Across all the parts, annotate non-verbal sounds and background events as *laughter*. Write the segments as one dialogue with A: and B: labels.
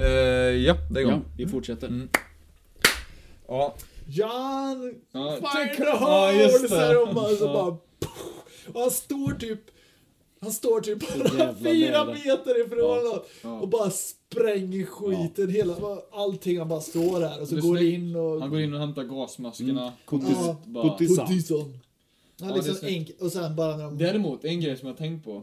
A: Eh, Ja, det är igång.
B: Ja, vi fortsätter.
A: Mm. Ja.
C: Jan
A: Ja,
C: fucking
A: Ja, just
C: Hall!
A: det.
C: säger de bara, så
B: Ja.
C: bara pff, och han står typ han står typ
B: jävla nära.
C: fyra meter ifrån
B: Ja.
C: honom
A: Ja.
C: och bara spränger skiten. Hela, allting, han bara står där och så
A: Det är
C: går
A: snyggt.
C: in och...
A: Han går in och hämtar gasmaskerna.
B: Mm. Kuttis-
C: Ja.
A: Bara-
B: kuttis-
C: och Dison. Han
A: Ja,
C: liksom
A: det är snyggt.
C: enk- och sen bara när de...
A: Däremot, en grej som jag har tänkt på.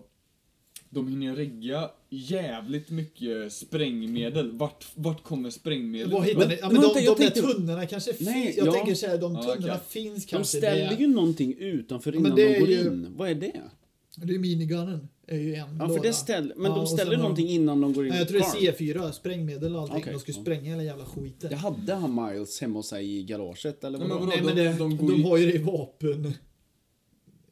A: De hinner regga jävligt mycket sprängmedel. Vart, vart kommer sprängmedlet?
C: Vad hittar
B: Men-
C: ni? Ja,
B: men
C: men de,
B: vänta,
C: de
B: jag
C: där
B: tänkte-
C: tunnorna kanske finns.
B: Nej,
C: jag
B: ja.
C: tänker så här, de
A: Ja,
C: tunnorna
A: okej.
C: finns
B: De
C: kanske.
B: ställer ju någonting utanför
C: Ja, men
B: innan
C: det
B: de
C: är
B: går
C: ju-
B: in. Vad är det?
C: det, det är minigunnen. är ju en
B: Ja,
C: låda.
B: för det ställ... Men
C: Ja,
B: de
C: och
B: ställer
C: sen har de-
B: någonting innan de går in
C: Nej,
B: i
C: jag tror det
B: car.
C: är C4, sprängmedel och allting.
B: Okej,
C: De skulle
B: ja.
C: spränga hela jävla skiten.
B: Det hade han Miles hemma hos sig i garaget eller
A: Nej, men
B: vadå?
A: vadå?
C: Nej,
A: de-
C: men det,
A: de
C: de,
A: går ju-
C: har ju det i vapen...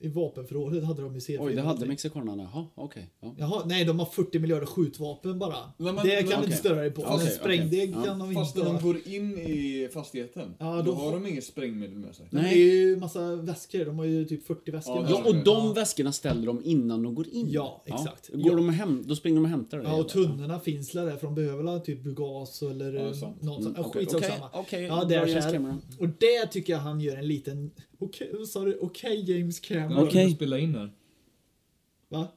C: I vapenförrådet hade de ju C4.
B: Oj, det hade
C: allting.
B: mexikanerna. Jaha, okej. Ja.
C: Jaha, nej, de har 40 miljarder skjutvapen bara.
A: Nej, men-
C: det kan
A: okej.
C: du inte störa dig på.
B: Ja,
C: Men
B: okej,
C: en sprängdeg
B: okej. Ja.
C: kan de
A: Fast
C: inte...
A: när
C: ha.
A: de går in i fastigheten,
C: Ja,
A: då,
C: då-
A: har de inget sprängmedel med sig.
C: Men Det är ju massa väskor. De har ju typ 40 väskor.
A: Ja,
C: med
B: Ja,
C: sig.
B: och de väskorna ställer de innan de går in.
C: Ja, exakt.
B: Går
C: Ja.
B: de hem, då springer de och hämtar det.
C: Ja, och tunnorna finns där för de behöver väl typ gas eller
A: Ja, det
C: ja,
A: är
C: något
A: sant.
C: sånt. Ja,
B: Mm, okej,
C: Skitsamma.
B: okej, okej.
C: ja, det
B: Bra,
C: är
B: James
C: så här.
B: Cameron.
C: Och det tycker jag han gör en liten... Okej, vad sa du? Okej, James Cameron.
A: Jag
B: Okej.
A: skulle spela in här.
C: Va?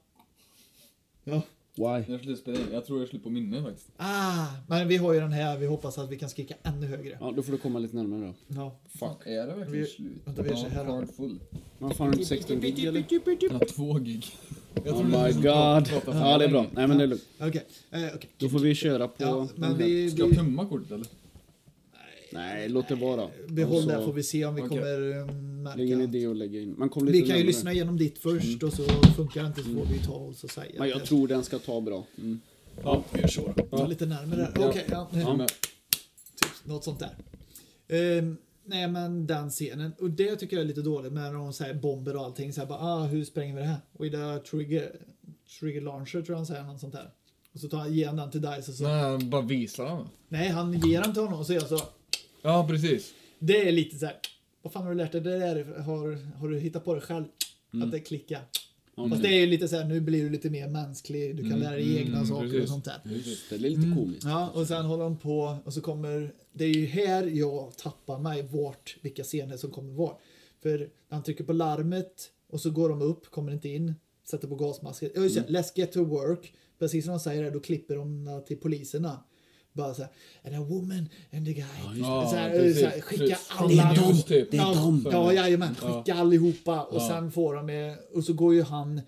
C: Ja.
B: Why?
A: Jag, skulle spela in. jag tror jag skulle på minne faktiskt.
C: Ah, men vi har ju den här. Vi hoppas att vi kan skrika ännu högre.
B: Ja, då får du komma lite närmare då.
C: Ja.
A: Fuck, är det verkligen
C: Vi-
A: slut?
C: vänta, vi gör
A: Ja,
C: så här.
A: card full.
B: Man fan har inte 16
A: *laughs*
B: gig eller?
A: Han har två gig. Jag
B: Oh
A: trodde vi
B: my
A: skulle
B: god.
A: prata för
B: Ja, det är bra.
A: länge.
B: Nej, men det är lugnt.
C: Okej. eh, okej.
B: Då får vi köra på...
C: Ja,
B: den
C: men
B: här.
C: vi...
A: Ska jag
C: vi
A: tömma kortet eller?
B: Nej, låt det vara.
C: behåll
B: Alltså,
C: det här får vi se om vi
A: Okej.
C: kommer eh,
B: Det är ingen
C: märka.
B: idé att lägga in. Man kommer lite
C: Vi kan ju
B: närmare. Mm.
C: lyssna igenom ditt först och så funkar det inte så får vi ta oss och säga.
B: Men
C: att
B: jag
C: det-
B: tror den ska ta bra. Mm.
A: Ja, vi gör så då.
C: Ta lite närmare där. Okej, ja.
B: Ja.
A: Men-
C: Typ, något sånt där. Ehm, nej men den scenen, och det tycker jag är lite dåligt med när de säger bomber och allting. Så här bara, ah, hur spränger vi det här? With a trigger, trigger launcher tror jag han säger, något sånt där. Och så tar han, ger han den till Dice och så,
A: Nej, han bara visar han.
C: nej han ger den till honom och så gör han så.
A: Ja, precis.
C: Det är lite så här, vad fan har du lärt dig det där? Har, har du hittat på det själv?
A: Mm.
C: Att det klickar.
B: Ja, men
C: Fast det är ju lite så här, nu blir du lite mer mänsklig, du kan lära dig egna
A: mm,
C: saker och
A: precis.
C: sånt där.
B: Just det, det är
C: Mm.
B: lite komiskt.
C: Ja, och sen håller de på och så kommer... Det är ju här jag tappar mig vart, vilka scener som kommer var. För när han trycker på larmet och så går de upp, kommer inte in, sätter på gasmasken. Ja, just det,
A: Mm.
C: Let's get to work. Precis som de säger det, då klipper de till poliserna. Bara så här, and a woman and a guy.
A: Ja,
C: så här,
A: precis.
C: så här, skicka
A: Precis.
C: alla.
A: Det är dem, typ.
B: Det är
C: ja,
B: dem.
C: ja, jajamän, skicka allihopa. Och
A: Ja.
C: sen får de, eh, och så går ju han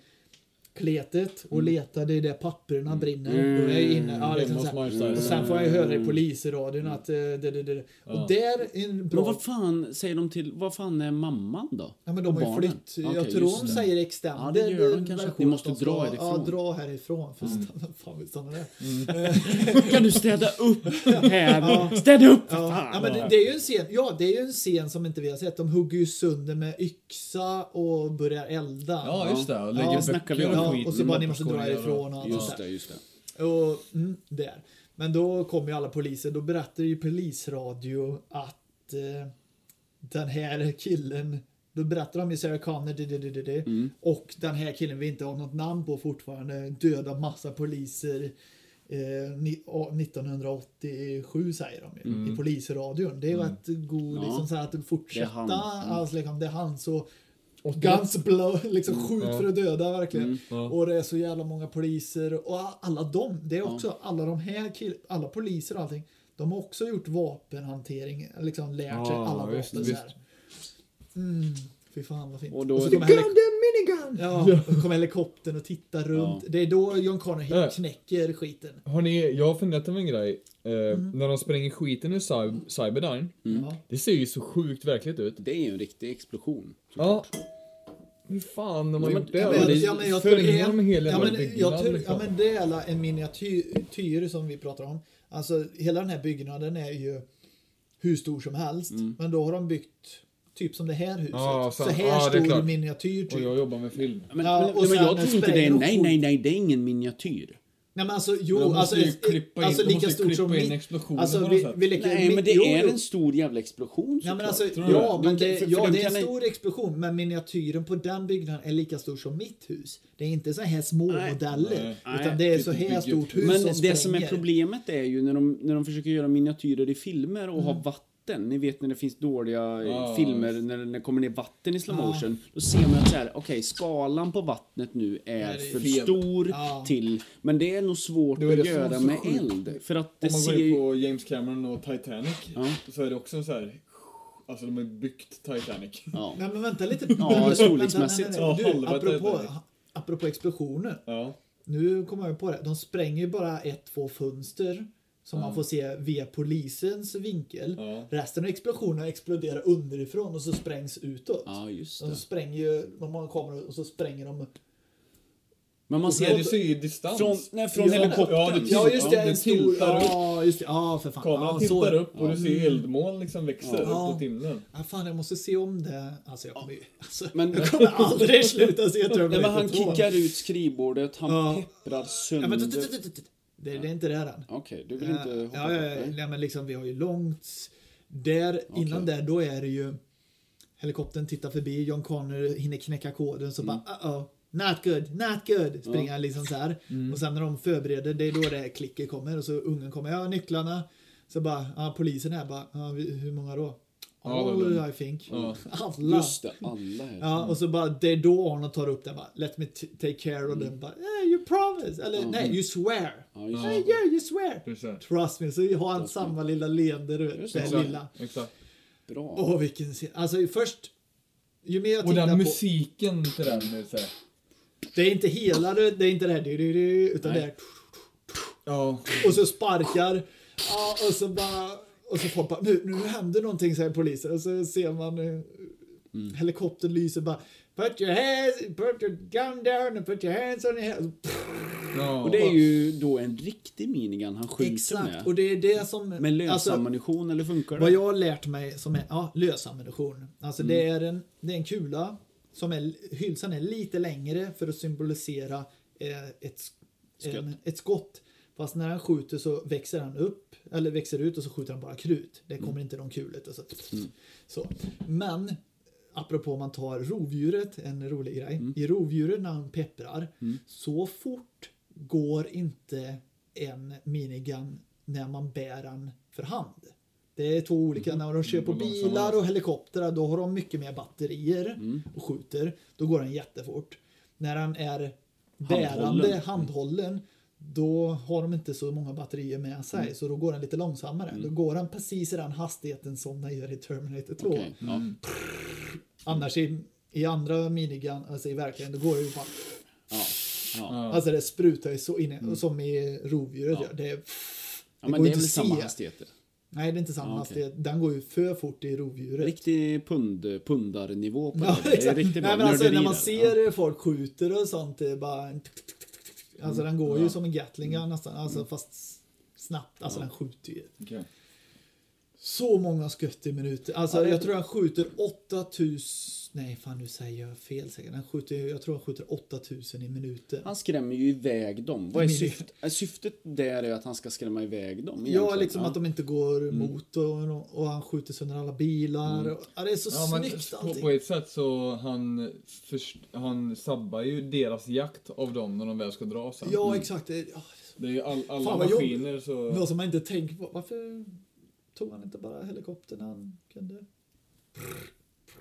C: kletet
B: Mm.
C: och letar, det är där papperna brinner. Då är jag inne, ja, liksom
A: Hemma
C: så
A: hos
C: här.
A: Marstyle.
C: Och sen får jag höra
B: Mm.
C: i polisradion att eh, det, det, det.
A: Ja.
C: Och där är en
B: Men
C: bra...
B: vad fan säger de till... Vad fan är mamman då?
C: Ja, men de
B: Och
C: har ju
B: barnen?
C: flytt.
B: Okej,
C: jag tror
B: just
C: de
B: det.
C: säger extended.
B: Ja, det gör de kanske.
C: version
B: Ni måste
C: att de
B: dra
C: ska-
B: härifrån. Mm.
C: Ja, dra härifrån. För stanna, fan, vi
B: *laughs*
C: stannar
B: *laughs*
C: där.
B: Kan du städa upp här? Städa upp! för
C: Ja,
B: fan!
C: ja, men det, det är ju en scen, ja, det är ju en scen som inte vi har sett. De hugger ju sönder med yxa och börjar elda.
A: Ja, just det. Och lägger
C: Ja,
B: snackar vi om.
A: böcker
C: Ja,
A: skit
C: och så
A: i
C: bara ni måste dra
A: matkorgar och-
C: härifrån och allt
B: Just
C: sånt där.
B: det, just det.
C: Och, mm, där. Men då kommer ju alla poliser. Då berättar ju polisradio att eh, den här killen, då berättar de ju Sarah Connor det, det, det, det, det. och den här killen vi inte har något namn på fortfarande dödar massa poliser eh, ni- å- 1987 säger de ju, i polisradion. Det är ju rätt god,
B: Ja.
C: liksom så här att
B: Det är
C: fortsätta,
B: han. Mm.
C: alltså liksom det är han så Guns blow, liksom skjut
A: Mm. Ja.
C: för att döda verkligen.
B: Mm,
A: Ja.
C: Och det är så jävla många poliser och a- alla de, det är också alla de här kill, alla poliser och allting. De har också gjort vapenhantering, liksom lärt sig
A: Ja,
C: alla vapen
A: visst,
C: så
A: visst.
C: här. Mm, fy fan vad fint.
B: Och då
C: så
B: är det-
C: kommer helik- ja, då kommer helikoptern och tittar runt.
B: Ja.
C: Det är då John Connor
A: Ja.
C: helt knäcker skiten.
A: Hörni, jag har funderat över en grej. Eh, När de spränger skiten ur Cy- Cyberdyne.
B: Mm.
C: Ja.
A: Det ser ju så sjukt verkligt ut.
B: Det är ju en riktig explosion.
A: Ja. Hur fan har man
B: Ja, men-
A: gjort det?
C: Ja,
B: Ja,
C: men,
B: det-
C: ja, men jag tror
A: Förringar de en hel
C: det ja,
A: jävla
C: men, jag
A: byggnad?
C: tror,
A: liksom?
C: ja, men det är alla en miniatyr som vi pratar om. Alltså hela den här byggnaden är ju hur stor som helst. Men då har de byggt typ som det här huset.
A: Mm. Ja,
C: så,
A: sant.
C: här
A: Ja, det är
C: stor
A: klart.
C: miniatyr typ.
A: Och jag jobbar med film.
B: Men,
C: Ja,
B: men,
C: och
B: men
C: sen
B: jag tror inte det är...
C: spränger de
B: Nej,
C: skjut-
B: nej, nej, det är ingen miniatyr.
C: Nej men alltså jo,
A: Men de måste
C: alltså,
A: ju klippa in,
C: alltså
A: de
C: lika
A: måste ju
C: stort som
A: klippa in
C: mitt-
A: explosionen
C: Alltså
A: på
C: vi,
A: något sätt.
C: vi leker,
B: Nej, men det
C: jo,
B: är
C: jo.
B: en stor jävla explosion
C: Nej, men alltså,
B: såklart.
A: tror du
C: ja,
A: det?
C: men
B: De kan-
C: det,
B: för- för
C: ja,
B: de
C: det är en
B: kan-
C: stor explosion, men miniatyren på den byggnaden är lika stor som mitt hus. Det är inte så här små
B: Nej.
C: modeller,
B: Nej.
C: utan det är
A: Nej,
C: så
A: det
C: här
A: bygger-
C: stort hus
B: Men
C: som
B: det som är
C: spränger.
B: problemet är ju när de, när de försöker göra miniatyrer i filmer och ha vatten. Ni vet när det finns dåliga eh,
A: Ja,
B: filmer när, när det kommer ner vatten i slow
C: Ja.
B: motion. Då ser man att så här, okej, skalan på vattnet nu är
C: är
B: för
A: fel.
B: stor
C: Ja.
B: till. Men det är nog svårt
A: Det var
B: att
A: det som var
B: göra
A: så
B: med
A: sjukt.
B: eld. För att det
A: Om man
B: ser
A: går in
B: ju...
A: på James Cameron och Titanic
B: Ja.
A: så är det också så här. Alltså de har byggt Titanic.
B: Ja.
C: Nej men vänta lite.
B: Ja,
C: Vänta,
B: storleksmässigt.
C: vänta, vänta,
A: Ja,
C: vänta. Du,
A: helvete.
C: apropå, apropå explosioner.
A: Ja.
C: Nu kommer jag på det. De spränger ju bara ett, två fönster som man får se via polisens vinkel.
A: Ja.
C: Resten av explosionerna exploderar underifrån och så sprängs utåt.
B: ja, just
C: De
B: det.
C: spränger ju, de har en kamera och så spränger de.
B: Men
C: Alltså,
B: man
A: Nej,
B: ser...
A: du ser ju distans.
B: Från, nej, från
C: Ja.
B: helikoptern.
A: Ja, det-
C: Ja just det,
A: den
C: en stor.
A: tiltar upp.
C: Ja just det, ja för fan.
A: Kameran
C: ja, Mm.
A: tittar upp och
B: Ja.
A: du ser eldmoln liksom växer
C: Ja.
A: upp mot himlen.
C: Ja, fan jag måste se om det. Alltså jag kommer ju, alltså,
B: Men-
C: jag kommer aldrig sluta se
B: Nej,
C: Terminator 2.
B: men han kickar ut skrivbordet, han
C: Ja.
B: pepprar
C: Ja,
B: sönder...
C: men,
B: Okej,
C: tut, tut, tut, tut, tut. det, det är inte det här än.
B: du vill inte
C: Eh,
B: hoppa
C: ja,
B: på
C: ja, ja,
B: det?
C: nej, men liksom vi har ju långt där innan där då är det ju helikoptern tittar förbi John Connor hinner knäcka koden så bara uh oh not good not good springer han liksom så här och sen när de förbereder det är då det här klicket kommer och så ungen kommer ja nycklarna så bara ja, polisen här bara ja, vi- hur många då
A: Ja, det var
C: all
A: de.
C: I think
A: Ja.
C: *laughs* alla
B: Just det, alla här.
C: Ja, och så bara, det är då Arnold tar upp den bara, let me t- take care och den bara, yeah, you promise, eller nej, you swear.
B: Ja, just
C: "Eh, yeah, you swear.
A: Just det.
C: Trust me, så har han samma lilla leende, du vet,
B: Just
C: det här
B: det.
C: lilla.
A: Exakt.
B: Bra.
C: Åh, vilken scen. Alltså först, ju mer jag
A: Och
C: tittar
A: den
C: på,
A: musiken till den är så här.
C: det är inte hela, det det är inte det här, du, du, du, utan
B: Nej.
C: det är,
A: Ja.
C: och så sparkar, ja, och så bara, och så folk bara, nu, nu händer någonting, säger polisen, och så ser man eh,
B: Mm.
C: helikoptern lyser bara, put your hands, put your gun down and put your hands on your head.
A: ja.
B: Och det är ju då en riktig minigun han skjuter
C: Exakt, och
B: med.
C: det är det som...
B: Med lös
C: alltså,
B: ammunition, eller funkar det? Mm.
C: vad jag har lärt mig som är ja, lösammunition. Alltså det, är en, det är en kula som är, hylsan är lite längre för att symbolisera eh, ett, skott.
B: Skott.
C: En, ett skott. Fast när han skjuter så växer han upp, eller växer ut och så skjuter han bara krut. Det
B: Mm.
C: kommer inte någon kul ut. Och så. Så. Men apropå om man tar rovdjuret, en rolig grej.
B: Mm.
C: I rovdjuret när han pepprar, så fort går inte en minigun när man bär den för hand. Det är två olika,
B: Mhm.
C: när de kör på
A: Vad långsammare.
C: bilar och helikoptrar då har de mycket mer batterier
B: Mm.
C: och skjuter. Då går den jättefort. När han är bärande,
B: Handhållen.
C: handhållen, då har de inte så många batterier med sig
B: Mm.
C: så då går den lite långsammare. Då går den precis i den hastigheten som den gör i Terminator 2.
B: Okej, ja.
C: Mm. Annars i, i andra minigun, alltså i verkligen, då går det ju bara...
B: Ja. Ja. Mm.
A: Ja.
C: Alltså det sprutar ju så in i- som i rovdjuret gör. Det, är-
B: ja, men
C: går
B: det är
C: inte
B: väl
C: att
B: samma
C: se.
B: hastigheter?
C: Nej, det är inte samma
B: Ja, okej.
C: hastighet. Den går ju för fort i rovdjuret.
B: Riktig pund, pundarnivå på
C: Ja,
B: det. Det är
C: exakt.
B: riktigt bra.
C: Nej, men alltså,
B: Nörderi
C: när man
B: där. Mm.
C: ser folk skjuter och sånt, det är bara... en tuk, tuk, tuk, tuk, tuk. Alltså den går ju som en Gatling gun nästan, alltså,
B: Mm.
C: fast s- snabbt. Alltså den skjuter ju.
A: Okej.
C: Så många skott i minuten. Alltså jag tror han skjuter 8000... Nej fan nu säger jag fel säkert. Han skjuter, jag tror han skjuter 8000 i minuten.
B: Han skrämmer ju iväg dem. Vad är
C: Mini-
B: syftet? Äh, Syftet där är att han ska skrämma iväg dem
C: Ja,
B: egentligen.
C: liksom att de inte går
A: Mm.
C: emot och, och han skjuter sönder alla bilar. Och, ja, det är så
A: Ja, men
C: snyggt
A: på,
C: allting.
A: på ett sätt så han, först, han sabbar ju deras jakt av dem när de väl ska dra sen.
C: Ja, exakt. Det, ja,
A: Det är ju all, alla
C: Fan, vad
A: maskiner så...
C: något som man inte tänker på. Varför tog han inte bara helikoptern när han kunde?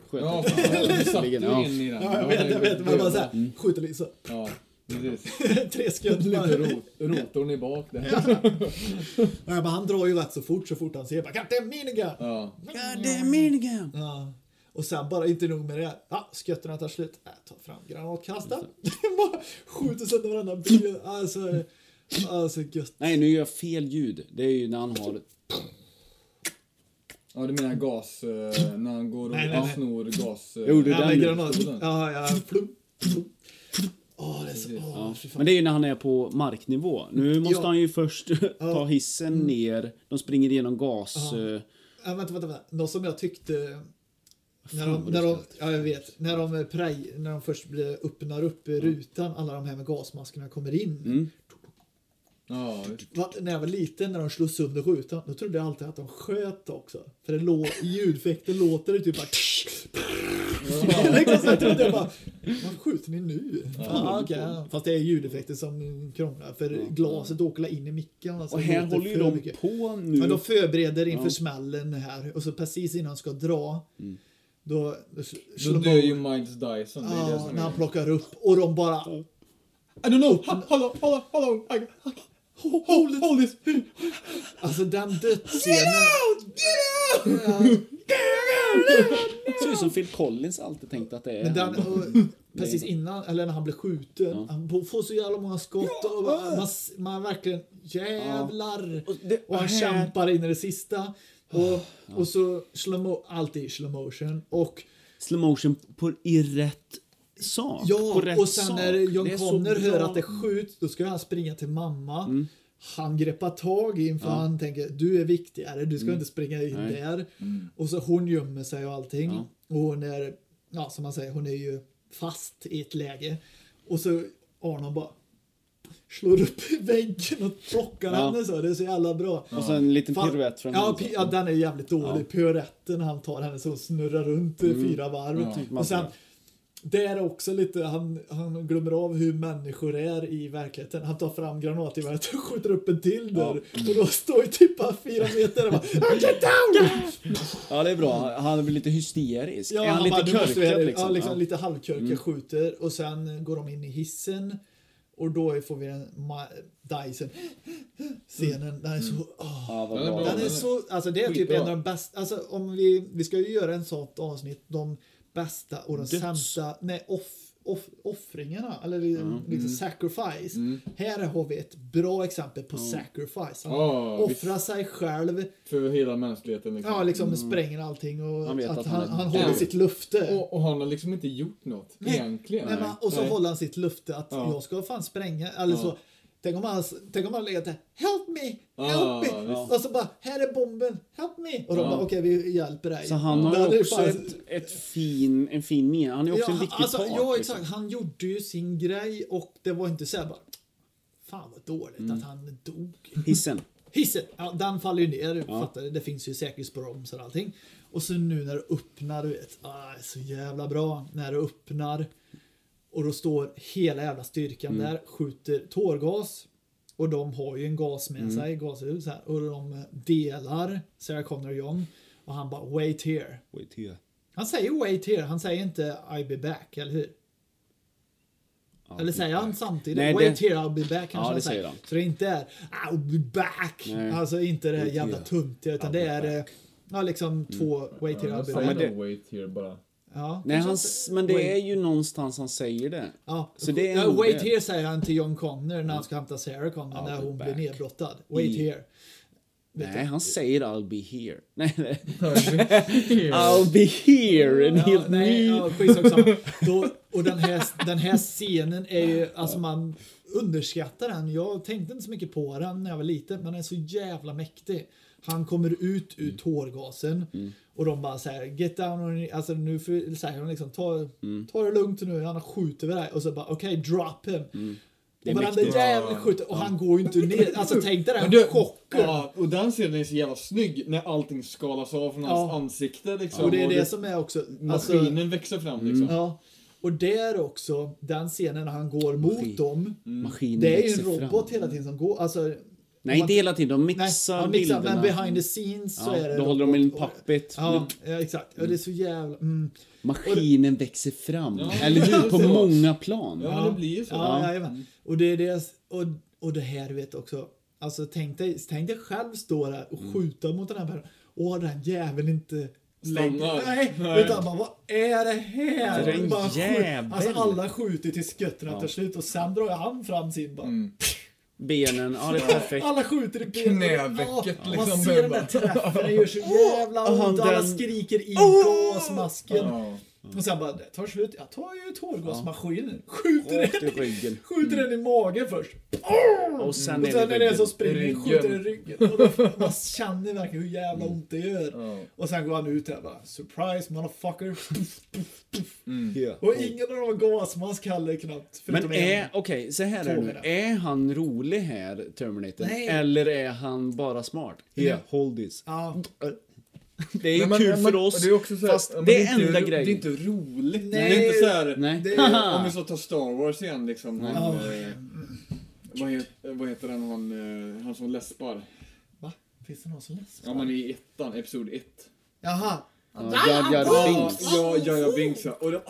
B: Sköter.
A: Ja, fan, vi satt ju
B: Ja.
A: in i den.
C: Ja, jag vet, jag vet. Man bara
A: Mm.
C: såhär, skjuter lite så. *laughs*
A: Ja, precis.
C: Tre skott.
A: Lite
C: bara.
A: rot, rotorn i bak där.
C: Ja, men han drar ju rätt så fort, så fort han ser. Bara, Captain Minigun!
A: Ja.
B: God damn minigun!
C: Ja. Och sen bara, inte nog med det. Ja, skötterna tar slut. Äh, ta fram granatkastaren. *laughs* bara skjuter sönder varandra. Bil. Alltså, alltså gött.
B: Nej, nu gör jag fel ljud. Det är ju när han har...
A: ja, du menar gas... eh, När han går och
C: Nej, nej, nej.
A: snor gas... eh,
B: Jag gjorde
A: ja,
B: det.
C: Ja,
B: den nu.
C: med granat.
A: Sådär.
C: Ja, ja. Plum, plum. Åh, det är så... Åh,
B: Ja.
C: fy fan. Mm.
B: Men det är ju när han är på marknivå. Nu måste
C: Ja. Mm.
B: han ju först *laughs* ta hissen ner. De springer igenom gas... eh,
C: Ja, Äh, vänta, vänta, vänta. Något som jag tyckte... När de,
B: vad
C: när
B: det
C: de, ja, jag vet. När de, eh, prej, när de först blir- öppnar upp eh, rutan, alla de här med gasmaskerna kommer in.
A: Ja, visst.
C: Va, när jag var liten, när de slog sönder rutan, då trodde jag alltid att de sköt också. För det lå- i ljudeffekter låter det typ bara... *laughs* liksom, så jag trodde jag bara, vad skjuter ni nu? Ah, okej. Fast det är ljudeffekter som krånglar, för glaset åker la in i micken. Alltså,
B: Och
C: det
B: här
C: låter
B: håller ju
C: för
B: de
C: mycket.
B: på nu.
C: Men de förbereder inför
B: Ja. Mm.
C: smällen här och så precis innan de ska dra då, då
A: Då
C: slår
A: dör ju
C: de
A: Miles Dyson, det är det
C: Ja,
A: som
C: när han
A: är...
C: plockar upp och de bara
A: I don't know! Ha, hallå, hallå, hallå! I, I, hold, hold this!
C: Alltså den dödsscenen.
B: Det ser ut som Phil Collins alltid tänkt att det är.
C: Men den,
B: han.
C: och, precis innan, eller när han blir skjuten, han på- får så jävla många skott och man, man, man verkligen jävlar.
B: Och det-
C: Och han
A: Äh.
B: här-
C: kämpar in i det sista. Och, och så slow mo- alltid i slow motion. Och
B: Slow motion på, i rätt sak. på
C: Ja,
B: rätt
C: och sen
B: sak.
C: när John
B: Det är så
C: Connor hör
B: bra.
C: att det skjuts, då ska han springa till mamma.
B: Mm.
C: Han greppar tag i en för han tänker du är viktigare, du ska inte springa in
B: Mm. Nej.
C: där.
B: Mm.
C: Och så hon gömmer sig och allting. Och hon är, ja som man säger, hon är ju fast i ett läge. Och så Arnold bara slår upp *laughs* i väggen och plockar
B: Ja.
C: henne så. Det är så jävla bra.
B: Och sen en liten
C: Fan-
B: piruett från
C: ja,
B: honom.
C: pi- ja, den är jävligt dålig. Piruetten han tar henne så hon snurrar runt i fyra varv.
B: Mm. Ja. typ
C: Och sen, det är också lite, han, han glömmer av hur människor är i verkligheten. Han tar fram granatgeväret och *laughs* skjuter upp en till där. Och då står ju typ bara fyra meter och bara Get down!
B: Ja, det är bra. Han blir lite hysterisk.
C: Ja,
B: är
C: han,
B: han,
C: bara,
B: lite
C: "Du måste göra
B: körkad
C: det."
B: liksom?
C: Ja, liksom
B: Ja. Mm.
C: lite halvkörkad skjuter och sen går de in i hissen och då får vi den Ma- Dyson scenen. Den är
B: Mm.
C: så... åh.
B: Ja, vad
A: Den är
B: bra.
A: bra.
C: Den är så, alltså det är typ
A: Skitbra.
C: en av de bästa, alltså om vi, vi ska ju göra en sånt avsnitt, de bästa och de
B: Döds-
C: sämsta, nej off, off, offringarna, eller liksom sacrifice. Här har vi ett bra exempel på sacrifice. Han
A: Ja,
C: offrar sig själv,
A: För hela mänskligheten liksom.
C: ja liksom spränger allting och
B: Han vet
C: att,
B: att han
C: han, han,
B: är
C: håller
A: död.
C: sitt löfte.
A: Och, och han har liksom inte gjort något,
C: Nej.
A: egentligen.
C: Nej, men, och så
A: Nej.
C: håller han sitt löfte att
A: Ja.
C: jag ska fan spränga. Eller så, tänk om han tänk om han legat där. Help me! Help
A: Ja,
C: me!
A: Ah, visst.
C: Och så bara, här är bomben. Help me! Och de
A: Ja.
C: bara, okej vi hjälper dig.
B: Så han
C: Det
B: har
C: hade
B: ju
C: ju
B: också
C: fan-
B: ett, ett fin, en fin mening. Han är ju också en
C: han-
B: viktig
C: alltså,
B: part.
C: Ja,
B: liksom.
C: exakt. Han gjorde ju sin grej och det var inte så här bara, fan vad dåligt
A: Mm.
C: att han dog.
B: Hissen.
C: Hissen, ja, den faller ju ner, fattar du? Det finns ju säkerhetsbromsar och allting. Och så nu när du öppnar, du vet, ah, så jävla bra. När du öppnar och då står hela jävla styrkan där, skjuter tårgas. Och de har ju en gas med sig, gashus här. Och de delar Sarah Connor och John. Och han bara wait here.
B: Wait here.
C: Han säger wait here, han säger inte I'll be back, eller hur? Eller säger han samtidigt
B: Nej,
C: wait
B: typ det-
C: here, I'll be back kanske
B: Ja, det
C: han
B: säger
C: säger.
B: han.
C: Så det inte är I'll be back.
B: Nej.
C: Alltså inte det här
B: Wait
C: jävla
B: here.
C: tuntiga utan det
B: be Mm.
C: är eh, ja, liksom två wait here,
A: Ja,
C: I'll be
A: så han
C: back.
B: det-
A: wait here bara.
C: Ja,
B: Nej,
C: kanske
B: han,
C: inte-
B: s- men det är ju någonstans han säger det.
C: Ja,
B: Så det är
C: ja,
B: nog
C: wait
B: det.
C: here säger han till John Connor när han ska hämta Sarah Connor när
B: I'll be
C: hon
B: back.
C: blir nedbrottad. Wait
B: I-
C: here.
B: Nej, han säger I'll be here. Nej, nej.
A: Here.
B: I'll be here! En
C: Ja,
B: helt
C: nej,
B: ny...
C: ja, skitsamma. Då, och den här, den här scenen är ju, alltså man underskattar den. Jag tänkte inte så mycket på den när jag var liten, men den är så jävla mäktig. Han kommer ut ur tårgasen och de bara säger get down, on your-" alltså nu för, säger de liksom ta, ta det lugnt nu, han skjuter vi dig och så bara okej drop him.
B: Det är
C: och varenda
B: mäktigt.
C: jävel skjuter och han går ju inte ner, alltså tänk dig
A: *laughs* Men
C: den
A: du,
C: chocken.
A: Ja, och den scenen är så jävla snygg när allting skalas av från hans
C: Ja.
A: ansikte liksom.
C: Och det är det
A: du-
C: som är också, alltså, Mm.
A: Maskinen växer fram liksom.
C: ja. Och där också, den scenen när han går mot
B: Maskin.
C: dem,
B: Maskinen
C: Det är ju
B: växer
C: en robot
B: Mm. fram.
C: hela tiden som går. Alltså,
B: Nej,
C: man-
B: inte hela tiden. De
C: nej,
B: mixar
C: ja, mixar,
B: bilderna.
C: men behind the scenes så
B: Ja,
C: är det
B: då håller de en
C: robot.
B: puppet.
C: Ja, ja exakt. Ja, det är så jävla... Mm.
B: Maskinen växer fram.
A: Ja.
B: Eller hur? På
A: Ja.
B: många plan.
A: Ja, det blir ju så.
C: Ja, jajamän. och det är det... Och, och det här vet också. Alltså tänk dig, tänk dig själv stå där
B: Mm.
C: och skjuta mot den här personen. Åh, den jäveln inte...
A: Stannar.
C: Nej,
A: Nej.
C: utan bara vad är det här?
B: Det är en
C: Bara skjut-
B: jävel.
C: Alltså alla skjuter till skötterna till slut och sen drar han fram sin bara.
A: Mm.
B: Benen, ja det är perfekt.
C: Alla skjuter i benen.
A: Knävecket,
C: Ja, Man
A: liksom,
C: ser den
A: bara.
B: *laughs*
C: där träffen, det gör så jävla
B: han Oh!
C: ont. Alla
B: den-
C: skriker i gasmasken.
A: Ja.
C: Och sen bara, det tar slut. Jag tar ju tårgasmaskinen, skjuter
B: Rakt i
C: den,
B: ryggen.
C: skjuter den i magen först.
B: Och sen
C: Och sen
B: är
C: när
B: det
C: det är
B: ryggen.
C: som springer,
A: Ryggen.
C: skjuter den i ryggen. Och då, man känner verkligen hur jävla ont det gör.
A: Ja.
C: Och sen går han ut där bara, surprise motherfucker. Puff, puff, puff.
B: Ja.
C: Och ingen av dem har gasmask heller knappt. förutom
B: Mm. Men är,
C: en.
B: okej, så här är det nu.
C: Tårna.
B: Är han rolig här, Terminator?
C: Nej.
B: Eller är han bara smart? Yeah, hold this.
C: Ja.
B: Det är ju
A: Nej, men-
B: kul
A: men-
B: för
A: och
B: oss,
A: Det är också så här,
B: fast
A: ja, men
B: det är
A: inte
B: enda
A: ro-
B: grejen.
A: Det är inte roligt.
C: Nej.
A: Det är inte så här,
B: Nej.
C: Det-
B: *laughs*
A: om vi så tar Star Wars igen liksom. Han, eh, vad, heter, vad heter han, han, eh, han som läspar?
C: Va? Finns det någon som läser?
A: Ja, men i ettan, episod ett.
C: Jaha.
B: Ja, Jar Jar
A: Ja,
B: Binks.
A: ja, ja, ja, Binks ja. Och det,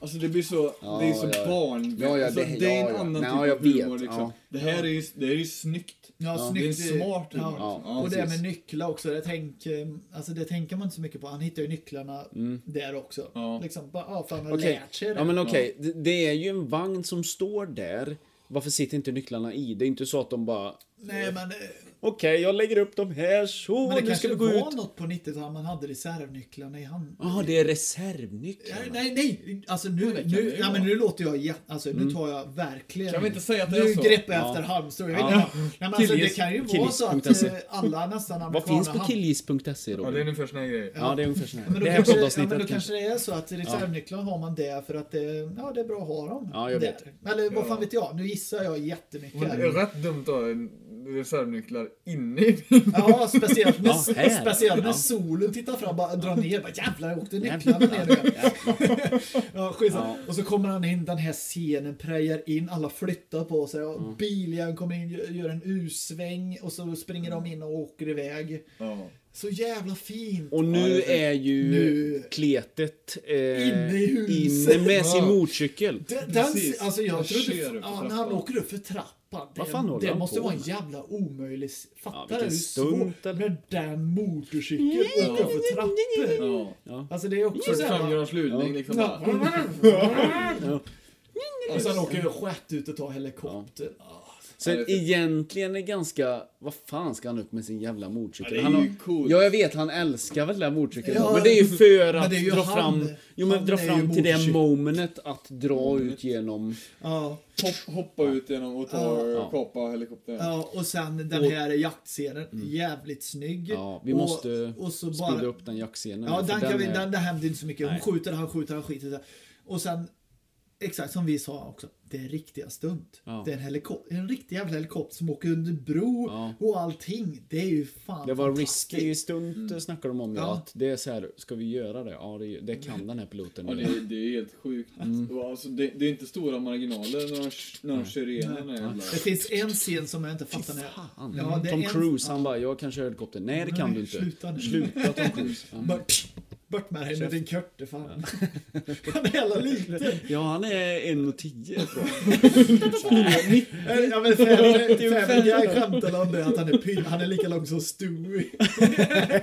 A: alltså det blir så,
B: Ja,
A: det är så
B: ja, ja.
A: barn.
B: Ja, ja,
A: alltså,
B: det-
A: det, är en
B: ja, ja.
A: annan
B: Nej,
A: typ
B: jag
A: av humor
B: vet,
A: liksom.
B: ja.
A: Det här är ju, det här är ju snyggt.
C: Ja,
B: Ja.
C: snyggt.
A: Det är en smart
C: ja.
A: humor. Ja,
C: Och det här
B: precis.
C: med nycklar också, det, tänk, eh, alltså det tänker man inte så mycket på. Han hittar ju nycklarna där också.
A: Ja.
C: Liksom, bara, ja, för han har
B: Okej,
C: lärt sig det.
B: ja, men okej. Det, det är ju en vagn som står där. Varför sitter inte nycklarna i? Det är inte så att de bara...
C: Nej, men, eh,
B: Okej, jag lägger upp dem här så,
C: men det
B: nu ska
C: kanske
B: vi gå
C: var
B: ut.
C: något på 90-talet man hade reservnycklarna i handen.
B: Ja, det är reservnycklarna.
C: Nej, nej, nej, alltså nu,
A: det kan det
C: nu,
A: ju
C: ja,
A: vara.
C: men nu låter jag, ja, alltså nu tar jag verkligen.
A: Kan vi inte säga att det
C: nu
A: är så?
C: greppar jag efter halmstrå. Jag vet inte. Nej, men alltså, det
B: Killgis-
C: kan ju vara
B: killgis
C: så att
B: punkt se.
C: eh, alla nästan
B: Vad
C: amerikaner
B: finns på
C: hamnar-
B: killgis.se E då?
A: Ja, det är ungefär såna här grejer.
B: Ja, det är ungefär så här.
C: Men då,
B: det här
C: kanske, ja,
B: poddavsnittet
C: men då kanske
B: kanske...
C: det är så att reservnycklarna har man där för att det, ja, det är bra att ha dem.
B: Ja, jag
C: där.
B: vet.
C: Eller vad fan
A: Ja.
C: vet jag? Nu gissar jag jättemycket.
A: Men det
C: här.
A: är rätt dumt att ha en reservnycklar inne i
C: Ja, speciellt när,
B: Ja, här.
C: speciellt när
B: Ja.
C: solen tittar fram bara drar ner. Bara, Jävlar, åkte nycklarna ner. igen." *laughs* Ja, skitsamma. Och så kommer han in, den här scenen prejar in, alla flyttar på sig.
B: Mm.
C: Och Biljäveln kommer in, gö- gör en U-sväng och så springer de in och åker iväg.
A: Ja.
C: Så jävla fint.
B: Och
A: Ja,
B: nu
A: det är
B: är ju
C: Nu-
B: kletet eh,
C: Inne i huset.
B: inne med sin
A: Ja.
B: motorcykel.
C: Den, den,
A: Precis.
C: alltså jag
A: Jag
C: trodde,
A: ser upp för
C: ja, när han
A: trappan.
C: åker upp för trappan. Det,
B: Vad fan håller
C: det
B: han
C: måste
B: på
C: vara en
B: med?
C: jävla omöjlig... Fattar du
B: vilken
C: hur
B: stunt,
C: svårt
B: eller?
C: när den motorcykeln åker upp för trappor?
A: Ja.
C: Alltså det är också så
A: 45
C: här...
A: graders lutning liksom.
C: Ja.
A: bara.
C: Och sen åker ju skett ut och tar helikoptern. Ah,
A: Ja,
B: Så
A: det är fint.
B: egentligen är ganska... Vad fan ska han upp med sin jävla motorcykel?
A: Ja, det är
B: han
A: ju coolt.
B: Ja, jag vet. Han älskar väl den där motorcykeln.
C: Ja,
B: men det är ju för
C: men
B: att
C: det är ju
B: dra
C: han.
B: fram... Jo, men
C: Han
B: dra
C: är ju
B: fram till det
C: motorcykel. Mm.
B: momentet att dra ut genom...
C: Ja.
A: Hopp, hoppa ut genom och ta kapa helikoptern.
C: Ja, och sen den
B: Och- Mm.
C: här jaktscenen. Jävligt snygg.
B: Ja, vi
C: Och-
B: måste
C: och så
B: speeda
C: bara-
B: upp den jaktscenen.
C: Ja,
B: för
C: den, kan vi,
B: är-
C: den, det händer inte så mycket. Hon
B: Nej.
C: skjuter, han skjuter, han skjuter. så här. Och sen, exakt som vi sa också, det är riktiga stunt.
B: Ja.
C: Det är en, helikopter, en riktig jävla helikopter som åker under bro
B: Ja.
C: och allting. Det är ju fan
B: Det var
C: fantastiskt.
B: risky stunt snackar de om ja.
C: Mm. Ja. Mm.
B: Att det är så här, ska vi göra det? Ja, det, det kan den här piloten.
A: Ja,
B: göra.
A: det, det är helt sjukt. Och Alltså, det, det är inte stora marginaler när de, när de kör igenom den här jävla...
C: Det finns en scen som jag inte fattar. när jag-
B: Fan.
C: Ja, det är
B: Tom
C: en-
B: Cruise, han bara, jag kan köra helikopter. Nej, det kan
C: Nej,
B: du inte.
C: sluta nu.
B: Sluta Tom
C: *laughs*
B: Cruise. Ja.
C: Bort, bort med dig nu din körte fan. Han är hela liten.
B: Ja, han är 1,10 tror jag. *laughs*
C: *laughs* Ja men Family Family Guy skämtade om det att han är pyn, han är lika lång som Stewie.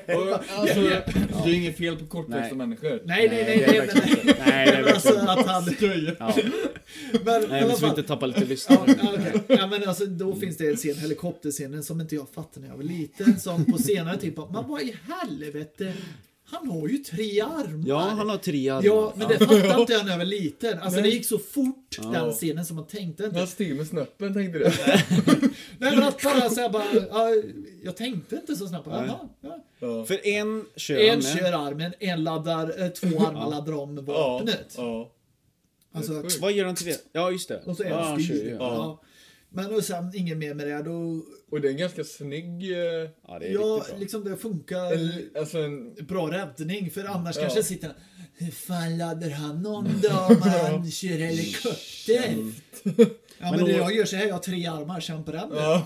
A: Och, alltså, det är inget fel på kortväxta
B: Nej.
A: människor.
C: Nej nej nej.
B: det är
C: nej,
B: verkligen
C: nej,
B: inte. Nej, det är
C: Alltså
B: verkligen inte.
C: att han...
B: Ja.
C: Men i
B: Nej,
C: alla
B: men så vi
C: fall.
B: inte tappar lite
C: Ja,
B: lyssnare.
C: ja, okej. ja, men alltså, då finns det en scen, helikopterscenen, som inte jag fattade när jag var liten. Som på senare tid bara, men vad i helvete? Han har ju tre armar.
B: Ja, han har tre armar.
C: Ja, men det fattade inte jag när jag var liten.
A: Nej.
C: Alltså det gick så fort, den scenen, som man tänkte inte.
A: Han steg med snöppen tänkte du?
C: Nej, men att bara säga bara, ja, jag tänkte inte så snabbt. Jaha, ja.
A: Ja.
B: För en kör han
C: En
B: med.
C: kör armen, en laddar, eh, två armar laddar om
A: Ja.
C: vapnet.
A: ja.
C: Alltså,
B: Vad gör han till det? Ja, just det.
C: och så
B: ja,
C: en
B: han kör
C: stil.
B: ju.
C: Ja. Men och sen inget mer med det. Då
A: Och det är en ganska snygg... eh,
B: Ja, det är riktigt
C: Ja,
B: bra. Eh,
C: liksom det funkar
A: en- Alltså en...
C: bra räddning för annars
A: Ja.
C: kanske sitter han Hur fan laddar han om då
B: *laughs*
C: om han kör helikopter? Ja men,
B: Mm. Men
C: det
B: då-
C: jag gör så här, jag har tre armar, känn på den då.
A: Ja.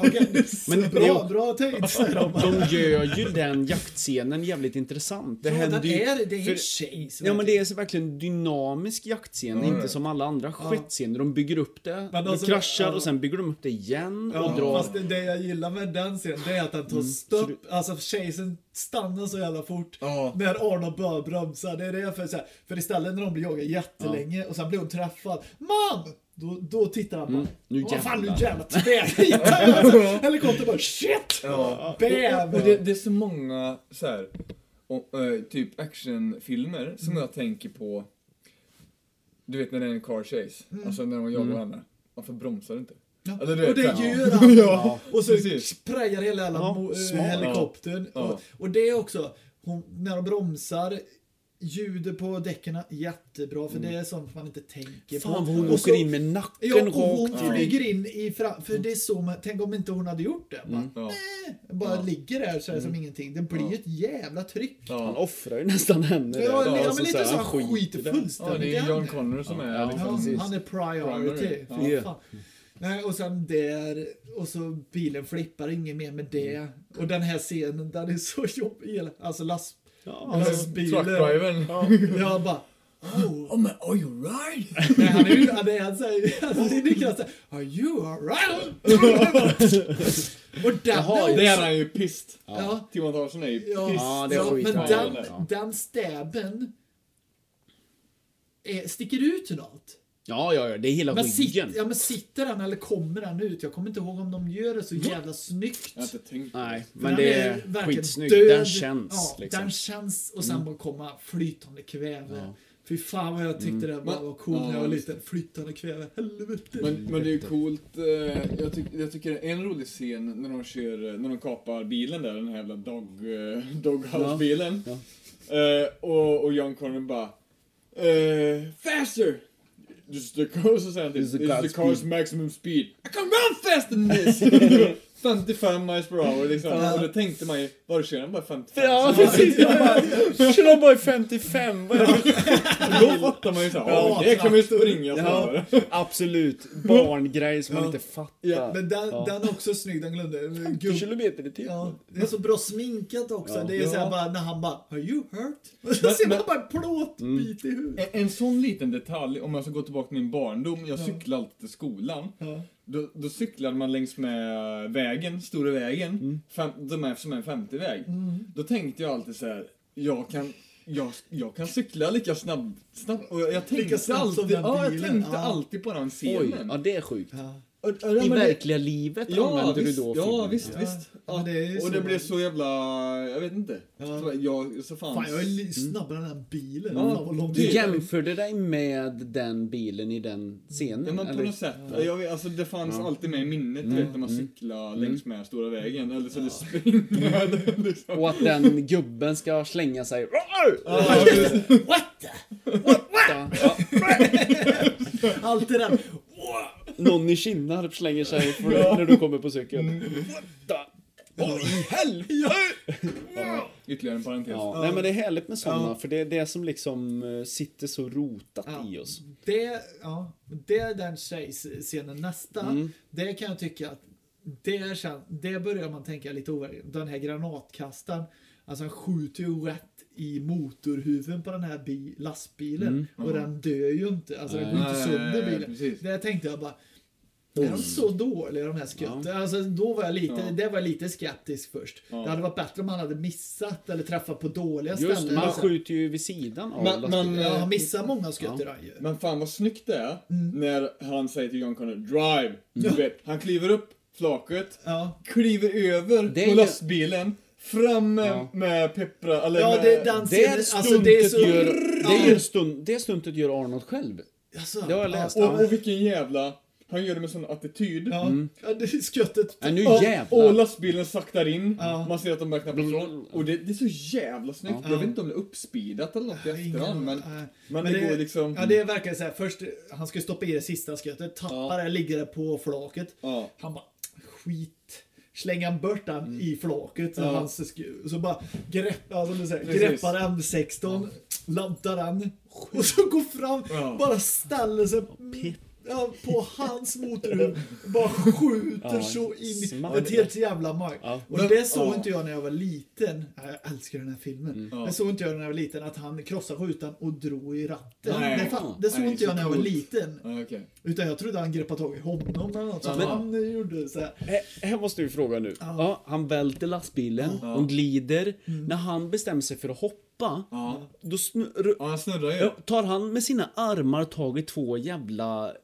B: *laughs*
C: okej.
B: Men det är
C: liksom Bra,
B: också-
C: bra tänkt säger de.
B: De gör ju den jaktscenen jävligt intressant. *laughs* Det
C: Ja, den
B: händer ju...
C: är, det är
B: för-
C: en tjej som
B: Ja men det är så verkligen en dynamisk jaktscen,
A: Ja, ja.
B: inte som alla andra skettscener. De bygger upp det,
C: Men
B: de
C: alltså,
B: kraschar
C: ja.
B: och sen bygger de upp det igen och
C: Ja,
B: drar.
C: fast det, det jag gillar med den scenen det är att den tar
B: Mm.
C: stopp, alltså tjejen stannar så jävla fort
A: Ja.
C: när Arnold börjar bromsa. Det är det för, så här, för istället när de blir jagade jättelänge och sen blir hon träffad. Mam! Då, då tittar han bara.
B: Mm. Nu
C: Åh fan nu
B: jävlar." *laughs*
C: jävlar *laughs* tvärnitar jag! Alltså, Helikoptern bara shit!
A: Ja.
C: Bam!
A: Och det, det är så många så här och, eh, typ actionfilmer som jag tänker på, du vet när det är en car chase, alltså när de jagar
B: Mm.
A: varandra. Varför bromsar du inte?
C: Ja.
A: Eller du vet,
C: och det
A: så här,
C: gör han!
A: Ja,
C: Och så
A: precis.
C: sprayar hela jävla
B: Ja,
C: mo- eh,
B: smart.
C: helikoptern.
A: Ja.
C: Och, och det är också, hon, när de bromsar, ljudet på däcken, jättebra. För det är sånt man inte tänker på.
B: Mm. Fan vad hon
C: Och
B: åker
C: så-
B: in med nacken
C: Ja, och
B: rakt
C: hon
B: i dig.
C: flyger in i fram... För det är så man, Tänk om inte hon hade gjort det. Bara, eh,
A: Ja.
C: bara
A: Ja.
C: ligger där så här som ingenting. Det blir ju ett jävla tryck.
B: Han
A: Ja.
B: offrar ju nästan henne.
C: Ja,
B: där.
C: ja,
A: alltså
C: men lite
B: här,
C: så han
B: skit i det.
C: skiter
A: ja, det
C: fullständigt i
A: är John
C: henne.
A: Connor som är
B: Ja,
A: liksom...
C: Ja,
B: precis.
C: han är priority.
A: Primary.
C: Fy
B: Ja.
C: fan. Nej, och sen där, och så bilen flippar, inget mer med det. Och den här scenen, den är så jobbig. Alltså last...
B: Ja,
C: lastbilen.
A: Truckdrivern.
C: Jag bara... Oh.
A: Oh, men are you right? *laughs*
C: Nej, han är ju... Han är han säger... Alltså, det är Niklas såhär... Are you alright? och den...
B: Jaha,
A: Det är han ju pist.
C: Ja.
A: Timon Tarzan är ju pist.
C: Ja,
B: Ja, det
C: ja,
B: skiter
C: men
B: han i,
C: den,
B: det där.
C: den stäben är, sticker ut ur allt.
B: ja, ja, ja, det är hela
C: Men, sit,
B: ryggen.
C: ja, men sitter den eller kommer den ut? Jag kommer inte ihåg om de gör det så jävla snyggt.
A: Jag har inte tänkt på det.
B: Nej,
C: För
B: Mm. men
C: den
B: det är
C: verkligen
B: skitsnygg.
C: död.
B: Den känns
C: ja,
B: liksom.
C: Den känns och sen bara komma flytande kväve.
B: Ja. Mm.
C: Fy fan vad jag tyckte det bara
A: Men-
C: var coolt när jag var
A: ja,
C: liten. Flytande kväve, helvete.
A: Men, men det är ju coolt. eh, Jag, tyck, jag tycker en rolig scen när de kör, eh, när de kapar bilen där, den här jävla dog, eh, doghouse-bilen.
B: Ja,
A: Eh, och, och John Connor bara... eh, faster! Just the cars, så säger han till.
B: This is the
A: This
B: car's
A: is the car's
B: speed."
A: maximum speed. I can run faster than
B: *laughs*
A: this! 55 miles per hour liksom. Och då tänkte man ju, var kör han bara 55?
B: Ja, precis. Jag bara, Kör bara i 55. Vad är det?
A: Då fattar man ju såhär, ja,
C: Ja,
A: det kan man ju springa
B: Ja,
A: för.
B: absolut. Barngrejer som man
C: Ja.
B: inte fattar.
C: ja, men den,
B: Ja.
C: den är också snygg, den glömde. Gubb-
B: kilometer i timmen.
C: Ja, det är så bra sminkat också.
B: Ja.
C: Det är så
A: Ja.
C: här bara när han bara Are you hurt? *laughs* Och så ser man bara
B: Mm.
C: en plåtbit i huvudet.
A: En, en sån liten detalj, om jag ska gå tillbaka till min barndom, jag cyklade alltid till skolan.
C: Ja.
A: Då, då cyklade man längs med vägen, stora vägen,
C: Mm.
A: fem, de är som en 50-väg. Då tänkte jag alltid så här, jag kan, jag, jag kan cykla lika snabbt, snabbt och jag tänkte
C: snabbt som
A: alltid,
C: den
A: ja, jag
C: bilen,
A: tänkte
C: ja.
A: alltid på den
B: Oj,
A: scenen.
B: ja det är sjukt.
C: Ja.
A: Och- och- ja, men
B: I
A: det-
B: verkliga livet
A: Ja,
B: använder
A: visst,
B: du då
A: ja,
B: filmen.
A: visst,
C: Ja.
A: visst.
C: Ja, det är ju
A: och
C: så.
A: det blev så jävla, jag vet inte.
C: Ja.
A: Så jag, så fan.
C: Fan, jag är li- snabbare än den här bilen.
A: Ja,
C: Fan, vad lång
A: det-
B: Mm. Du
C: tid.
B: jämförde dig med den bilen i den
A: Ja,
B: scenen?
A: men på
B: eller? Mm.
A: något sätt. Jag, vet- alltså, det fanns alltid med i minnet du vet, när man cyklade längs med stora vägen. Eller så det springade.
B: Mm.
A: *laughs* liksom.
B: Och att den gubben ska slänga sig.
A: Ja, precis.
C: What? the-
B: Ja,
C: Allt det där.
B: någon i Kinnarp slänger sig för, när du kommer på cykeln. What the? Oh, i helvete!
A: Ytterligare en parentes.
B: Ja, nej men det är härligt med sådana för det är det som liksom eh, sitter så rotat
C: Ja.
B: i oss.
C: Det, ja, det är den tjejscenen. Nästa,
A: Mm.
C: det kan jag tycka att det, kän, det börjar man tänka lite overkligt. Den här granatkastaren, alltså han skjuter ju rätt i motorhuven på den här bi, lastbilen och den dör ju inte. Alltså den går
A: Mm. Nej, nej,
C: inte sönder
A: nej,
C: bilen.
A: precis.
C: Där tänkte jag bara är de så dåliga de här skutten? Alltså, då var jag lite,
A: Ja.
C: det var jag lite skeptisk först. Det hade varit bättre om man hade missat eller träffat på dåliga
B: Just
C: ställen.
B: man
C: Alltså,
B: skjuter ju vid sidan av
A: Men-
B: lastbilen.
A: men,
C: ja, han missar många skutt
B: Ja.
C: i den ju.
A: Men fan vad snyggt det är
B: Mm.
A: när han säger till John Connor Drive! Du vet, han kliver upp flaket,
C: Ja.
A: kliver över
B: Det är
A: på
B: ju-
A: lastbilen, fram med,
B: Ja.
A: med peppra, eller
C: Ja,
A: med...
C: det är den
B: Det
C: scenen.
B: är
C: Alltså, det är
B: stuntet
C: så...
B: gör, det,
C: Ja.
B: är stund, det stuntet gör Arnold själv.
C: Alltså,
B: Det har jag läst.
A: och, och vilken jävla... Han gör det med sån attityd.
C: Ja, ja det är skuttet.
B: Ja, nu
A: Ja,
B: jävlar.
A: Och lastbilen saktar in,
C: Ja.
A: man ser att de börjar knappa
B: Mm.
A: ifrån. Och det, det är så jävla snyggt. Jag vet inte om det är uppspeedat eller något i efterhand, men,
C: Nej.
A: men, det, går liksom...
C: Ja, det är verkligen så här. Först, han ska stoppa i det sista skuttet, tappar det, ligger det på flaket.
A: Ja. Mm.
C: Han bara, skit. Slänger han bort den i flaket. Så,
A: Ja.
C: hans sku- så bara grepp, alltså, det är så här,
A: Precis.
C: greppar M16, laddar den och så går fram,
A: Ja.
C: bara ställer sig ja, på
A: *laughs*
C: hans motorhuv. Bara skjuter
B: Ja,
C: så in
B: smart.
C: i ett helt jävla mark.
B: Ja.
C: Och
A: Men-
C: det såg
A: ja.
C: inte jag när jag var liten. Jag älskar den här filmen.
A: Ja.
C: Det såg inte jag när jag var liten att han krossade rutan och drog i ratten.
A: Nej.
C: Det, fatt- det såg
A: Nej,
C: inte jag
A: så
C: när jag var
A: coolt.
C: liten.
A: Ja, okej.
C: Utan jag trodde han greppade tag i honom eller något. Så
A: Men-
C: han gjorde så här.
B: Här- Här måste vi fråga nu.
C: Ja.
B: Ja, han välter lastbilen, de glider. När han bestämmer sig för att hoppa,
A: Mm. Ja.
B: då snur,
A: ja, han snurrar ju.
B: Ja, tar han med sina armar tag i två jävla eh,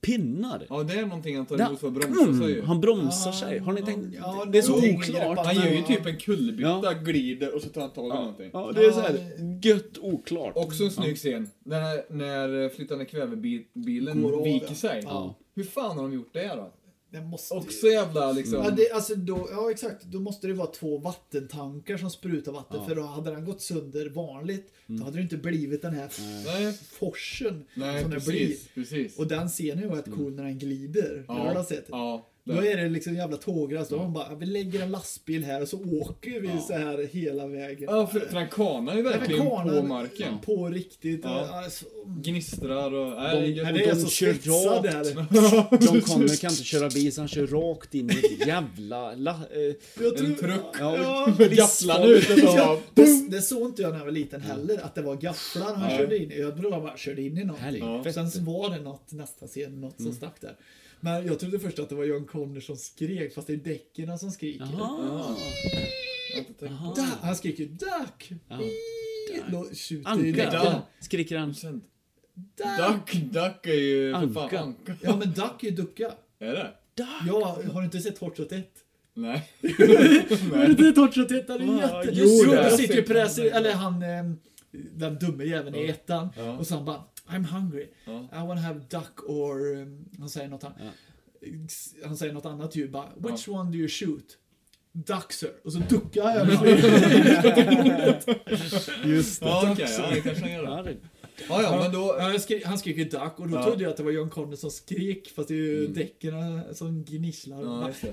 B: pinnar.
A: Ja, det är någonting han tar
B: Där-
A: emot för att bromsa sig ju.
B: Mm, han bromsar sig. Har ni tänkt?
C: Ja,
B: det är så
C: det-
B: oklart.
A: Han gör ju typ en kullerbytta,
B: Ja.
A: glider och så tar han tag i någonting.
B: Ja, det är så här gött oklart.
A: Också en snygg scen. När, när eh, flyttande
C: Går
A: kvävebilen
C: av,
A: viker
C: ja.
A: sig.
B: Ja.
A: Hur fan har de gjort det då?
C: Det måste
A: Också jävla liksom...
C: Ja, det, alltså då, ja exakt, då måste det vara två vattentankar som sprutar vatten
B: Ja.
C: för då hade den gått sönder vanligt då hade det inte blivit den här
A: Mm. Nej.
C: forsen
A: Nej,
C: som det blir.
A: precis. precis.
C: Och den scenen var rätt cool när den glider. Det har du sett.
A: ja,
C: Då är det liksom jävla tågras. Då har man bara, vi lägger en lastbil här och så åker vi så här hela vägen.
A: Ja, för, för han kanar ju
C: Den här
A: verkligen på
C: karlen-
A: marken.
C: På riktigt.
A: Ja.
C: Alltså,
A: Gnistrar och... Nej,
B: De-
A: jag-
C: nej, det är alltså
B: de
C: så
B: kör
C: svetsad
B: rakt.
C: där.
B: John Connor kan inte köra bil så han kör rakt in i ett jävla... La, eh,
C: Jag
A: En
C: tror-
A: truck.
B: ja,
C: Ja,
A: *laughs* Med gafflarna
C: *laughs*
A: ute
C: Ja,
A: på...
C: det, det såg inte jag när jag var liten heller, att det var gafflar han
A: Nej.
C: körde in i. Jag trodde han bara körde in i någonting.
B: Helvete.
C: Sen så var det något, nästa scen, något
A: Mm.
C: som stack där. Men jag trodde först att det var John Connor som skrek, fast det är däcken som skriker.
B: Jaha.
A: Jag har inte tänkt på
C: Da, han skriker duck!
B: Ja.
C: Då tjuter ju däcken.
B: Anka, skriker han.
A: det.
C: Duck!
A: Duck, duck är ju för
B: Anka.
A: fan anka.
C: Ja men duck är ju ducka.
A: Är det?
C: Ja, har du inte sett Hot Shot 1? *laughs*
A: Nej. *laughs*
C: Är
A: Nej.
C: det inte Hot Shot 1? Det är
B: Ah,
C: jätte...
B: jo,
A: har
B: det
C: då
A: jag
C: sitter ju
A: sett.
C: pressen, eller han, ehm, den dumme jäveln i ettan.
A: Ja.
C: Och så han bara, I'm hungry.
A: Ja.
C: I wanna have duck or... ehm, Han säger något annat.
B: Ja.
C: Han säger något annat ju bara, Which one do you shoot? Duck sir. Och så duckar jag.
B: Just
A: Ja, okej. Ja, det kanske han gör.
B: Ja,
A: det.
B: det.
A: Ja, ja, men
C: Ja,
A: då...
C: han skri- han skrek ju duck och då
A: Ja.
C: trodde jag att det var John Connor som skrek fast det är ju däcken som gnisslar.
A: Ja, just det.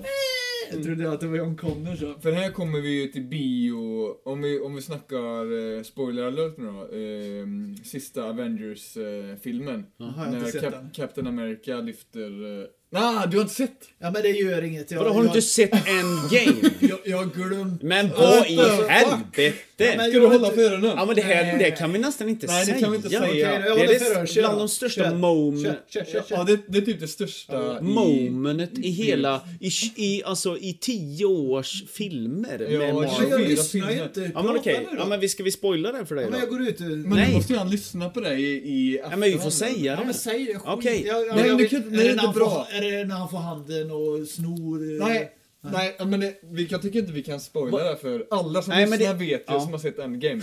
C: jag trodde att det var John Connor så.
A: För här kommer vi ju till bio, om vi, om vi snackar eh, spoiler alert nu då, eh, sista Avengers-filmen.
C: Har jag inte
A: när
C: sett
A: Cap-
C: den?
A: Captain America lyfter... Eh... Nej, du har inte sett?
C: Ja men det gör inget. Jag,
B: Vadå, har du
C: jag,
B: inte sett Endgame?
C: jag, jag har glömt.
B: Men vad
A: What
B: i
A: the fuck?
B: helvete?
C: men-
A: Ska du hålla för öronen?
B: Ja men det här, det kan vi nästan inte
A: Nej,
B: säga.
A: det kan vi inte säga.
C: Okej, då, jag
B: det
C: håller för
B: är
C: öronen.
B: det
C: Kör
B: bland
C: då.
B: de största
C: Kör.
B: moment,
C: Kör, kör, kör, kör.
A: Ja, det, det är typ det största i...
B: momentet i hela, i, i, alltså i tio års filmer
A: Ja,
B: med
C: Ja,
B: Marvel.
C: jag lyssnar ju inte.
B: Ja men
C: Prata
B: okej,
C: nu då.
B: ja, men vi, ska vi spoila den för dig då?
C: Ja, men jag går ut.
A: Men
B: Nej.
A: då måste ju han lyssna på dig i... i
B: Ja men vi får
A: efterhand.
B: säga
C: Ja,
B: det.
C: men säg det. skit.
B: Okej.
C: Ja, ja,
A: Nej,
C: jag
A: du
C: vet-
A: kan inte-
C: är
A: nej,
C: det
A: det
C: när
A: är
C: han
A: bra.
C: får- Är det när han får handen och snor? eh,
A: Nej, nej, men det, vi, jag tycker inte vi kan spoila det här för alla som
B: Nej, men
A: lyssnar
B: det-
A: vet ju
B: ja.
A: som har sett Endgame.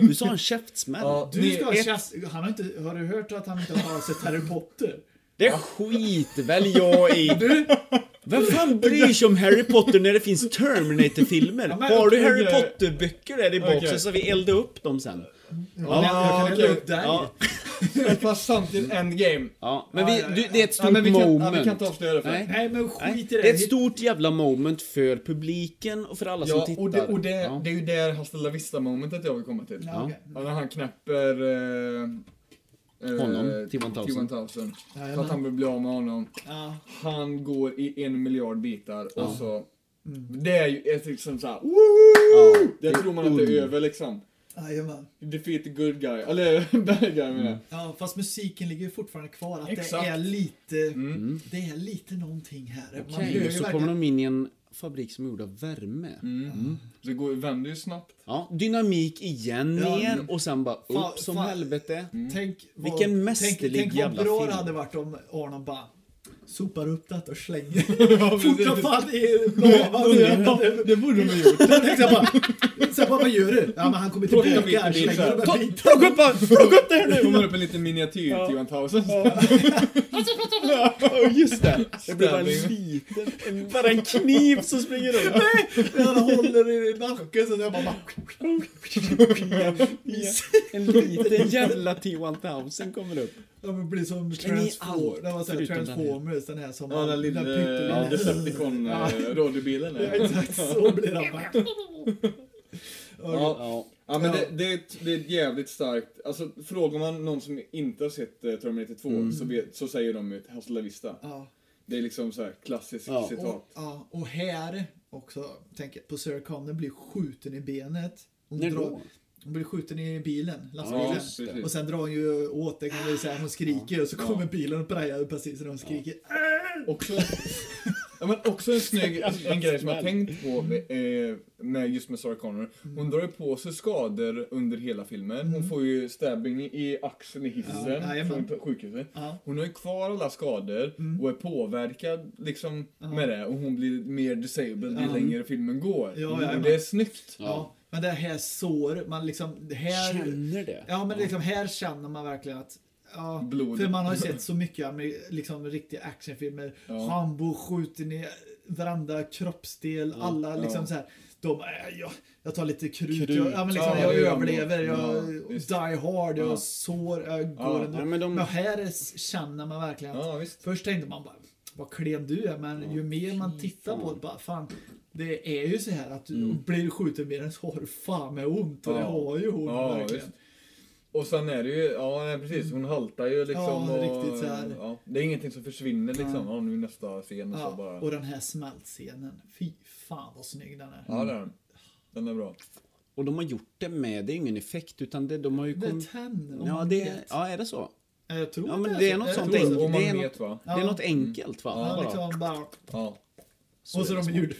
B: Du sa en käftsmäll.
A: Ja,
C: Du
A: ni-
C: ska ha
A: ett-
C: tjafs. Han har inte... Har du hört att han inte har sett Harry Potter?
B: Det skiter väl
A: *laughs*
B: jag i. Vem fan bryr sig om Harry Potter när det finns Terminator-filmer?
C: Ja, men-
B: Har du Harry
A: Okej.
B: Potter-böcker där i boxen
A: Okej.
B: så vi eldar upp dem sen.
C: Ja, jag kan hälla
A: okej.
C: upp dig.
B: Ja,
A: Fast samtidigt
B: *laughs*
A: Endgame.
B: ja. men
C: Ja,
B: vi,
C: ja, ja.
B: du, det är ett
A: Ja,
B: stort
A: men vi kan, ja,
B: moment.
A: vi kan inte avslöja det för.
B: Nej.
C: Nej, men skit
B: Nej,
C: i det.
B: det är ett stort jävla moment för publiken och för alla som
A: Ja,
B: tittar.
A: och, det, och det,
B: Alltså, Ja.
A: det är ju där Hasta la Vista-momentet jag vill komma till.
C: Ja, okej.
A: Ja, när han knäpper... Eh, eh,
B: Honom, till 1000.
A: till 1000. För
C: Jajamän.
A: att han vill bli av med honom.
C: Ja.
A: Han går i en miljard bitar och
B: Ja.
A: så... Det är ju ett liksom såhär... Ja, det tror man att det är över liksom.
C: Jajamän.
A: Defeat the good guy. Eller *laughs* bad guy menar jag.
C: Ja, fast musiken ligger ju fortfarande kvar. Att
A: Exakt.
C: det är lite...
A: Mm.
C: Det är lite någonting här. Man hör
B: Okej,
C: ju
B: och så
C: verkligen-
B: kommer de in i en fabrik som är gjord av värme.
A: Så Mm. det går, vänder ju *laughs* snabbt.
B: Ja, dynamik igen
C: Ja.
B: ner och sen bara upp
C: Fan,
B: som
C: fan.
B: helvete.
C: Tänk vad,
B: Mm. Vilken mästerlig
C: tänk, tänk vad
B: jävla
C: bra
B: film.
C: det hade varit om Arnold bara sopar upp detta
B: *laughs*
C: och slänger
A: precis.
C: fort som fan i lavan.
A: Det, det borde de ha gjort.
C: Jag tänkte jag bara, så jag bara, vad gör du? Ja men han kommer
A: Plocka
C: tillbaka
A: bitar,
C: här,
A: bitar.
C: slänger de
B: Ta-
C: här bitarna.
B: Plocka upp, han! plocka upp det här
A: Det
B: nu!
A: kommer upp en liten miniatyr till 1000.
B: Ja, just det. Det blir bara en
A: Ställning.
B: liten, en- bara en kniv som springer
C: *laughs*
B: runt.
C: Han håller i nacken så jag bara, bara
B: En liten jävla T-1000 kommer upp.
C: de blir som
B: Släng i
C: Transform-
B: allt,
C: det var så här
B: förutom den här.
C: Transformers, den här som
A: Ja, den lilla
C: pyttelilla-
A: eh, Decepticon-radiobilen.
C: Ja, *laughs* Exakt så blir han
B: *laughs*
C: bara.
A: Ja,
B: Ja.
A: ja, men
C: Ja.
A: det, det, är ett, det är ett jävligt starkt... Alltså, frågar man någon som inte har sett eh, Terminator 2 så, vet, så säger de ju Hasta la Vista.
C: Ja.
A: Det är liksom så här klassiskt
B: Ja.
A: citat.
C: Och, ja, och här också, tänker på Sarah Connor blir skjuten i benet. Hon,
B: När
C: drar-
B: då?
C: hon blir skjuten i bilen, lastbilen.
A: just det.
C: och sen drar hon ju åt det, kan man ju säga, hon skriker och så kommer bilen och prejar precis när hon skriker.
A: Också... *laughs* Ja, men också en snygg en grej som jag
B: smäll.
A: tänkt på med, eh, med just med Sarah Connor.
C: Mm.
A: Hon drar ju på sig skador under hela filmen. Hon får ju stabbing i axeln i hissen
C: Ja, jajamän. Mm.
A: från sjukhuset.
C: Ja.
A: Hon har ju kvar alla skador och är påverkad liksom med det och hon blir mer disabled ju
C: Ja.
A: längre filmen går.
C: Ja,
A: och
C: jajamän.
A: det är snyggt.
C: Ja, men det här sår, man liksom... det Här,
B: Känner det.
C: Ja, men liksom här känner man verkligen att... Ja,
A: Blod.
C: För man har ju sett så mycket med liksom riktiga actionfilmer.
A: Ja.
C: Rambo skjuter ner varenda kroppsdel, alla liksom
A: Ja.
C: så här. De, äh, jag, jag tar lite krut,
B: Krut.
C: Jag, ja, men liksom,
A: Ja,
C: jag
A: det gör
C: överlever,
A: man.
C: jag
A: Ja, visst.
C: die hard, jag
A: Ja.
C: sår, jag går
A: Ja,
C: ändå.
B: ja,
C: men,
B: men de-
C: här är, känner man verkligen att
A: Ja, visst.
C: Först tänkte man bara, vad klen du är, men ju mer man tittar på det, bara fan. Det är ju så här att du blir du skjuten mer än så har du fan med ont och det
A: Mm. Ja.
C: har ju hon
A: Ja,
C: verkligen.
A: visst. Och sen är det ju, ja nej, precis, hon haltar ju liksom.
C: Ja,
A: och,
C: riktigt så här.
A: Ja, det är ingenting som försvinner liksom.
C: Ja.
A: Ja, nu nästa scen och så
C: Ja,
A: bara.
C: och den här smältscenen, fy fan vad snygg den är.
A: Ja, det är den. Den är bra.
B: Och de har gjort det med, det är ingen effekt utan det, de har ju
C: Det är
B: kommit...
C: ten, om
B: Ja,
C: man
B: det,
C: vet.
B: ja, är det så?
C: Eh, Jag tror
B: Ja, men det är något
C: så.
B: sånt
C: Jag tror
A: enkelt.
C: det.
A: Och man
B: Det är
A: vet, va?
B: något, det är något enkelt va?
C: Ja,
B: Bara-
C: liksom bara,
A: Ja.
C: och så
B: är det
C: de gjorde...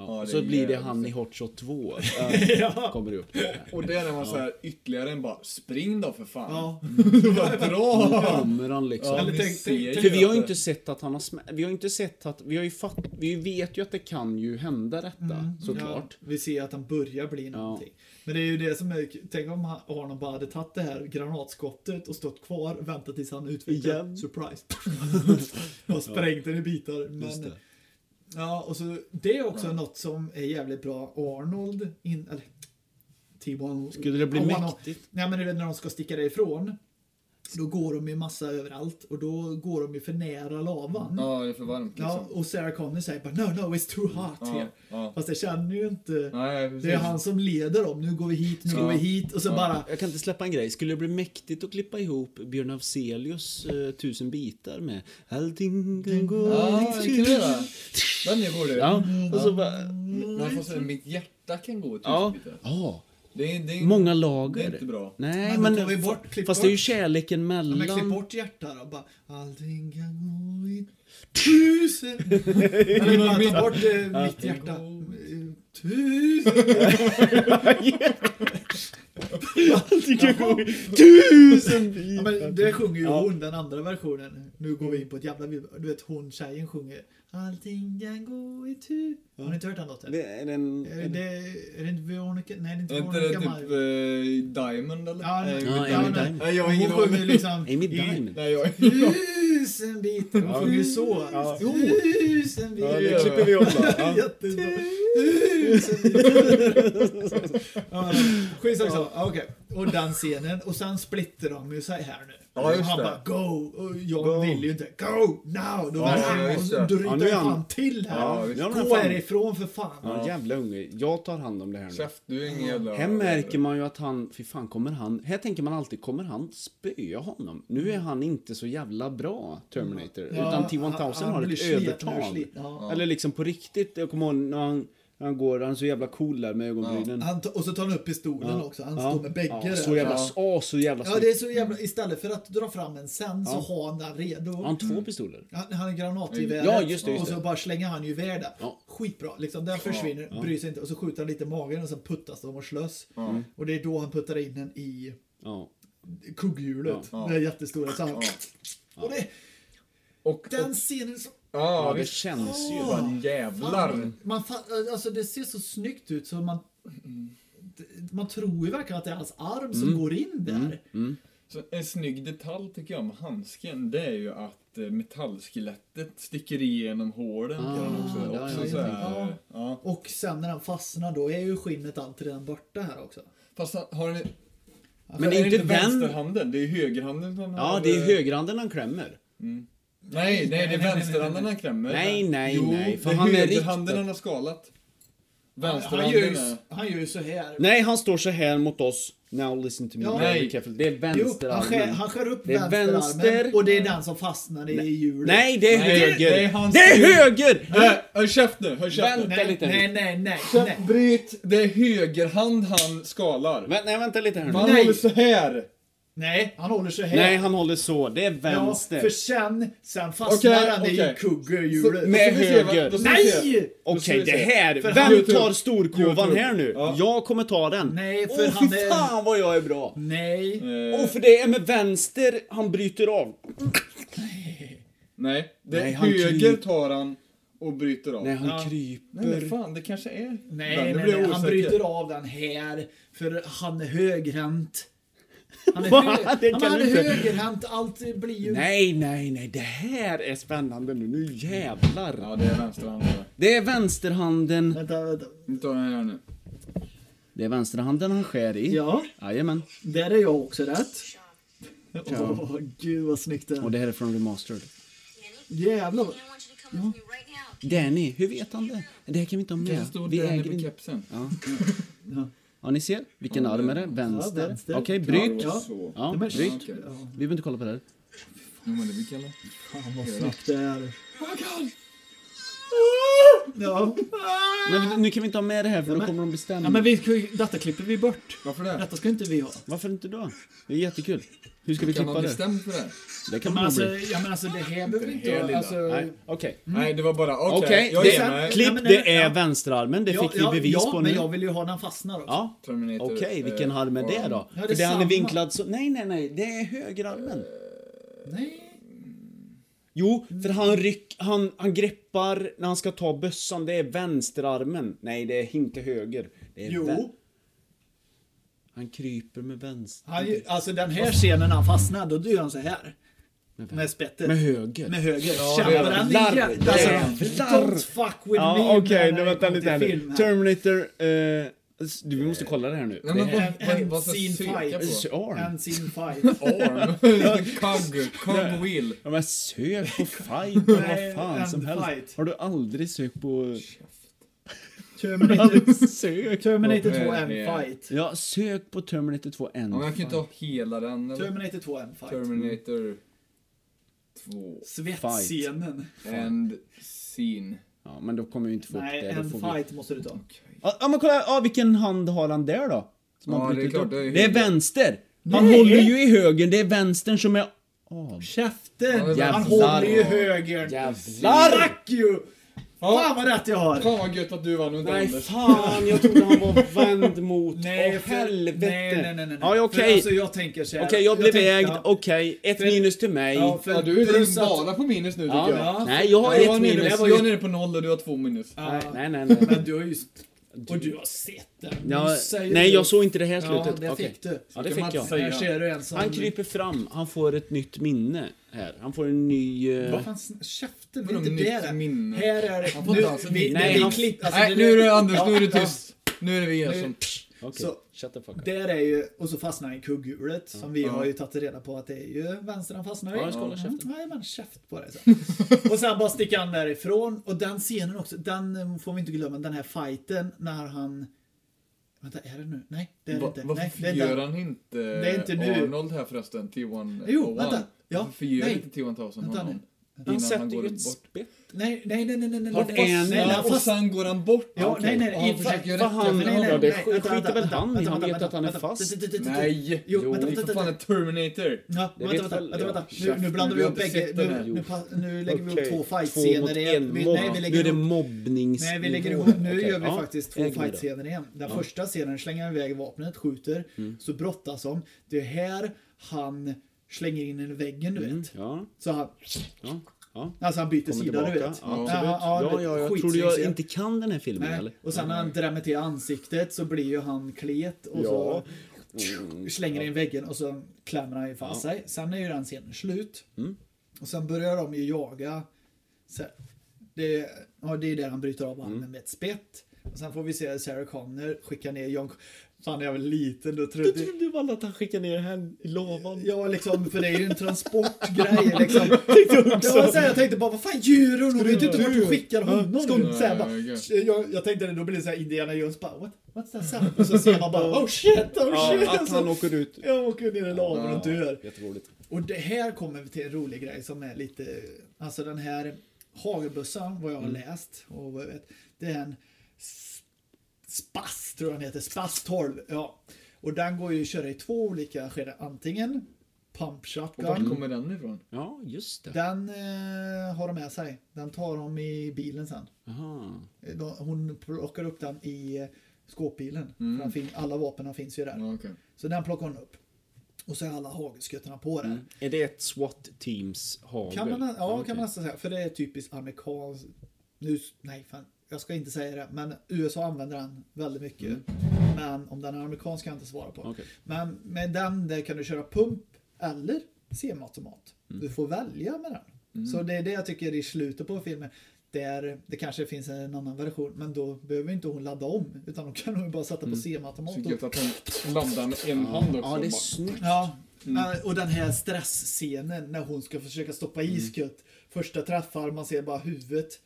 A: Ja,
B: Ja, och
A: det
B: så
A: är
B: blir det
A: jävligt
B: han i Hot Shot 2.
C: Ja.
B: ja. Kommer det upp.
A: Och det är när man säger ytterligare en bara, spring då för fan. *laughs*
C: Ja.
A: Bara dra!
B: Kommer han liksom.
A: Ja,
C: Eller
A: ni
C: tänk-
A: ser
C: tänk-
A: ju
B: För vi har
A: att
B: ju
A: det-
B: inte sett att han har smä- Vi har ju inte sett att... Vi har ju fatt... Vi vet ju att det kan ju hända detta. såklart.
C: Mm. Ja, vi ser att han börjar bli någonting. Men det är ju det som är, tänk om han- Arnold bara hade tagit det här granatskottet och stått kvar, väntat tills han utvecklar
B: Igen. *laughs*
C: surprise. och sprängt den i bitar.
B: Just
C: Men,
B: det.
C: ja, och så, det är också något som är jävligt bra. Arnold, in, eller T1.
B: Skulle det bli
C: Arnold-
B: mäktigt?
C: Nej men du vet när de ska sticka därifrån. Då går de ju massa överallt och då går de ju för nära lavan.
A: Ja, det är för varmt
C: Ja,
A: liksom.
C: och Sarah Connor säger bara no, no, it's too hot
A: Ja,
C: here.
A: ja.
C: Fast jag känner ju inte.
A: Nej, precis.
C: Det är han som leder dem. Nu går vi hit, nu
A: Ja.
C: går vi hit. Och så
A: Ja.
C: bara...
B: Jag kan inte släppa en grej. Skulle det bli mäktigt att klippa ihop Björn Afzelius eh, tusen bitar med Allting kan gå...
A: Ja, det kan vi göra. Den går du.
B: Ja, och så bara...
C: Mm.
A: Men fast mitt hjärta kan gå i
B: Ja.
A: tusen bitar.
B: ja.
A: Det är, det är,
B: Många
A: det
B: lager.
A: är inte bra.
B: Nej,
C: Men då
B: men...
C: tar vi bort, klipp
B: fast det är ju
C: bort.
B: kärleken mellan...
C: Men klipp bort hjärtat då. Bara, Allting kan gå i tusen... Nej, men bara Ta bort eh, mitt hjärta. Eh, Tusen...
B: Allting kan gå... Tusen
C: Ja,
B: bitar!
C: men det sjunger ju
B: Ja.
C: hon, den andra versionen. Nu går vi in på ett jävla... vibb- Du vet, hon tjejen sjunger Allting kan gå i tusen... Har ni inte hört den låten?
B: Det är den...
C: Är det, är det inte Veronica? Nej, det är inte
A: Är inte det
C: Veronica
A: typ
C: Maggio.
A: eh, Diamond eller? Eh,
C: Ja,
A: Nej,
B: Ja,
A: Amy Diamond. Nej, jag har
B: Amy Diamond.
C: Hon
A: ingen aning.
C: sjunger liksom...
B: Amy
C: i-
B: Diamond.
A: Nej, jag
C: Tusen bitar. Hon sjunger ju så.
B: Ja.
C: Tusen bitar.
A: det klipper
B: vi åt
C: Jättebra. Tusen bitar. Ja, Skitsak så. Ja, Okej. Och den scenen. Och sen splitter de ju sig här nu.
A: Ja, just
C: och han
A: det.
C: bara go. Och jag
B: Go.
C: vill ju inte. Go now. Då, "Ah,
A: Ja,
C: ja,
A: just
C: då
A: det.
B: Ja,
C: ryter
B: nu är
C: han
B: han-
C: fan till
A: Ja,
C: här.
A: visst.
B: Ja, men
C: Gå
B: fan.
C: härifån för fan.
B: Ja, jävla unge. Jag tar hand om det här nu.
A: Käft, du är ingen jävla...
B: Här märker man ju att han, fy fan kommer han, här tänker man alltid, kommer han spöa honom? Nu är han inte så jävla bra, Terminator. utan
C: Mm. han-
B: T-1000
C: han
B: har
C: blir
B: ett
C: sliten och
B: övertag.
C: sliten. Ja.
B: Eller liksom på riktigt, jag kommer ihåg när han, när han går, han är så jävla cool där med ögonbrynen.
C: Han, ta- och så tar han upp pistolen också. Han står med bägge
B: ja,
C: där.
B: Så jävla,
A: Ja.
B: ja. så jävla
C: Ja,
B: snyggt.
C: det är så jävla... Istället för att dra fram en sen så har han den redo.
B: Har han
C: Mm.
B: två pistoler?
C: Han, han har granatgeväret.
B: Ja, just det, just
C: och så
B: det.
C: bara slänger han ju iväg det.
B: Ja.
C: Skitbra. Liksom, den försvinner, bryr sig inte. Och så skjuter han lite i magen och sen puttas de och slös.
B: Mm.
C: Och det är då han puttar in den i
B: Ja.
C: kugghjulet.
A: Ja.
C: Det är jättestora. Så han, Och det,
A: Och, och,
C: den scenen så...
A: ja,
B: ja, det
A: visst.
B: känns ju.
A: Fan, jävlar.
C: Man, fa- alltså det ser så snyggt ut så man... Man tror ju verkligen att det är hans arm som
B: Mm.
C: går in där.
A: Så en snygg detalj tycker jag med handsken, det är ju att eh, metallskelettet sticker igenom hålen.
B: Ah,
A: kan man också,
B: det har
A: också
B: jag
A: så
C: tänkt
A: här,
C: på.
A: ja.
C: Och sen när den fastnar då är ju skinnet alltid redan borta här också.
A: Fast han- har ni... Alltså,
B: Men
A: är
B: är
A: det
B: inte
A: inte
B: den...
A: vänsterhanden? Det är ju högerhanden som han
B: Ja,
A: har,
B: det är
A: eh,
B: högerhanden han klämmer.
A: Nej, nej, det
C: nej,
A: är
C: nej,
A: vänsterhanden han krämmer.
B: Nej, nej,
A: jo,
B: nej, för
A: det
B: han är
A: högerhanden
B: riktigt-
A: han har skalat.
C: Han
A: Vänsterhanden
C: gör ju,
A: är...
C: han gör ju så här.
B: Nej, han står så här mot oss. Now listen to me.
C: Ja.
B: very
A: Nej.
B: careful. Det är
C: Jo, han skär,
B: vänsterarmen.
C: han skär upp
B: Det är
C: vänsterarmen
B: vänster.
C: och det är den som fastnar i hjulet.
B: Nej, det är
A: Nej,
B: höger.
A: det- det är Äh. hans-
B: höger!
A: Nej, Håll käft nu, håll käft nu.
B: Vänta
C: nej,
B: lite nu.
C: nej, nej, nej, nej.
A: Käft, Bryt! Det är högerhand han skalar.
B: Vä- nej, vänta lite här nu.
A: Han
C: Nej.
A: håller så här.
C: Nej, han håller sig här.
B: Nej, han håller så. Det är
C: ja,
B: vänster.
C: för sen, sen fastnar
A: Okej,
C: han i
A: okej.
C: kugghjulet.
B: Nej. Med
A: Då ska vi se vad-
B: höger.
A: då ska vi se.
C: Nej!
B: Okej,
A: ska vi
B: det
A: se.
B: här.
C: För
B: Vem
C: han-
B: tar storkovan
A: YouTube.
B: här nu?
A: Ja.
B: Jag kommer ta den.
C: Nej,
B: Åh,
C: för
B: fy
C: han är-
B: fan vad jag är bra.
C: Nej.
B: Åh,
A: Eh,
B: för det är med vänster han bryter av.
A: nej, det
B: Nej, han
A: höger
B: kryper.
A: tar han och bryter av.
B: Nej, han
C: Ja.
B: kryper.
A: Nej men fan, det kanske är...
C: Nej,
A: Men
C: nej,
A: nu
C: nej,
A: blir jag
C: han
A: osäker.
C: bryter av den här för han är högerhänt. Han
B: *laughs*
C: är,
B: Va?
C: hö-
B: Det
C: Ja, men
B: kan
C: han
B: du
C: är
B: inte.
C: högerhänt, allt blir ju...
B: Nej, nej, nej. Det här är spännande nu. Nu jävlar.
A: Ja, det är vänsterhanden.
B: Det är vänsterhanden.
C: Vänta, vänta.
A: Nu tar jag den här nu.
B: Det är vänsterhanden han skär i.
C: Ja,
B: Jajamän.
C: där är jag också rätt. Åh, gud vad snyggt det
B: Och
C: är.
B: det här är från Remastered.
C: Jävlar.
D: I want you to come with me right now.
B: Danny, hur vet han det? Det här kan vi inte ha
A: Kanske
B: med.
A: stod
B: Vi
A: Danny
B: äger
A: på
B: inte.
A: kepsen.
B: Ja.
C: Ja.
B: ja, ni ser. Vilken
A: Ja,
B: arm är
A: det-
B: det? Vänster.
C: Ja, vänster.
B: Okej,
A: det
B: bryt.
A: var
C: Ja.
A: så.
B: Ja,
C: Ja, men
B: bryt.
C: shit. Ja,
B: Vi behöver inte kolla på det här.
A: Jo, men det vi kallar.
C: fan vad snyggt det är.
A: Oh my god!
C: Ja.
B: Men vi- nu kan vi inte ha med det här för då
C: men-
B: kommer de bestämma.
C: ja, men vi, kan ju- detta klipper vi bort.
A: Varför det?
C: Detta ska inte vi ha.
B: Varför inte då? Det är jättekul. Hur ska vi
A: Kan man
B: klippa
A: bli
B: det?
A: stämd för det?
B: Det kan man
C: Men
B: nog
C: alltså,
B: bli.
C: ja, men alltså det här behöver
A: här
C: vi inte...
A: lilla.
C: Alltså,
B: Nej, okej.
A: Nej, det var bara okej.
B: Okej,
A: jag
B: det-
A: ger mig.
C: klipp.
B: Klipp,
C: Nej, men-
B: det är
C: ja.
B: vänsterarmen. Det fick vi bevis
C: ja,
B: på
C: men
B: nu.
C: jag vill ju ha den fastnar också.
B: Ja.
A: Terminator,
B: Okej, vilken
A: eh,
B: arm är det då?
C: Ja, det är
B: För det han är
C: samma.
B: vinklad så... Nej, nej, nej. Det är högerarmen.
C: Nej.
B: Jo, för han ryck... Han, han greppar när han ska ta bössan. Det är vänsterarmen. Nej, det är inte höger. Det är vän-
C: Jo.
B: Han kryper med vänster...
C: Han, ju- alltså den här scenen när han fastnar, då gör han så här. Med spettet.
B: Med höger.
C: Med höger.
A: Ja, det är
C: Tjabbar han
B: larv.
C: i hjärtat?
B: Det är larv.
C: Don't fuck with me.
B: Ja, okej.
C: när
B: nu
C: det
B: vänta
C: kommer
B: lite här
C: till
B: nu.
C: film här.
B: Terminator... Eh, s- du, vi måste kolla det här nu.
A: Nej, men
C: Det är
A: vad, vad,
C: en
A: vad ska
C: scene
A: jag söka
C: fight.
A: på?
B: Arm.
C: And scene five.
A: *laughs* Arm? Cog, cog wheel.
B: Ja men sök *laughs* på fight och vad
C: Nej,
B: fan
C: and
B: som helst.
C: fight.
B: Har du aldrig sökt på... *laughs*
C: Terminator,
B: Sök.
C: Terminator 2
A: Ja,
C: and
A: ja.
C: fight.
B: Ja, sök på Terminator 2
A: Ja, men jag
B: End.
A: kan ju inte ha hela den. Eller?
C: Terminator 2 and fight.
A: Terminator 2
C: Svettscenen.
A: and scene.
B: Ja, men då kommer vi inte få upp
C: Nej,
B: det. Då
C: and
B: får vi...
C: fight måste du ta.
B: Ja, ja, men kolla, ja, vilken hand har han där då? Som
A: Ja,
B: han
A: det är
B: brutit
A: klart,
B: upp.
A: det är ju
B: det är
A: höger.
B: vänster! Han håller ju i höger, det är vänstern som är av.
C: Käften!
A: Jävlar.
C: Han håller ju högern.
B: Jävlar!
C: Fuck you! Fan
A: Ja,
C: vad rätt jag har!
A: fan vad gött att du vann under
B: Nej *laughs*
A: Anders.
B: fan, jag trodde han var vänd mot...
C: Nej,
B: Åh,
C: för-
B: helvete!
C: Nej, nej, nej, nej. nej.
B: Ja,
C: För
B: okej.
C: Alltså, jag tänker så här.
B: Okej, jag blev
C: tänker-
B: ägd.
C: ja.
B: Okej, ett
C: För-
B: minus till mig.
C: Ja, för
A: Ja, du är
C: plus
A: ju
C: att-
A: bara på minus nu tycker
B: Ja,
A: jag.
C: Ja.
B: Nej, jag har
A: Jag,
B: ett
A: var nere,
B: minus.
A: jag, var, jag är nere på noll och du har två minus.
C: Ja.
B: Nej, nej, nej. nej.
C: Men du har ju... Och du har sett den.
B: Ja,
C: Du säger
B: nej,
C: ju-
B: jag såg inte det här
C: Ja,
B: slutet.
C: det
B: Okej.
C: fick du.
B: Ja, det
A: Kan
B: fick
A: man
B: jag.
A: säga-
C: Här ser du en som...
B: Han kryper fram, han får ett nytt minne här. Han får en ny... eh,
C: Vad fan, sn- käften, det är
A: Vadå,
C: inte
A: nytt
C: det där.
A: minne?
C: Här är
A: Han får
C: det...
A: inte alls ett minne.
B: Nej,
C: vi
B: han-
C: klipp- alltså,
A: Nej,
C: det-
A: nu är det Anders, nu är det
C: Ja,
A: tyst. Nu är det vi
C: Nu-
A: som...
B: Okej,
C: så-
B: shut the fuck up.
C: Där är ju, och så fastnar han i kugghjulet som vi
A: Mm. Ja.
C: har ju tagit reda på att det är ju vänster han fastnar i.
B: Ja, jag ska hålla käften.
C: Nej men käft på dig sen.
A: *laughs*
C: och sen bara sticker han därifrån och den scenen också, den eh, får vi inte glömma, den här fighten när han... Vänta, är det nu? Nej, det är det
A: Va,
C: inte. Nej,
A: varför
C: det är
A: gör
C: den.
A: han inte,
C: är inte nu.
A: Arnold här förresten? T101?
C: Jo, vänta. Ja,
A: varför gör
C: nej.
A: inte T1000
C: Vänta
A: honom?
C: nu.
A: Innan
B: Han
A: han,
B: sätter
A: går
B: ju
A: bort.
B: ett spett.
C: Nej, nej, nej, nej, nej, nej.
B: Har
C: nej,
B: en-
C: nej,
A: Ja,
C: nej,
A: och
C: fast-
A: sen går han bort.
C: Ja,
A: Okej.
C: nej, nej.
A: Och han
C: i-
A: försöker
B: för
A: rätta
B: han-
A: för
C: nej, nej,
B: Ja, det
C: nej, vänta,
B: skiter
C: vänta,
B: väl
C: vänta,
B: han i,
C: vänta,
B: han
C: vänta,
B: vet att han är
C: vänta,
B: fast.
C: vänta, vänta, vänta.
A: Nej!
C: Jo,
A: det
C: vänta,
A: är
C: vänta,
A: för fan
C: vänta.
A: en Terminator.
C: Ja,
B: Det
C: vänta,
B: vet
C: vänta,
B: väl
C: vänta,
B: jag.
C: vänta. Nu,
A: Käften,
C: nu blandar
A: du
C: vi
A: har
C: upp
A: inte
C: bägge.
A: sett den
C: Nu,
A: här.
C: nu, pa- nu lägger vi upp
B: Okej, två
C: två
B: mot
C: fight-scener igen.
B: en
C: Vi,
B: mobb.
C: nej, vi
B: nu är
C: lägger
B: det
C: upp.
B: mobbnings...
C: Nej, vi lägger ihop. Nu
B: Okej,
C: gör vi
B: ja,
C: faktiskt
B: äg
C: två
B: mig då.
C: fight-scener igen. Den första scenen slänger han iväg vapnet, skjuter,
B: Mm.
C: så brottas de. Det är här han slänger in en i väggen, du vet.
B: Mm, Ja,
C: Så han,
B: ja, ja.
C: alltså han byter
B: Kommer
C: sida,
B: tillbaka.
C: du
B: Ja,
C: vet.
B: absolut.
C: ja,
B: Ja, ja, jag
C: skitsnygg
B: tror du jag
C: scen.
B: inte kan den här filmen eller?
C: Nej. Och sen när han drämmer till ansiktet så blir ju han klet och
B: Ja.
C: så slänger in väggen och så klämmer han ju fast sig. Sen är ju den scenen slut.
B: Mm.
C: Och sen börjar de ju jaga. Så här, det, ja, det är där han bryter av handen
B: Mm.
C: med ett spett. Och sen får vi se Sarah Connor skicka ner John... Fan, när jag var liten då
B: Du
C: trodde
B: trodde väl att han skickade ner henne i lavan?
C: Ja, liksom, för det
B: *laughs*
C: är ju en transportgrej liksom.
B: också.
C: Ja, så här, jag tänkte bara, vad fan gör hon? Hon vet ju inte vart hon skickar honom.
A: du-
C: Så här, bara,
A: Nej,
C: jag, jag tänkte då blir det så här Indiana Jones bara, what, what's that sound? Och så ser man bara, oh shit, oh shit.
B: Ja, att
C: Och så-
B: han åker ut.
C: Jag åker ner i lavan och dör.
B: Jätteroligt.
C: Och det här kommer vi till en rolig grej som är lite, alltså den här hagelbössan, vad jag har
A: Mm.
C: läst och vad jag vet, det är en s- Spass tror jag den heter, Spass 12. Ja. Och den går ju att köra i två olika skeden. Antingen pump
A: Och vart
C: shotgun.
A: kommer den ifrån?
B: Ja, just det.
C: Den eh, har de med sig. Den tar de i bilen sen.
B: Aha.
C: Eh, de- Hon plockar upp den i eh, skåpbilen. För den fin- alla vapnen finns ju där.
A: Mm. Ja, okej.
C: Så den plockar hon upp. Och så är alla hagelskuttarna på
A: Mm.
C: den.
B: Mm. Är det ett SWAT-teams hagel?
C: Kan man, ja,
B: okej.
C: kan man nästan säga. För det är typiskt amerikanskt. Nu, nej, fan, jag ska inte säga det. Men USA använder den väldigt mycket. Men om den är amerikansk kan jag inte svara på.
B: Okej.
C: Men med den där kan du köra pump eller semiautomat. Du får välja med den. Så det är det jag tycker i slutet på filmen. Där det kanske finns en annan version. Men då behöver inte hon ladda om. Utan då kan hon bara sätta på semiautomat.
A: Så
C: och-
A: gött att hon laddar med en hand också.
B: Ja, det
A: bara.
B: är snyggt.
C: Ja,
A: Mm.
C: eh, och den här stressscenen när hon ska försöka stoppa
A: Mm.
C: i skutt. Första träffar, man ser bara huvudet.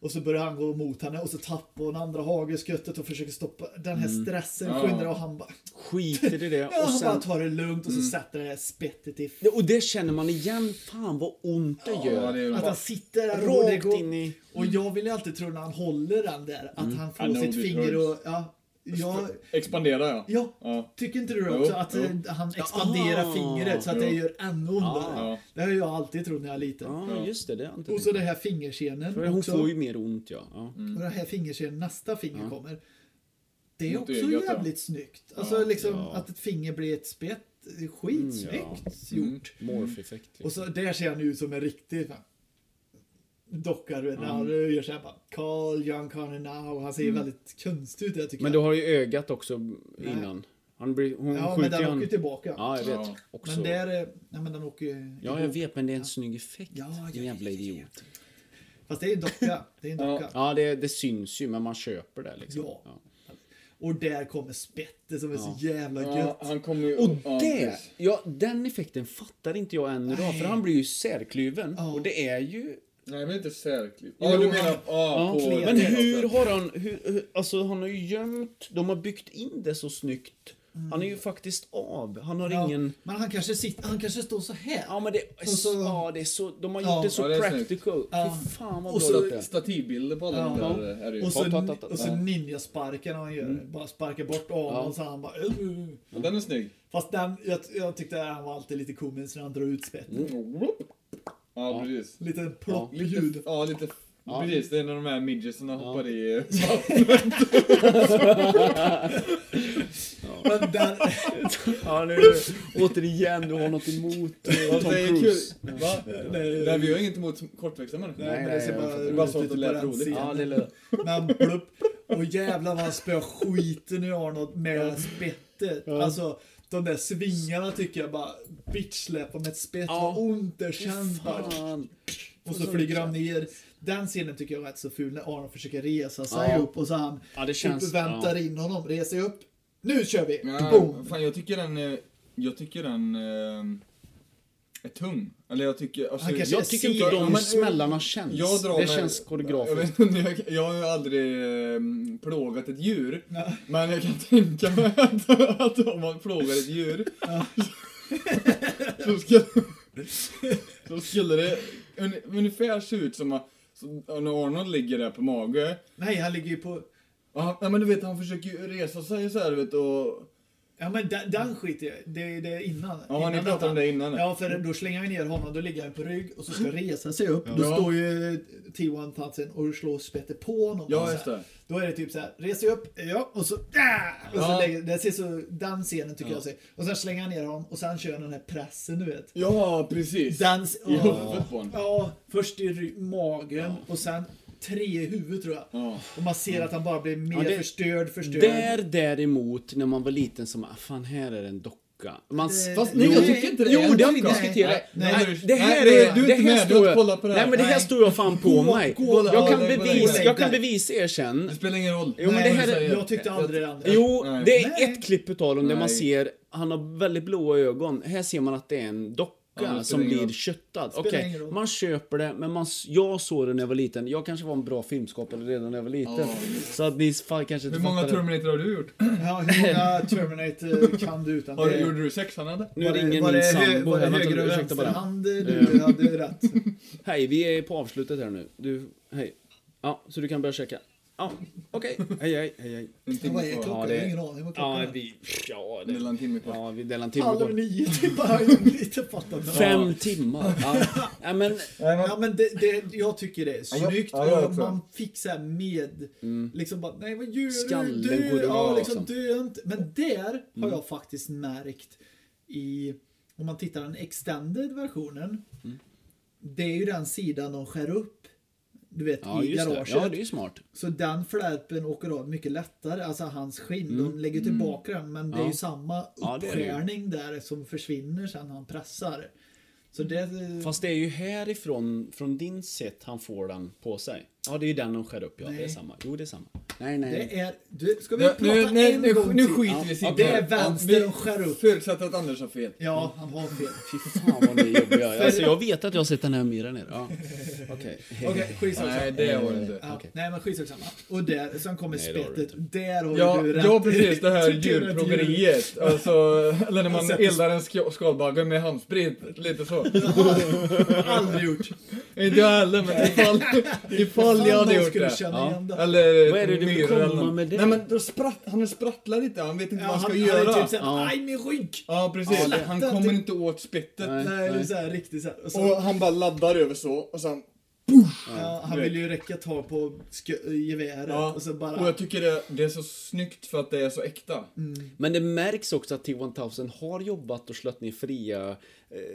C: Och så börjar han gå mot henne och så tappar hon andra hagelskuttet och försöker stoppa. Den här stressen
A: Mm. Ja.
C: skyndar och han bara...
B: Skiter i det.
C: *laughs* Ja,
B: Och,
C: han bara
B: sen,
C: tar det lugnt och så
A: Mm.
C: sätter det här spettet i... f-
B: och det känner man igen. Fan vad ont det
A: Ja,
B: gör.
A: det är
C: Att
A: bra.
C: han sitter där och det
B: Rakt
C: går...
B: in i...
C: Och jag vill ju alltid tro när han håller den där att han
A: Mm. I
C: får
A: know
C: sitt
A: this
C: finger
A: hurts.
C: och... Ja, jag,
A: Expanderar jag?
C: ja,
A: Ja.
C: tycker inte du det
A: Jo,
C: också? Att
A: jo.
C: eh, han expanderar
B: Ah,
C: fingret så att det
A: jo.
C: gör ännu ondare.
A: Ja.
C: Det har jag alltid trott när jag var liten.
B: Ja, just det. Det har jag inte
C: Och så
B: tänkt
C: den här fingerscenen
B: på. Hon
C: också. Mm.
B: får ju mer ont ja. ja.
C: Och den här fingerscenen, nästa finger kommer. Det är
A: Mot
C: också
A: ögat, ja.
C: jävligt snyggt. Alltså liksom att ett finger blir ett spett. det är Skitsnyggt
B: Mm,
C: gjort.
B: Morph-effekt. liksom.
C: Och så där ser han ut som en riktig fan, docka. du vet, När
B: Mm.
C: han eh, gör såhär bara Carl John Connor now. Han ser ju väldigt konstig ut jag tycker
B: Men du har ju ögat också innan. Han blir, hon
C: jag. Ja men
B: skjuter ju
C: den åker ju
B: han.
C: tillbaka.
B: Ja, jag vet.
A: Ja.
B: Också.
C: men där, är- nej men den åker ju
B: Ja, jag vet, men det är en snygg effekt.
C: Ja, ja,
B: Din jävla
C: ja, ja, ja.
B: idiot.
C: Fast det är en docka. Det är en
A: Ja.
C: docka.
B: Ja, det, det syns ju, men man köper det liksom.
C: Ja. Och där kommer spettet som är så jävla
A: Ja,
C: gött.
A: han kommer ju...
B: Och
A: ja,
B: det,
A: precis.
B: ja, den effekten fattar inte jag än idag, för han blir ju särkluven.
C: Ja.
B: Och det är ju...
A: Nej, men inte särkliv. Ja, du menar... Ja,
B: Ja,
A: på...
B: men hur har han... Hur, hur- alltså, han har ju gömt... De har byggt in det så snyggt. Han är ju faktiskt av. Han har
C: Mm. Ja,
B: ingen...
C: Men han kanske, sitter, han kanske står så här.
B: Ja, men det, är
C: Och så-
B: så, ja, det är så... De har gjort
C: Ja.
B: det så
A: Ja, det är snyggt.
B: practical.
C: Ja.
B: Fy fan vad
C: Och
B: bra
C: så-
B: det är.
A: Stativbilder på alla
C: Ja.
A: de där eh, är det ju.
C: och så,
B: ta, ta, ta, ta.
C: och så
B: Ja.
C: ninjasparken han gör.
A: Mm.
C: Bara sparkar bort av honom så han bara... "Äh,
A: Ja, Den är snygg.
C: Fast den, jag, jag tyckte att han var alltid lite komisk när han drar ut spettet.
A: Mm. Ja, precis.
C: Lite plopp
A: Lite,
C: ljud.
A: ja, lite... Precis, det är när de här midgetsarna hoppar i... eh,
C: Men *laughs* den,
B: Ja, nu, återigen, du har något emot eh,
A: Alltså,
B: Tom
A: det är kul.
B: Cruise.
C: *laughs*
A: Va? Nej, vi har inget emot kortväxta människor.
C: nej, men det ser
B: jag
C: bara
B: fattar.
A: Det var sånt det
C: roligt ut på
A: lät
C: den
A: roligt.
C: scenen.
B: Ja, det lät-
C: Men plupp. Och jävlar vad han spöar skiten ur Arnold med spettet. Alltså, de där svingarna tycker jag bara bitchsläpar med ett spett.
B: Ja.
C: Vad ont det känns. bara.
B: Fan.
C: Och så flyger han ner. Den scenen tycker jag är rätt så ful när Aron försöker resa sig
B: Ja.
C: upp och så han
B: Ja, det känns-
C: typ väntar in honom, reser sig upp. Nu kör vi!
A: Ja,
C: Boom!
A: fan, jag tycker den... eh, Jag tycker den... eh, Är tung. Eller jag tycker... Alltså,
C: Han kanske
A: jag,
B: Jag tycker inte
C: ser-
B: de
A: ja, men-
B: smällarna känns.
A: jag drar
B: det
A: mig-
B: känns
A: jag,
B: koreografiskt.
A: vet, inte, jag, jag har ju aldrig eh, plågat ett djur.
C: Nej.
A: Men jag kan tänka mig *laughs* att, att om man plågar ett djur så, skulle, så skulle det un, ungefär se ut som att så, när Arnold ligger där på mage.
C: Nej, han ligger ju på...
A: Och han, ja, men du vet, han försöker ju resa sig så här, vet, och...
C: Ja men den, den skiter jag i. Det är det är innan.
A: Ja, ni
C: innan
A: pratade om det
C: detta.
A: innan.
C: Ja, för då slänger han ner honom, då ligger han på rygg och
A: *laughs*
C: så ska resa sig upp. Då
A: Ja.
C: står ju T1 Tansen och slår spettet på honom.
A: Ja,
C: Och så
A: just
C: här.
A: det.
C: Då är det typ så här, res dig upp, ja, och så... Ah! Och så
A: Ja.
C: lägger, det ser så, den scenen tycker jag ser. Och sen slänger han ner honom och sen kör han den här pressen, du vet.
A: Ja, precis.
C: Dans,
A: I huvudet på honom.
C: Ja, först i ry- magen och sen tre i huvudet tror jag.
A: Ja.
C: Och man ser att han bara blir mer
B: Ja, det-
C: förstörd, förstörd.
B: Där däremot, när man var liten, som ah, fan här är en docka. Man,
C: Eh,
A: Fast
B: jo,
A: nej, jag tycker inte det
B: Jo,
A: är en
B: det har vi
A: docka.
B: diskuterat.
A: Nej,
B: Nej,
A: nej,
B: det här
A: nej,
B: är...
A: du är
B: det
A: inte
B: här
A: med, du
B: står
A: har
B: jag,
A: kollat på det här.
B: Nej, men det här
A: Nej.
B: står jag fan på mig.
A: gå-
B: jag, kan
A: ja, det-
B: bevisa,
C: nej,
B: jag kan
C: nej.
B: bevisa er sen.
A: Det spelar ingen roll.
B: Jo, men det
C: Nej,
B: här är-
C: Jag tyckte aldrig det andra.
B: Jo,
A: Nej.
B: det är
C: Nej.
B: ett klipp utav dem där man
A: Nej.
B: ser, han har väldigt blåa ögon. Här ser man att det är en docka
A: Ja, det spelar
B: som
A: ingen
B: blir
A: roll.
B: köttad.
C: Spelar
B: Okej,
C: ingen roll.
B: man köper det, men man, s- jag såg det när jag var liten. Jag kanske var en bra filmskapare redan när jag var liten.
A: Ja.
B: Så att ni fan kanske inte
A: Hur många
B: fattar det.
A: Terminator har du gjort?
C: Ja, hur
B: *laughs*
C: många Terminator kan du utan
A: Har,
C: det?
A: Gjorde du sexan eller?
B: Nu
C: Var det-
B: ringer
C: var
B: min
C: det hö-
B: sambo
C: Var det
B: här. Vänta,
C: höger och
B: ursäkta bara.
C: vänsterhand du hade rätt?
B: Hej, vi är på avslutet här nu. Du, hej. Ja, så du kan börja checka. Ja, okej. Hej, hej, hej, hej.
A: En
C: Vad
A: timme
C: är
A: kvar.
B: Ja,
C: klockan?
B: det-
C: Jag har ingen aning vad klockan
B: Ja,
C: är.
B: vi... Ja,
A: Det är
B: det,
A: en timme kvar.
B: ja, vi delar en timme
C: Halv
B: på.
C: nio typ, jag gjorde lite fattat.
B: Fem timmar. Ja, ja men...
C: Ja men det, det, jag tycker det är
A: Ja, jag-
C: snyggt
A: ja, jag
C: och
A: också.
C: man fick så här med liksom bara nej vad gör
B: Mm. Skallen
C: du? du
B: går det
C: ja,
B: bra,
C: liksom,
B: liksom. Mm.
C: dö inte. Men där har jag faktiskt märkt i om man tittar den extended versionen.
B: Mm.
C: Det är ju den sidan de skär upp. Du vet
B: Ja,
C: i
B: just det.
C: garaget.
B: Ja, det är ju smart.
C: Så den flärpen åker av mycket lättare, alltså hans skinn. De lägger tillbaka den men det är
B: Mm. Ja.
C: ju samma
B: Ja, det är det ju.
C: uppskärning där som försvinner sen när han pressar. Så det...
B: Fast det är ju härifrån, från din sätt han får den på sig. Ja, det är ju den de skär upp ja. Det är
C: Nej.
B: samma. Jo, det är samma. Nej, nej.
C: Det är... Du, ska vi
A: Nu,
C: prata
A: nu,
C: en
A: nu, nu,
C: gång
A: nu
C: till?
A: skiter vi i
B: Ja,
A: sitt
B: det
C: är
A: Ja,
C: vänster
A: vi-
C: och skär upp.
A: Förutsatt att Anders har fel.
C: Ja, han har fel.
B: Fy fan vad ni är *laughs* jobbiga. Alltså, jag vet att jag har sett den här myran ner. Ja. *laughs* Okej.
C: Okej, skitsamma.
A: Nej, det var det inte.
C: Ja,
B: okej.
C: Nej men skitsamma. Och där, sen kommer
B: Nej, det har du
C: spettet. Där har
A: Ja,
C: du rätt.
A: ja, precis. Det här
C: Tycker *laughs* du att djur-
A: djurplågeriet. Alltså, eller när man eldar en sk- skalbagge med handsprit. Lite
C: *laughs*
A: så.
C: Aldrig gjort.
A: Inte jag heller, men
C: *laughs*
A: ifall, ifall jag hade gjort
C: skulle
A: det.
C: känna
B: Ja.
C: igen det.
A: Eller
B: Vad är det du vill
A: myror
B: komma
A: eller något.
B: med det?
A: Nej men då spratt, han sprattlar lite, han vet inte
C: Ja,
A: vad han ska
C: han
A: göra.
C: hade typ såhär,
B: Ja.
C: aj min rygg!
A: Ja precis,
C: Ja, det-
A: han
C: det-
A: kommer
C: det-
A: inte åt spettet.
B: Nej.
C: Nej, det är såhär riktigt såhär. Och så,
A: Och han bara laddar över så och sen...
C: ja, han
A: du
C: vill ju räcka tag på skö- geväret
A: Ja.
C: och så bara... Mm.
A: Och jag tycker det, det är så snyggt för att det är så äkta.
B: Men det märks också att T-1000 har jobbat och slött ner fria, eh,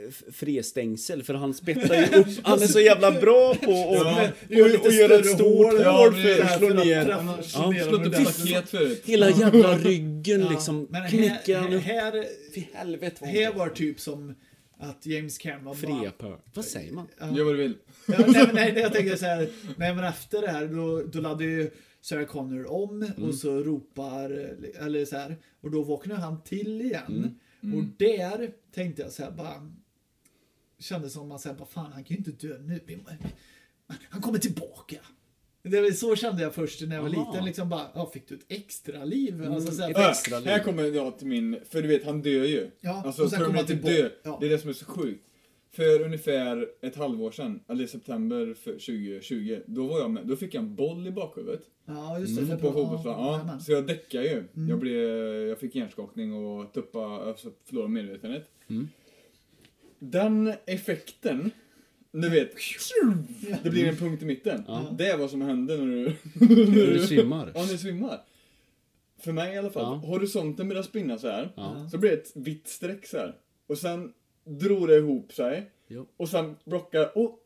B: f- fristängsel för han spettar ju *laughs* upp. Han är så jävla bra på och,
A: Ja.
B: och, och, och gör ett
C: större
B: stort hål
C: hål.
A: Ja,
B: för
A: precis.
B: att slå ner.
C: Han har
B: Ja,
A: Slå upp ett paket förut.
B: Hela jävla ryggen
C: Ja,
B: liksom
C: men här-
B: knäcker han upp.
C: Här,
B: Fy helvete vad
C: här
B: ont.
C: var typ som att James Cameron bara...
B: Fria pör. Vad säger man?
A: Gör vad du vill.
C: Ja, nej, men nej, nej, jag tänker så här, nej men efter det här då, då laddar ju Sarah Connor om
B: Mm.
C: och så ropar, eller så här, och då vaknar han till
B: Mm.
C: igen.
A: Mm.
C: Och där tänkte jag så här bara, kändes som man säger, vad fan han kan ju inte dö nu. Vi må- men Han kommer tillbaka. Det var, så kände jag först när jag var
B: Aha. Mm.
C: liten, liksom bara, ja fick du ett extra liv? Alltså, så här,
B: Ett
A: Äh,
B: extra liv.
A: här kommer jag till min, för du vet han dör ju.
C: Ja,
A: alltså
C: och sen kommer han
A: Terminator
C: tillbaka.
A: dör.
C: Ja.
A: Det är det som är så sjukt. För ungefär ett halvår sedan, eller i september för 2020, då var jag med. Då fick jag en boll i bakhuvudet.
C: Ja, just det.
A: Mm.
C: det
A: På
C: var-
A: fotbollsplan. Ja,
C: jajamän.
A: så jag däckade ju.
C: Mm.
A: Jag, blev, jag fick hjärnskakning och tuppa, alltså förlorade medvetandet.
B: Mm.
A: Den effekten, du vet, det blir en punkt i mitten. Det är vad som händer när du,
B: Hur du svimmar.
A: ja, när du svimmar. För mig i alla fall.
B: Ja.
A: Horisonten börjar spinna så här.
B: Ja.
A: Så blir det ett vitt streck så här. Och sen drog det ihop sig.
B: Jo.
A: Och sen blockar, och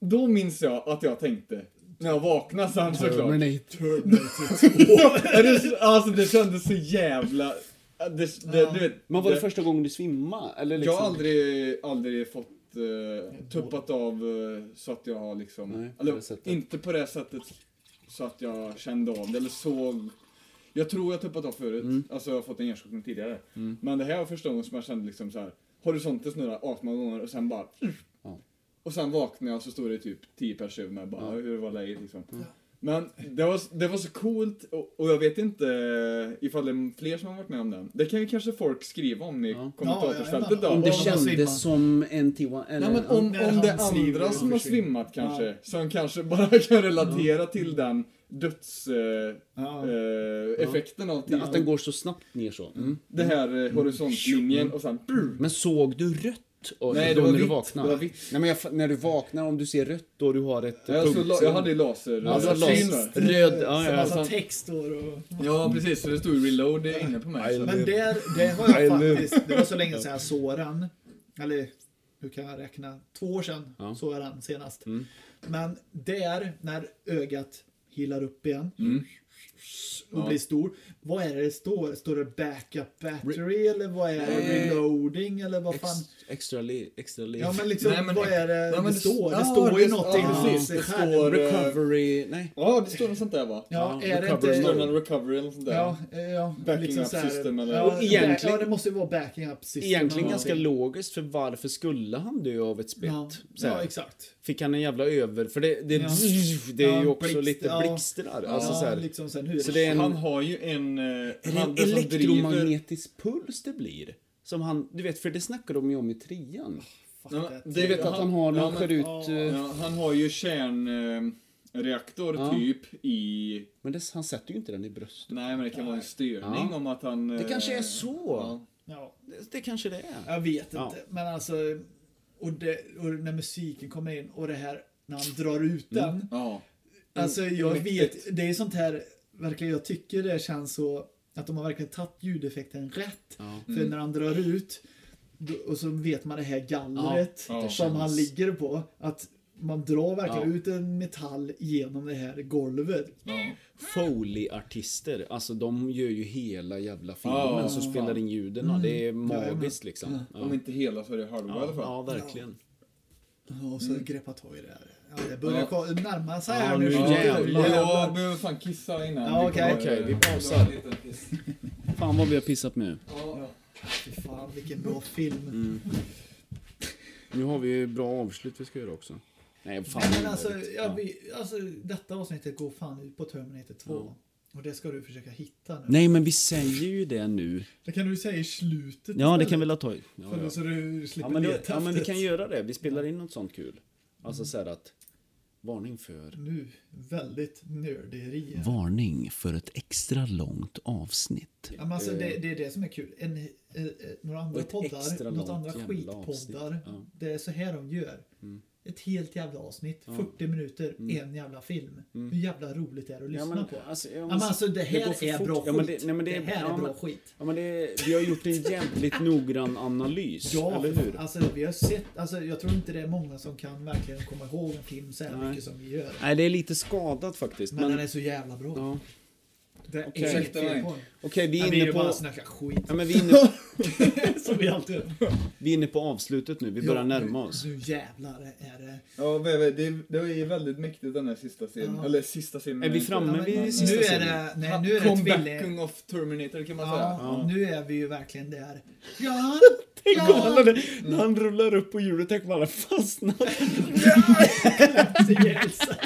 A: då minns jag att jag tänkte, när jag vaknade sen såklart.
B: Terminator.
A: Ja, det, alltså det kändes så jävla... Det, det, du vet,
B: Men var det
A: det-
B: första gången du svimmade? Eller liksom?
A: Jag har aldrig, aldrig fått eh, tuppat av eh, så att jag har liksom...
B: Nej, på det
A: eller,
B: sättet.
A: inte på det sättet så att jag kände av det eller såg... Jag tror jag tuppat av förut,
B: Mm.
A: alltså jag har fått en hjärnskakning tidigare. Men det här var första gången som jag kände liksom så här. horisonten snurrar 18 gånger och sen bara... mm.
B: Ja.
A: Och sen vaknade jag och så stod det typ 10 pers över mig bara, hur var läget liksom. Men det var, det var så coolt och, och jag vet inte eh, ifall det är fler som har varit med om den. Det kan ju kanske folk skriva om i kommentarsfältet
C: Ja,
A: då.
B: Om det
C: ja, Om man svimmar.
B: kändes som en T-1000? eller-
A: Nej, men om, om
C: när
A: det
C: han svimmar,
A: andra
C: ja,
A: som har
C: försvinner.
A: svimmat kanske, som kanske bara *laughs* kan relatera till den dödseffekten
C: Ja.
A: eh, effekten av
B: Att den
A: tiden.
B: går så snabbt ner så. Mm.
A: Det här eh, horisontlinjen och sen...
B: Men såg du rött? Och,
A: Nej, det
B: då
A: var
B: när du
A: vitt.
B: vaknar?
A: Det var vitt.
B: Nej, men jag, fa- när du vaknar, om du ser rött och du har ett
A: Jag, såg la- jag hade ju laser...
B: alltså,
A: eh,
B: las-
A: syn där.
B: Röd, ja, alltså- ja,
C: Massa
B: ja.
C: text och... och
A: ja, precis. Så det stod ju reload inne på mig. Så.
C: Men där, det har jag faktiskt, det var så länge sedan jag såg den. Eller hur kan jag räkna? Två år sedan såg jag den senast.
A: Mm.
C: Men där, när ögat healar upp igen
A: Mm.
C: och blir stor. Vad är det det står? Står det backup battery eller vad är det? Reloading eller vad fan?
B: Ex, extra liv. Extra liv.
C: Ja men liksom,
A: Nej, men-
C: vad är det
A: Nej, men
C: det
A: det-
C: står?
A: ja,
C: Det står ju
A: det-
C: någonting.
A: ja,
C: om
A: precis. Det
C: skärmen.
A: står-
B: Recovery, nej.
A: Ja, det står något sånt där va?
C: Ja,
B: ja,
C: är det
B: recovery
A: Står det
C: inte...
A: någon recovery eller något sånt där?
C: Ja, eh, ja,
A: Backing
C: liksom
A: up
C: så här-
A: system eller-
C: Ja,
B: Och egentligen-
C: ja, det måste ju vara backing up system.
B: Egentligen
C: eller
B: ganska
C: någonting.
B: logiskt för varför skulle han dö av ett spett?
C: Ja,
B: Så här.
C: ja, exakt.
B: Fick han en jävla över... För det, det,
C: Ja.
B: *laughs* det är ju
C: Ja,
B: också
C: blixt-
B: lite
C: ja.
B: blixtrar. Alltså,
C: ja,
B: så här.
C: liksom sen hur
B: Så det är en-
A: Han har ju en... eh,
B: Är det
A: han- som
B: en
A: driver-
B: elektromagnetisk puls det blir? Som han, du vet, för det snackar de ju om i trean.
A: Nej, men
C: Fuck that.
A: Ah, det
B: Du vet att han har, när
A: Ja,
B: han
A: men-
B: skär ut...
C: ja.
B: eh,
A: Ja, han har ju kärn... eh, reaktor
B: Ja.
A: typ i...
B: Men det, han sätter ju inte den i bröstet.
A: Nej, men det kan vara en styrning
B: Ja.
A: om att han...
B: Det
A: eh,
B: kanske är så.
A: Ja.
C: Ja,
B: Det, det kanske det är.
C: jag vet
B: Ja.
C: inte. Men alltså, och, det, och när musiken kommer in och det här när han drar ut
B: Mm.
C: den.
A: ja.
C: Alltså jag
A: mäktigt.
C: vet, det är sånt här, verkligen jag tycker det känns så att de har verkligen tagit ljudeffekten rätt.
B: Ja. Mm.
C: För när han drar ut då- och så vet man det här gallret
A: Ja, det
C: som han
B: känns.
C: ligger på. Att man drar verkligen
B: Ja.
C: ut en metall genom det här golvet.
A: ja.
B: Foley-artister, alltså de gör ju hela jävla filmen
A: Ja,
B: som
A: fan. Mm.
B: spelar in ljuden. och Det är magiskt liksom.
A: Om
B: Ja,
A: inte hela så är det halva i alla fall.
B: ja verkligen.
C: Ja, Och så greppa tag i det här. Ja, det börjar
A: Ja.
C: ko- närma sig
B: Mm. Ja,
C: här nu.
B: nu
A: Ja,
B: jävlar.
A: jag behöver fan kissa innan
C: Ja, okej.
A: kommer-
B: Okej, vi pausar. Fan vad vi har pissat nu.
C: Ja. Fy fan vilken bra film.
B: Mm, Nu har vi ju bra avslut vi ska göra också. Nej, fan.
C: Nej, men alltså,
B: Ja.
C: jag, vi, alltså, detta avsnittet går fan ut på Terminator 2. Och det ska du försöka hitta nu.
B: Nej, men vi säger ju det nu.
C: Det kan du säga i slutet
B: Ja, det
C: istället.
B: kan vi la ta i. Ja,
C: För
B: ja.
C: då Så du slipper
B: Ja, men,
C: leta
B: det, ja,
C: efter
B: men vi
C: det.
B: kan göra det. Vi spelar in något sånt kul. Alltså så här att... Varning för...
C: Nu, väldigt nörderi. alltså. här.
B: Varning för ett extra långt avsnitt.
C: Ja, men alltså,
B: Eh,
C: det, det är det som är kul. En, eh, eh, några andra
B: Och ett extra
C: poddar, något
B: långt
C: andra
B: jävla
C: skitpoddar.
B: avsnitt. Ja. Mm.
C: Det är så här de gör. Ett helt jävla avsnitt, 40 minuter, en jävla film. Hur jävla roligt det är att lyssna på.
B: Mm. alltså,
C: ja,
B: jag
C: men
B: måste-
C: alltså det här
B: går för
C: är
B: fort.
C: bra
B: Ja, men det-
C: skit.
B: nej, men det
C: det,
B: är-
C: här är
B: ja,
C: bra
B: men-
C: skit.
B: Ja, men det, vi har gjort en
C: *laughs*
B: jävligt noggrann analys,
C: Ja,
B: eller hur?
C: alltså vi har sett, alltså jag tror inte det är många som kan verkligen komma ihåg en film så här
B: Nej.
C: mycket som vi gör.
B: Nej, det är lite skadat faktiskt.
C: Men,
B: Men,
C: den är så jävla bra.
B: ja.
C: Det är
B: Okej.
C: inget fel på
A: Ursäkta
C: den.
A: mig.
B: Okej, vi
C: Nej,
B: är
C: Vi är
B: inne
C: ju bara
B: på...
C: snacka skit.
B: *laughs* Ja, men vi är
C: *laughs*
B: inne,
C: Som vi alltid gör.
B: vi är inne på avslutet nu. Vi börjar
C: Ja,
B: närma
C: nu-
B: oss.
C: Nu jävlar är det...
A: Ja, Veve, det, det är ju väldigt mäktigt den här sista scenen.
C: Ja.
A: Eller sista scenen.
B: Är vi framme
C: Ja,
B: vid
C: men
B: sista
C: nu är
B: scenen?
C: det, nej, nu är det tvilling...
A: Comebacking of Terminator kan man
C: Ja,
A: säga.
C: nu är vi ju verkligen där. *laughs* Ja!
B: Tänk om
C: Ja.
B: alla, när han rullar upp på hjulet, tänk om alla
C: *laughs*
B: fastnar.
C: Så jävla-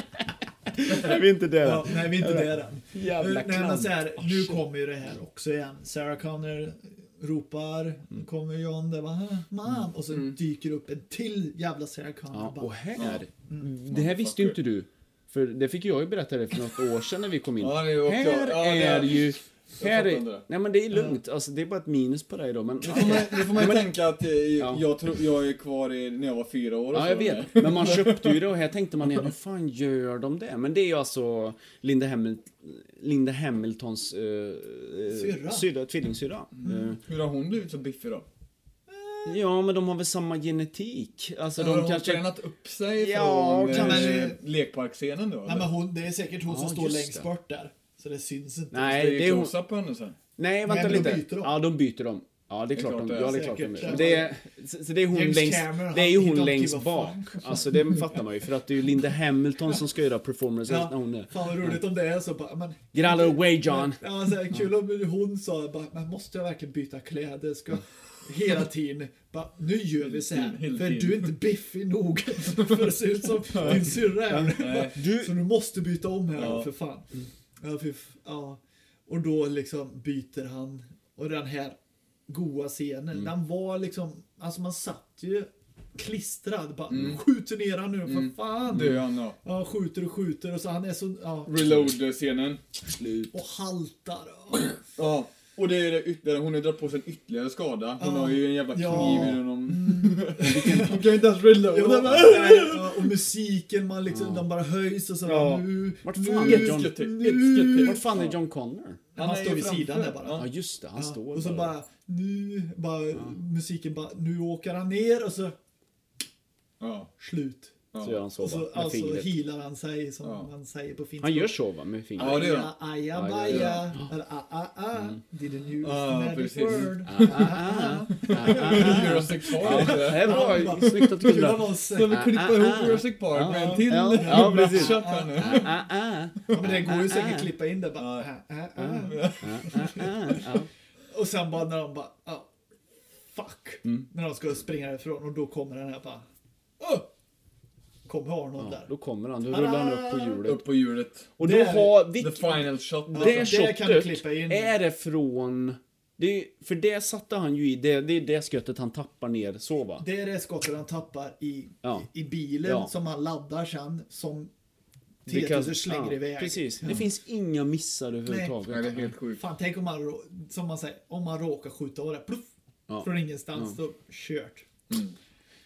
B: Är vi inte där?
C: Ja, nej, vi är inte där än.
B: Jävla Oh,
C: Nej, men
B: klant.
C: alltså, så här, nu kommer ju det här också igen. Sarah Connor ropar,
B: Mm.
C: nu kommer John där bara "Ah, Mom! Och så dyker upp en till jävla Sarah Connor.
B: Ja,
C: bara,
B: och här. Mm, Det här visste ju inte du. För det fick jag ju berätta det för något år sedan när vi kom in.
A: Ja, det är ju också-
B: här
A: ja, det är-
B: är ju... Här
A: fattar inte det.
B: är, nej men det är lugnt, alltså det är bara ett minus på dig då men...
A: Nu får man ju tänka att eh,
B: Ja.
A: jag, tror, jag är kvar i, när jag var fyra år och
B: Ja,
A: så
B: jag
A: var det.
B: vet. Men man köpte ju det och här tänkte man, ja, hur fan gör de det? Men det är ju alltså Linda, Hamil Linda Hamiltons eh, eh,
C: Syrra.
B: syrra, tvillingsyrra. Eh,
A: Hur har hon blivit så biffig då?
B: ja, men de har väl samma genetik? Alltså
A: har
B: de
A: hon
B: kanske...
A: tränat upp sig
B: Ja,
A: från
C: kan man-
A: eh, lekparksscenen då?
C: Nej, men hon, det är säkert hon som
B: Ja,
C: står
B: just
C: längst
B: det.
C: bort där. Så det syns inte.
B: Nej, det är hon...
A: close-up på henne sen.
B: Nej, vänta
C: men de
B: lite.
C: byter dem.
B: Ja, de byter dem. Ja, det är klart, de, ja, det är klart
C: säkert.
B: de gör. Men det är, så så det är hon
C: James
B: längst,
C: Cameron,
B: det är ju
C: han- he
B: hon
C: don't
B: längst
C: give a
B: bak. *laughs* Alltså det fattar man ju för att det är ju Linda Hamilton som ska göra performance
C: Ja,
B: när hon är...
C: Fan vad roligt om det är så bara, men...
B: Get out of the way John!
C: Ja, så här, kul om hon sa bara, men måste jag verkligen byta kläder? Ska hela tiden bara, nu gör vi så här.
A: Hela
C: För
A: tiden.
C: du är inte biffig nog för att se
A: *laughs*
C: ut som din syrra här.
B: Du-
C: Så du måste byta om här
A: Ja.
C: för fan. Ja, för, f- ja. Och då liksom byter han. Och den här goa scenen, den var liksom, alltså man satt ju klistrad. Bara, skjuter ner han nu för fan.
A: Du, Anna.
C: Ja, han skjuter och skjuter och så han är så, ja.
A: Reload-scenen.
B: Slut.
C: Och haltar.
A: Ja. Och det är det ytterligare, hon har dragit på sig en ytterligare skada. Hon
C: Ja.
A: har ju en jävla kniv
C: Ja.
A: i den.
B: Mm.
A: *laughs* Hon kan ju inte ens reloada. va?
C: Ja, liksom, och musiken, man liksom, den bara höjs och så
B: Ja.
C: nu...
B: Vart
C: nu-
B: fan är
A: Ett
B: John-
A: skott till,
C: Nu-
A: ett skott till.
B: Vart fan är John Connor?
C: Han,
A: Han är
C: står
A: ju
C: vid
A: framför.
C: sidan där bara.
A: Ja.
B: Ja just det, han
C: Ja,
B: står
C: och så
B: där.
C: bara, nu, bara musiken bara, nu åker han ner och så
A: Ja.
C: slut.
B: Så gör han så
C: Och så
B: va, med
C: alltså
B: fingret.
C: healar han sig som
A: Ja.
C: man säger på finska.
B: Han gör så va, med fingret.
A: Ja, det gör han.
C: Aja, aja,
B: Ja, Mm. det
C: baja. ah,
B: gör
C: Eller a, a, a. Didn't use
A: Ja,
C: the magic
A: precis.
C: word.
A: *laughs* Jurassic
B: Ja,
A: Park.
B: *laughs* det
A: eller?
B: här var snyggt
C: *laughs*
B: att du
C: Kul
B: kunde.
C: av oss.
A: Ska vi klippa ihop Jurassic Park med en till? *laughs*
B: Ja, ja, precis.
A: matchup här nu?
B: Ah, ah,
C: Ja, men det går ju säkert klippa in det bara. "Ah, ah, ah."
B: ah, ah.
C: *laughs* Och sen bara när de bara, oh, fuck. När de ska springa ifrån och då kommer den här bara, oh! Kommer Arnold
B: Ja,
C: där.
B: Då kommer han, då rullar han upp på hjulet.
A: Upp på hjulet.
B: Och
C: Det
B: då
C: är
B: har...
A: The
B: Vilket,
A: final shot.
B: det
C: Alltså, det
B: shotet
C: kan du klippa in.
B: är det från... Det är, ju- för det satte han ju i, det, det är det skötet han tappar ner så va?
C: Det är det skottet han tappar i,
B: Ja.
C: i bilen
B: Ja.
C: som han laddar sen som T-Tusen
B: Because-
C: slänger
B: ja,
C: iväg.
B: Precis. Det finns inga missar överhuvudtaget.
A: Nej, det är helt sjukt.
C: Fan, tänk om man, rå- som man säger, om man råkar skjuta av det. Pluff,
B: Ja.
C: Från ingenstans. Då kört.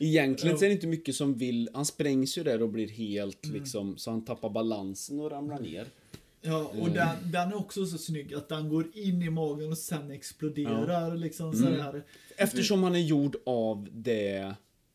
B: Egentligen
C: Ja.
B: så är det inte mycket som vill... Han sprängs ju där och blir helt
C: Mm.
B: liksom... Så han tappar balansen och ramlar ner.
C: Ja, och
B: Mm.
C: den, den är också så snygg att den går in i magen och sen exploderar liksom
B: Mm.
C: sådär.
B: Eftersom han är gjord av det,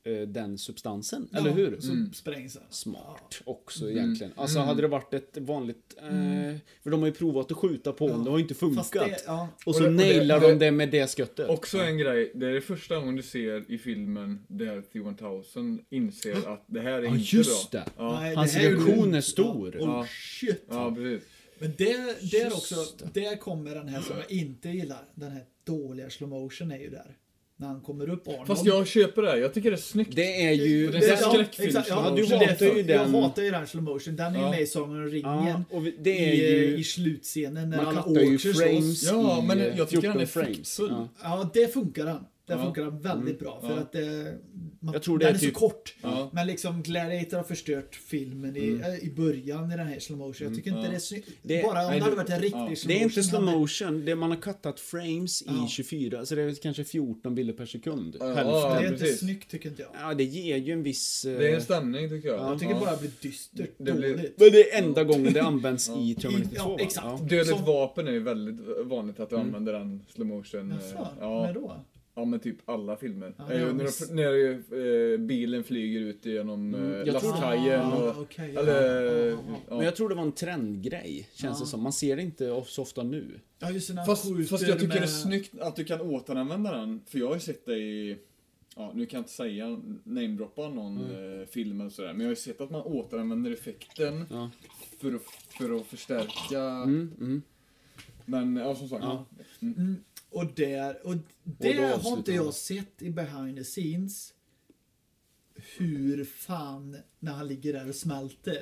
B: eh, den substansen, eller
C: Ja, Mm.
B: hur?
C: Så
A: Mm.
C: sprängs den.
B: Smart också egentligen. Alltså
C: Mm.
B: hade det varit ett vanligt... Eh, för de har ju provat att skjuta på honom, det har ju inte funkat.
C: Fast det, ja.
B: Och så
A: Och det- och det-
B: nailar
A: och
B: de det med det sköttet.
A: Också en grej, det är det första gången du ser i filmen där T-1000 inser att det här är
B: Ja,
A: inte
B: just
A: bra.
B: det.
A: Ja,
C: Nej,
B: Hans
C: det här
B: reaktion
C: gjorde-
B: är stor.
C: Ja,
A: Ja.
C: oh shit.
A: ja precis.
C: Men där, där
B: Just
C: också, där kommer den här som jag inte gillar. Den här dåliga slow motion är ju där. När han kommer upp Arnold.
A: Fast jag köper det, här. jag tycker det är snyggt.
B: Det är ju...
A: Det är
B: där-
A: en skräckfilm
C: exakt,
A: slow
C: Ja,
A: motion.
C: du
B: Ja, du
C: hatar ju
B: hatar ju
C: den.
B: den.
C: Jag hatar ju den slow motion. Den är ju
A: Ja.
C: med i Sagan om ringen.
B: Ja, och vi- det är
C: i, eh,
B: ju...
C: I slutscenen när
B: Man
C: alla
B: kattar ju
C: åker
B: frames
C: frames.
A: Ja,
B: i
A: men
B: eh,
A: jag tycker han är
B: 14 frames.
A: flickfull.
B: Ja.
C: Ja, det funkar den. Där
A: Ja. Mm.
C: funkar den väldigt bra. För
A: Ja.
C: att det, man,
B: Jag tror det
C: den
B: är
C: är
B: typ-
C: så kort.
A: Ja.
C: Men liksom Gladiator har förstört filmen i, eh, i början i den här slow motion. Jag tycker inte det är snyggt.
B: Det-
C: Bara om
A: nej,
C: det hade
A: Mm. det-
C: varit en riktig
A: ja.
C: slow
B: Det är inte slow
C: hade-
B: motion, det man har cuttat frames i
C: Ja.
B: 24, alltså det är kanske 14 bilder per sekund.
A: Ja,
C: Det
B: Hälften.
C: är
A: ja.
C: inte
A: precis.
C: snyggt tycker inte jag.
B: Ja, det ger ju en viss... eh,
A: Det är en stämning tycker jag.
C: Jag tycker bara det blir dystert,
A: Det blir-
C: dåligt.
B: Men det är enda gången det används i Terminator 2
C: Ja,
B: va?
C: exakt.
B: Ja.
A: Dödligt
C: Som-
A: vapen är ju väldigt vanligt att du
C: Mm.
A: använder den slow motion. eh,
C: Jaså,
A: ja,
C: när då?
A: ja, men typ alla filmer.
C: Ja,
A: Eh,
C: ja,
A: när
C: visst.
A: när eh, bilen flyger ut genom eh,
B: jag tror-
A: lastkajen
C: Ah,
A: och...
C: okej, ja.
A: eller... eh,
C: Ja, ja,
B: Men jag tror det var en trendgrej, känns det som. Man ser det inte så ofta nu.
C: Ja, just när han
A: Fast,
C: skjuter
A: fast jag tycker
C: med...
A: det är snyggt att du kan återanvända den, för jag har ju sett det i... Ja, nu kan jag inte säga, namedroppa någon
C: Mm.
A: eh, film eller sådär, men jag har ju sett att man återanvänder effekten
B: Ja.
A: för, att, för att förstärka...
B: Mm, mm.
A: Men ja, som sagt.
B: Ja.
C: Mm, och där, och det har inte
B: avslutar han.
C: jag sett i behind the scenes. Hur fan, när han ligger där och smälter.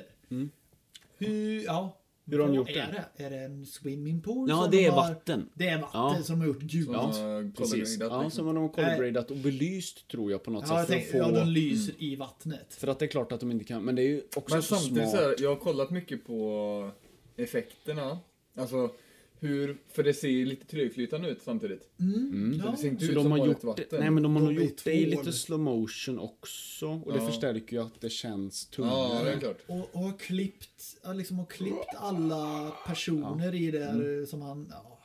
C: Hur, ja.
B: Mm. Hur har
C: vad
B: de gjort
C: är det? Är det en swimming pool?
B: Ja,
C: som
B: det
C: de
B: är
C: har-
B: vatten.
C: Det är vatten
B: Ja.
C: som har gjort gult.
A: Ja,
C: Ja,
B: Precis.
A: liksom.
B: Ja, som har de colorgradat och belyst tror jag på något
C: jag
B: sätt för
C: tänkte,
B: att få...
C: ja de lyser
B: Mm.
C: i vattnet.
B: För att det är klart att de inte kan, men det är ju också
A: Men
B: så
A: samtidigt
B: smart.
A: så här, jag har kollat mycket på effekterna. Alltså hur, för det ser ju lite trögflytande ut samtidigt.
B: Mm,
C: Ja.
A: Det ser inte
B: Så
A: ut
B: de
A: typ som
B: har
A: bara
B: gjort,
A: ett vatten.
B: nej men de har
C: De
B: nog
C: är
B: gjort det i
C: tvål.
B: lite slow motion också och det
A: Ja.
B: förstärker ju att det känns
A: Ja, det
B: tunnare.
A: är klart.
C: Och, och har klippt, ja, liksom har klippt alla personer i det här
B: Mm.
C: som han... Ja.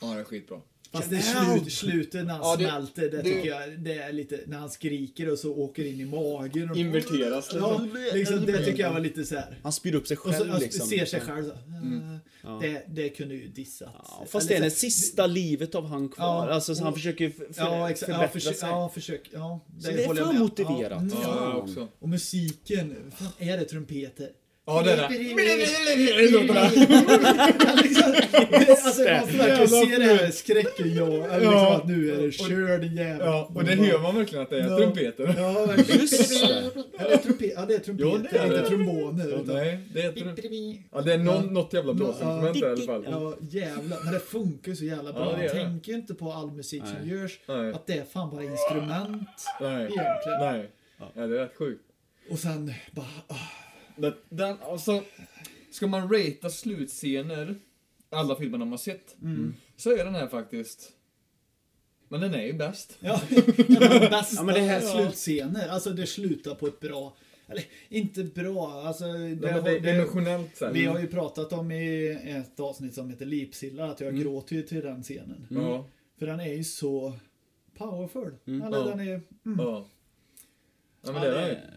A: Ja, det är skitbra.
C: Fast det är slut, slutet när han
A: Ja, det-
C: smälter, det,
A: det-
C: tycker jag det är lite, när han skriker och så åker in i magen. Och,
A: Inverteras
C: Ja,
A: liksom.
C: liksom, det tycker jag var lite så här.
B: Han spyr upp sig
C: Och så
B: själv
C: och
B: liksom.
C: ser sig själv så. här, eh, Det, det kunde ju dissats.
B: Ja, fast det
C: Eller
B: är det
C: så här,
B: sista livet av han kvar.
C: Ja,
B: alltså så han
C: och-
B: försöker f- för,
C: Ja, exakt.
B: förbättra
C: Ja, försök,
B: sig.
C: ja, försök. Ja,
B: Så det är
C: håller jag
B: fan
C: med om.
B: motiverat.
C: Ja, mm,
A: Ja,
C: ja.
A: jag också.
C: Och musiken, fan är det trumpeter?
A: Ja, det är
C: *laughs* Liksom, det- alltså,
B: det.
C: man får verkligen se det här skräcken, ja. Liksom
A: Ja.
C: att nu är det kör din jävel.
A: Ja, och det hör man verkligen att det är
C: Ja.
A: trumpeter.
C: Ja, verkligen.
B: Just det.
C: Ja, det är trumpeter, ja, det är
A: Ja,
C: trumpeter,
A: det är
C: inte
A: det.
C: tromboner. Utan...
A: Nej, det är trum- Ja, det är någon,
C: Ja.
A: något jävla blåsinstrument där i alla fall.
C: Ja, jävlar. Men det funkar så jävla bra.
A: Ja, det
C: Man
A: gör det.
C: tänker ju inte på all musik som
B: Nej.
C: görs,
A: Nej.
C: att det är fan bara instrument
A: Nej.
C: egentligen.
A: Nej. Ja, det är rätt sjukt.
C: Och sen bara... ah,
A: Det- Den, alltså, ska man ratea slutscener, alla filmerna man sett,
C: Mm.
A: så är den här faktiskt... Men den är ju bäst.
C: Ja, en av de bästa
B: Ja, men det här-
C: slutscener. Alltså det slutar på ett bra... Eller inte bra, alltså... Det,
A: Ja, men
C: har-
A: det,
C: det-
A: är emotionellt så här.
C: vi har ju pratat om i ett avsnitt som heter Lipsilla att jag
A: Mm.
C: gråter ju till den scenen.
A: Ja,
C: För den är ju så powerful. Eller
A: Mm. Ja.
C: den är
A: ja. Ja, men
B: Ja,
A: det är
B: det,
A: den ju.
B: är,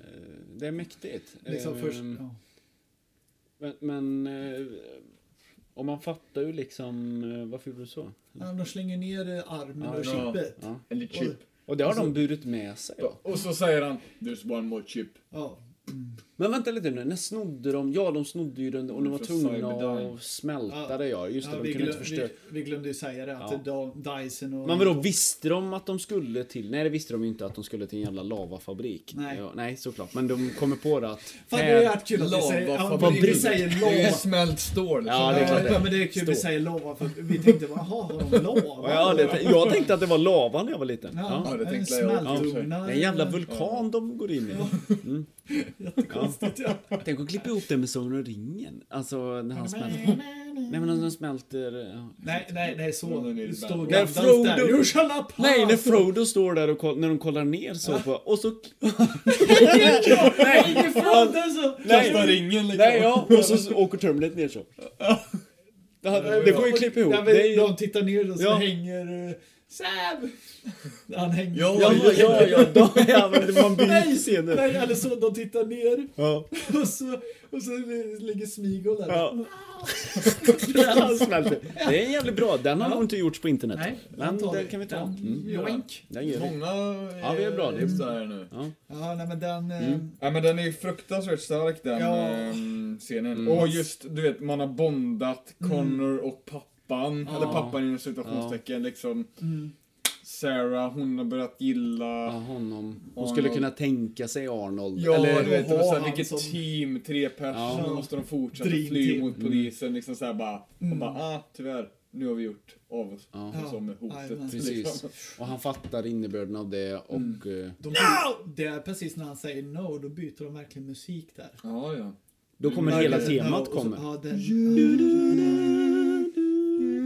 B: det är mäktigt.
C: liksom
A: Eh,
B: Ehm,
C: först... Ja.
B: Men, men eh, om man fattar ju liksom, eh, varför gjorde du så?
C: Ja, De slänger ner eh, armen
B: Ja,
C: och
A: ja.
C: chippet.
B: Ja. Alltså,
A: Eller chip.
B: Och det har de burit med sig. va?
A: Och så säger han “There's one more chip”.
C: Ja.
B: Men vänta lite nu, när snodde de? Ja, de snodde ju den och de var
A: För
B: tvungna
A: Cyberdyne.
B: att smälta det ja. Just det,
C: Ja,
B: de
C: vi,
B: kunde
C: glöm,
B: inte förstöra.
C: vi, vi glömde ju säga det att ja. Dyson och...
B: Men vadå, visste de att de skulle till... Nej, det visste de ju inte att de skulle till en jävla lavafabrik.
C: Nej.
B: Ja, nej, såklart. Men de kommer på det att...
C: Fan, det
B: här-
C: är ju rätt kul att vi säger... Ja, men vi
A: Lavafabrik.
C: säger
A: Det är ju
C: lava.
A: smält stål.
B: Ja, det är klart det.
C: Ja, men det är kul,
B: Stor.
C: vi säger lava för vi tänkte bara, jaha, har de lava?
B: Ja, det, jag tänkte att det var lava när jag var liten.
C: Ja,
B: Ja.
A: det
C: en
A: tänkte jag också.
B: Ja.
C: smältugnar.
B: Det är en jävla vulkan de går in i. Mm.
C: Jättekul. konstigt. Ja.
B: *laughs* Tänk att klippa ihop det med Sagan om ringen. Alltså när han smälter. Nej men när han smälter... ja.
C: Nej, nej, nej, så.
A: Från en
C: Nu
A: ny
C: står
A: band.
C: Gandalf
B: När Frodo-
C: där. You shall not pass.
B: Nej, när
C: *laughs*
B: Frodo står där och koll- när de kollar ner så på... Och så...
C: Nej, inte Frodo så.
A: Kasta ringen liksom.
B: Nej, ja. *laughs* Och så åker Terminator ner så. Det, hade, det går ju att klippa ihop.
C: Nej, men
B: Det är ju...
C: De tittar ner och så
B: Ja.
C: hänger... eh, Sam! *laughs* Han hänger...
A: Ja,
B: Ja, ja, ja, ja, då, *laughs* ja men det var en
C: Nej,
B: by scener.
C: nej, eller så de tittar ner
B: Ja.
C: *laughs* och så, och så ligger Smigol där.
B: Ja. *laughs* Han smälter. Det är en jävligt bra. Den har nog inte gjorts på internet.
C: Nej,
B: men
C: den tar
B: den
C: vi.
B: kan vi ta.
C: Den
B: Mm.
C: gör vi.
B: Joink. Den gör vi.
A: Många eh,
B: Ja, vi är bra. Det är-
A: så här nu.
B: Ja.
C: Ja, nej men den... eh,
B: Mm.
A: Ja, men den är ju fruktansvärt stark den
C: Ja.
A: ehm, scenen.
B: Mm.
A: Och just, du vet, man har bondat
C: Mm.
A: Connor och pappan, eller pappan inom citationstecken, liksom.
C: Mm.
A: Sarah, hon har börjat gilla...
B: Ja,
A: Ja.
B: honom. Hon skulle kunna tänka sig Arnold.
A: eller
C: då
A: du vet, det var
C: har
A: såhär,
C: han
A: vilket
C: som-
A: team, tre personer,
B: Ja. Mm.
A: nu måste de fortsätta
C: Dream
A: fly
C: team. Mm.
A: mot polisen. Liksom såhär bara, och bara, ah, tyvärr, nu har vi gjort av oss.
B: Ja.
A: Som med
C: Ja,
A: hotet.
C: jajamän.
B: Precis.
A: Liksom.
B: Och han fattar innebörden av det och... eh,
C: De, Det är precis när han säger no, då byter de verkligen musik där.
A: Ja,
B: Mm.
A: ja.
B: Då kommer hela
C: Ja, och
B: temat
C: så-
B: kommer.
C: Ja, den,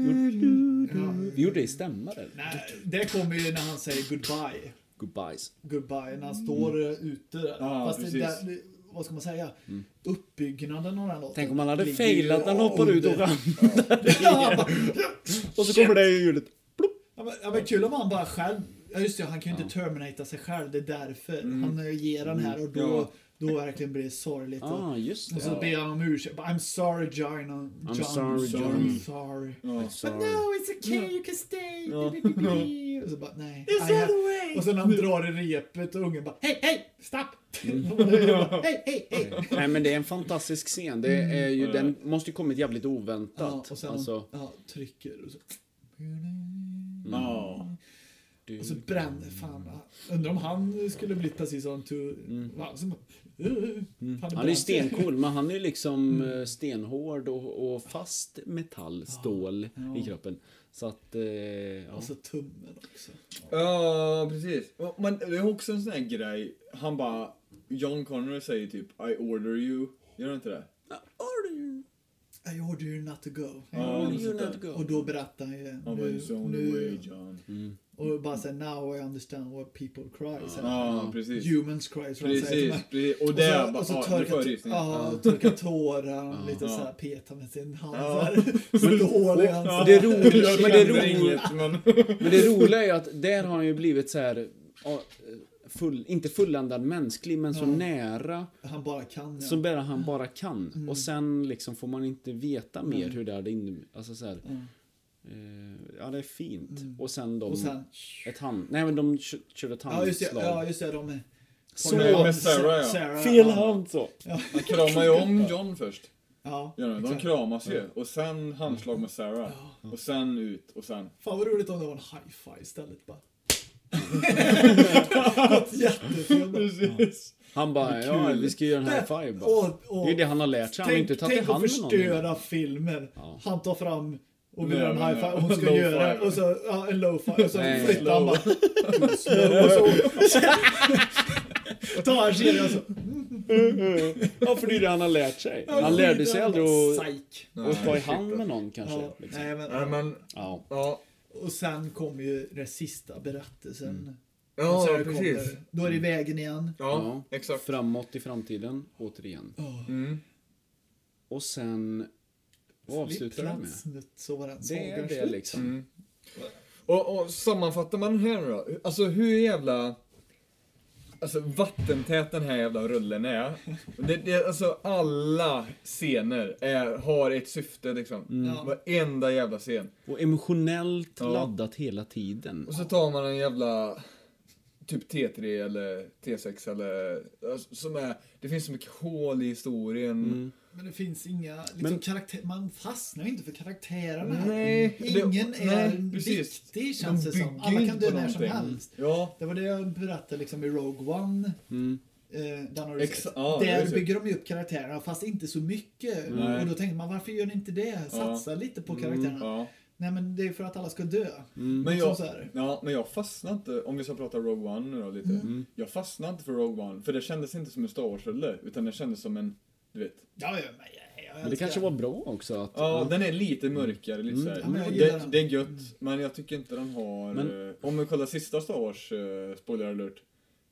C: ja.
B: Vi gjorde det i stämma eller?
C: Nej, det kommer ju när han säger goodbye.
B: Goodbyes.
C: Goodbye,
B: Mm.
C: när han står eh, ute där.
A: Ja,
C: Fast det,
A: precis.
C: där, det- vad ska man säga? Uppbyggnaden av den här låten.
B: Mm. Tänk om han hade
C: ligger
B: failat,
C: ju-
B: han hoppar ut och
C: under.
B: ramlar.
C: *laughs* Ja, han bara-
B: Och så kommer det ju ljudet.
C: Ja, men, ja, men kul om han bara själv... Ja just det, han kan ju inte terminata sig själv. Det är därför.
B: Mm.
C: Han eh, ger den här och då,
A: Ja.
C: då verkligen blir det sorgligt. och-
B: Ah, just
C: Och
B: det.
C: så ber han om ursäkt. I'm sorry John. John.
B: sorry, John.
C: I'm sorry.
A: ja.
C: But
B: Sorry.
C: no, it's okay, you can stay.
B: Ja.
C: Och så bara, nej. I have- Och sen när han drar i repet och ungen bara, hej, hej, stopp! Mm. *laughs* hej, hej, hej!
B: Nej men det är en fantastisk scen. Det är ju,
A: Mm.
B: Den måste ju kommit jävligt
C: Ja,
B: oväntat.
C: och sen
B: alltså,
C: ja, trycker och så,
A: Ja.
B: du,
C: och så bränner fan. ja. Undrar om han skulle blivit precis som to... Va, som, uh, fan,
B: Mm. han är ju stencool men han är ju liksom eh, stenhård och, och fast metall, stål i kroppen. Så att... Eh, ja.
C: Och så tummen också.
A: Ja, precis. Och- Men det är också en sån här grej. Han bara... John Connor säger typ I order you. Gör han inte det?
C: I order you not to go.
A: Ja, något sånt där.
C: Och då berättar han ju.
A: Han bara It's the only way John.
C: och bara såhär now I understand what people cry. Så här,
A: Ja, precis.
C: Humans cry. så de *laughs* säger till
A: Precis,
C: mig.
A: precis. Och
C: Mm. Och
A: det
C: så,
A: bara...
C: och så
A: Ja, nu
C: torka,
A: får jag rysningar.
C: ja, torka tårar, lite
A: Ja.
C: så här peta med sin hand
A: Ja. *laughs*
C: så här. Slår i hans
B: Och det är roligt,
A: Jag
B: men det är
A: känner
B: roligt.
A: inget, men...
B: *laughs* Men det roliga är ju att där har han ju blivit så här ja, full, inte fulländad mänsklig, men så
C: Ja.
B: nära
C: Han bara kan. Ja. Mm.
B: så bara han bara kan. Och sen liksom får man inte veta mer hur det hade inneburit. Alltså så här, eh, ja, det är fint. Och sen de...
C: Mm. och sen,
B: Ett hand... Nej, men de kö- körde ett
C: ja, just
B: handslag.
C: det, ja just det, de är...
B: Så-
A: Med- med Sarah, ja.
C: Sarah,
B: Fel
C: ja.
B: hand så.
A: Han kramar ju om John först.
C: Ja,
A: Gör han. De
C: exakt.
A: kramas ju. Och sen handslag med Sarah. Och sen ut och sen...
C: Fan vad roligt om det var en high-five
A: *laughs*
C: istället bara. Gått jättefel bara.
A: Precis.
B: Han bara, ja, vi ska göra en high five bara.
C: Och- och-
B: Det är det han har lärt sig. Han har
C: Tänk-
B: inte tagit i
C: Tänk
B: hand
C: att
B: med någon.
C: förstöra filmen.
B: Ja.
C: Han tar fram och
A: Nej,
C: vill göra en
A: men,
C: high five
A: *laughs*
C: och
A: ja.
C: hon ska
A: Low
C: göra
A: five.
C: och så, ja, en low five och så
B: Nej.
C: flyttar han bara. too slow, Och så *laughs* och tar han kedjan och så.
B: Ja, för det är det han har lärt sig. Han lärde sig aldrig att,
C: Psyk.
B: att ta i hand med någon kanske.
C: Ja,
B: liksom.
C: nej,
A: Nej
C: men,
A: men...
B: Ja.
A: Ja.
C: och sen kom ju den sista berättelsen.
B: Mm.
C: Och
A: Ja,
C: sen
A: precis.
C: kommer- Då är det i vägen igen.
A: Ja, exakt.
B: Framåt i framtiden, återigen.
A: Mm.
B: Och sen... Vad avslutar det med?
C: Snutt, så var den
B: Det är
C: sagan
B: det
C: slut.
B: liksom.
A: Mm. Och, och sammanfattar man den här nu då? Alltså hur jävla... Alltså vattentät den här jävla rullen är. Det, det, alltså alla scener är, har ett syfte liksom.
C: Ja.
A: Varenda jävla scen.
B: Och emotionellt
A: Ja.
B: laddat hela tiden.
A: Och så tar man en jävla... Typ T3 eller T6 eller... Alltså, som är... Det finns så mycket hål i historien.
C: Men det finns inga, liksom,
B: Men-
C: karaktär, man fastnar ju inte för karaktärerna. här.
A: Nej. det-
C: Mm. Ingen är
A: nej, precis.
C: viktig känns
A: De
C: det som.
A: bygger
C: Alla
A: inte
C: kan dö
A: på
C: när som
A: någonting.
C: helst.
A: Ja.
C: Det var det jag berättade liksom i Rogue One. Eh, den har du
A: Mm. Ex-
C: sett.
A: ja, det har
C: Där
A: jag
C: bygger de ju upp karaktärerna fast inte så mycket.
A: Nej. Mm,
C: Och då tänkte man varför gör ni inte det? Satsa lite på karaktärerna.
A: Ja. Mm.
C: Nej men det är för att alla ska dö.
A: Men
C: Liksom
A: jag,
C: så här.
A: ja, men jag fastnade inte, om vi ska prata Rogue One nu då lite.
C: Mm.
A: Jag fastnade inte för Rogue One, för det kändes inte som en Star Wars-rulle, utan det kändes som en, du vet.
C: Ja, ja, men jag, jag
B: Men det
C: älskar
B: kanske var
C: den.
B: bra också att...
A: Ja, den är lite mörkare, lite så här.
C: Mm. Ja, men jag gillar
A: det,
C: den.
A: det är gött, men jag tycker inte den har...
B: Men-
A: eh, om vi kollar sista Star Wars, eh, spoiler alert.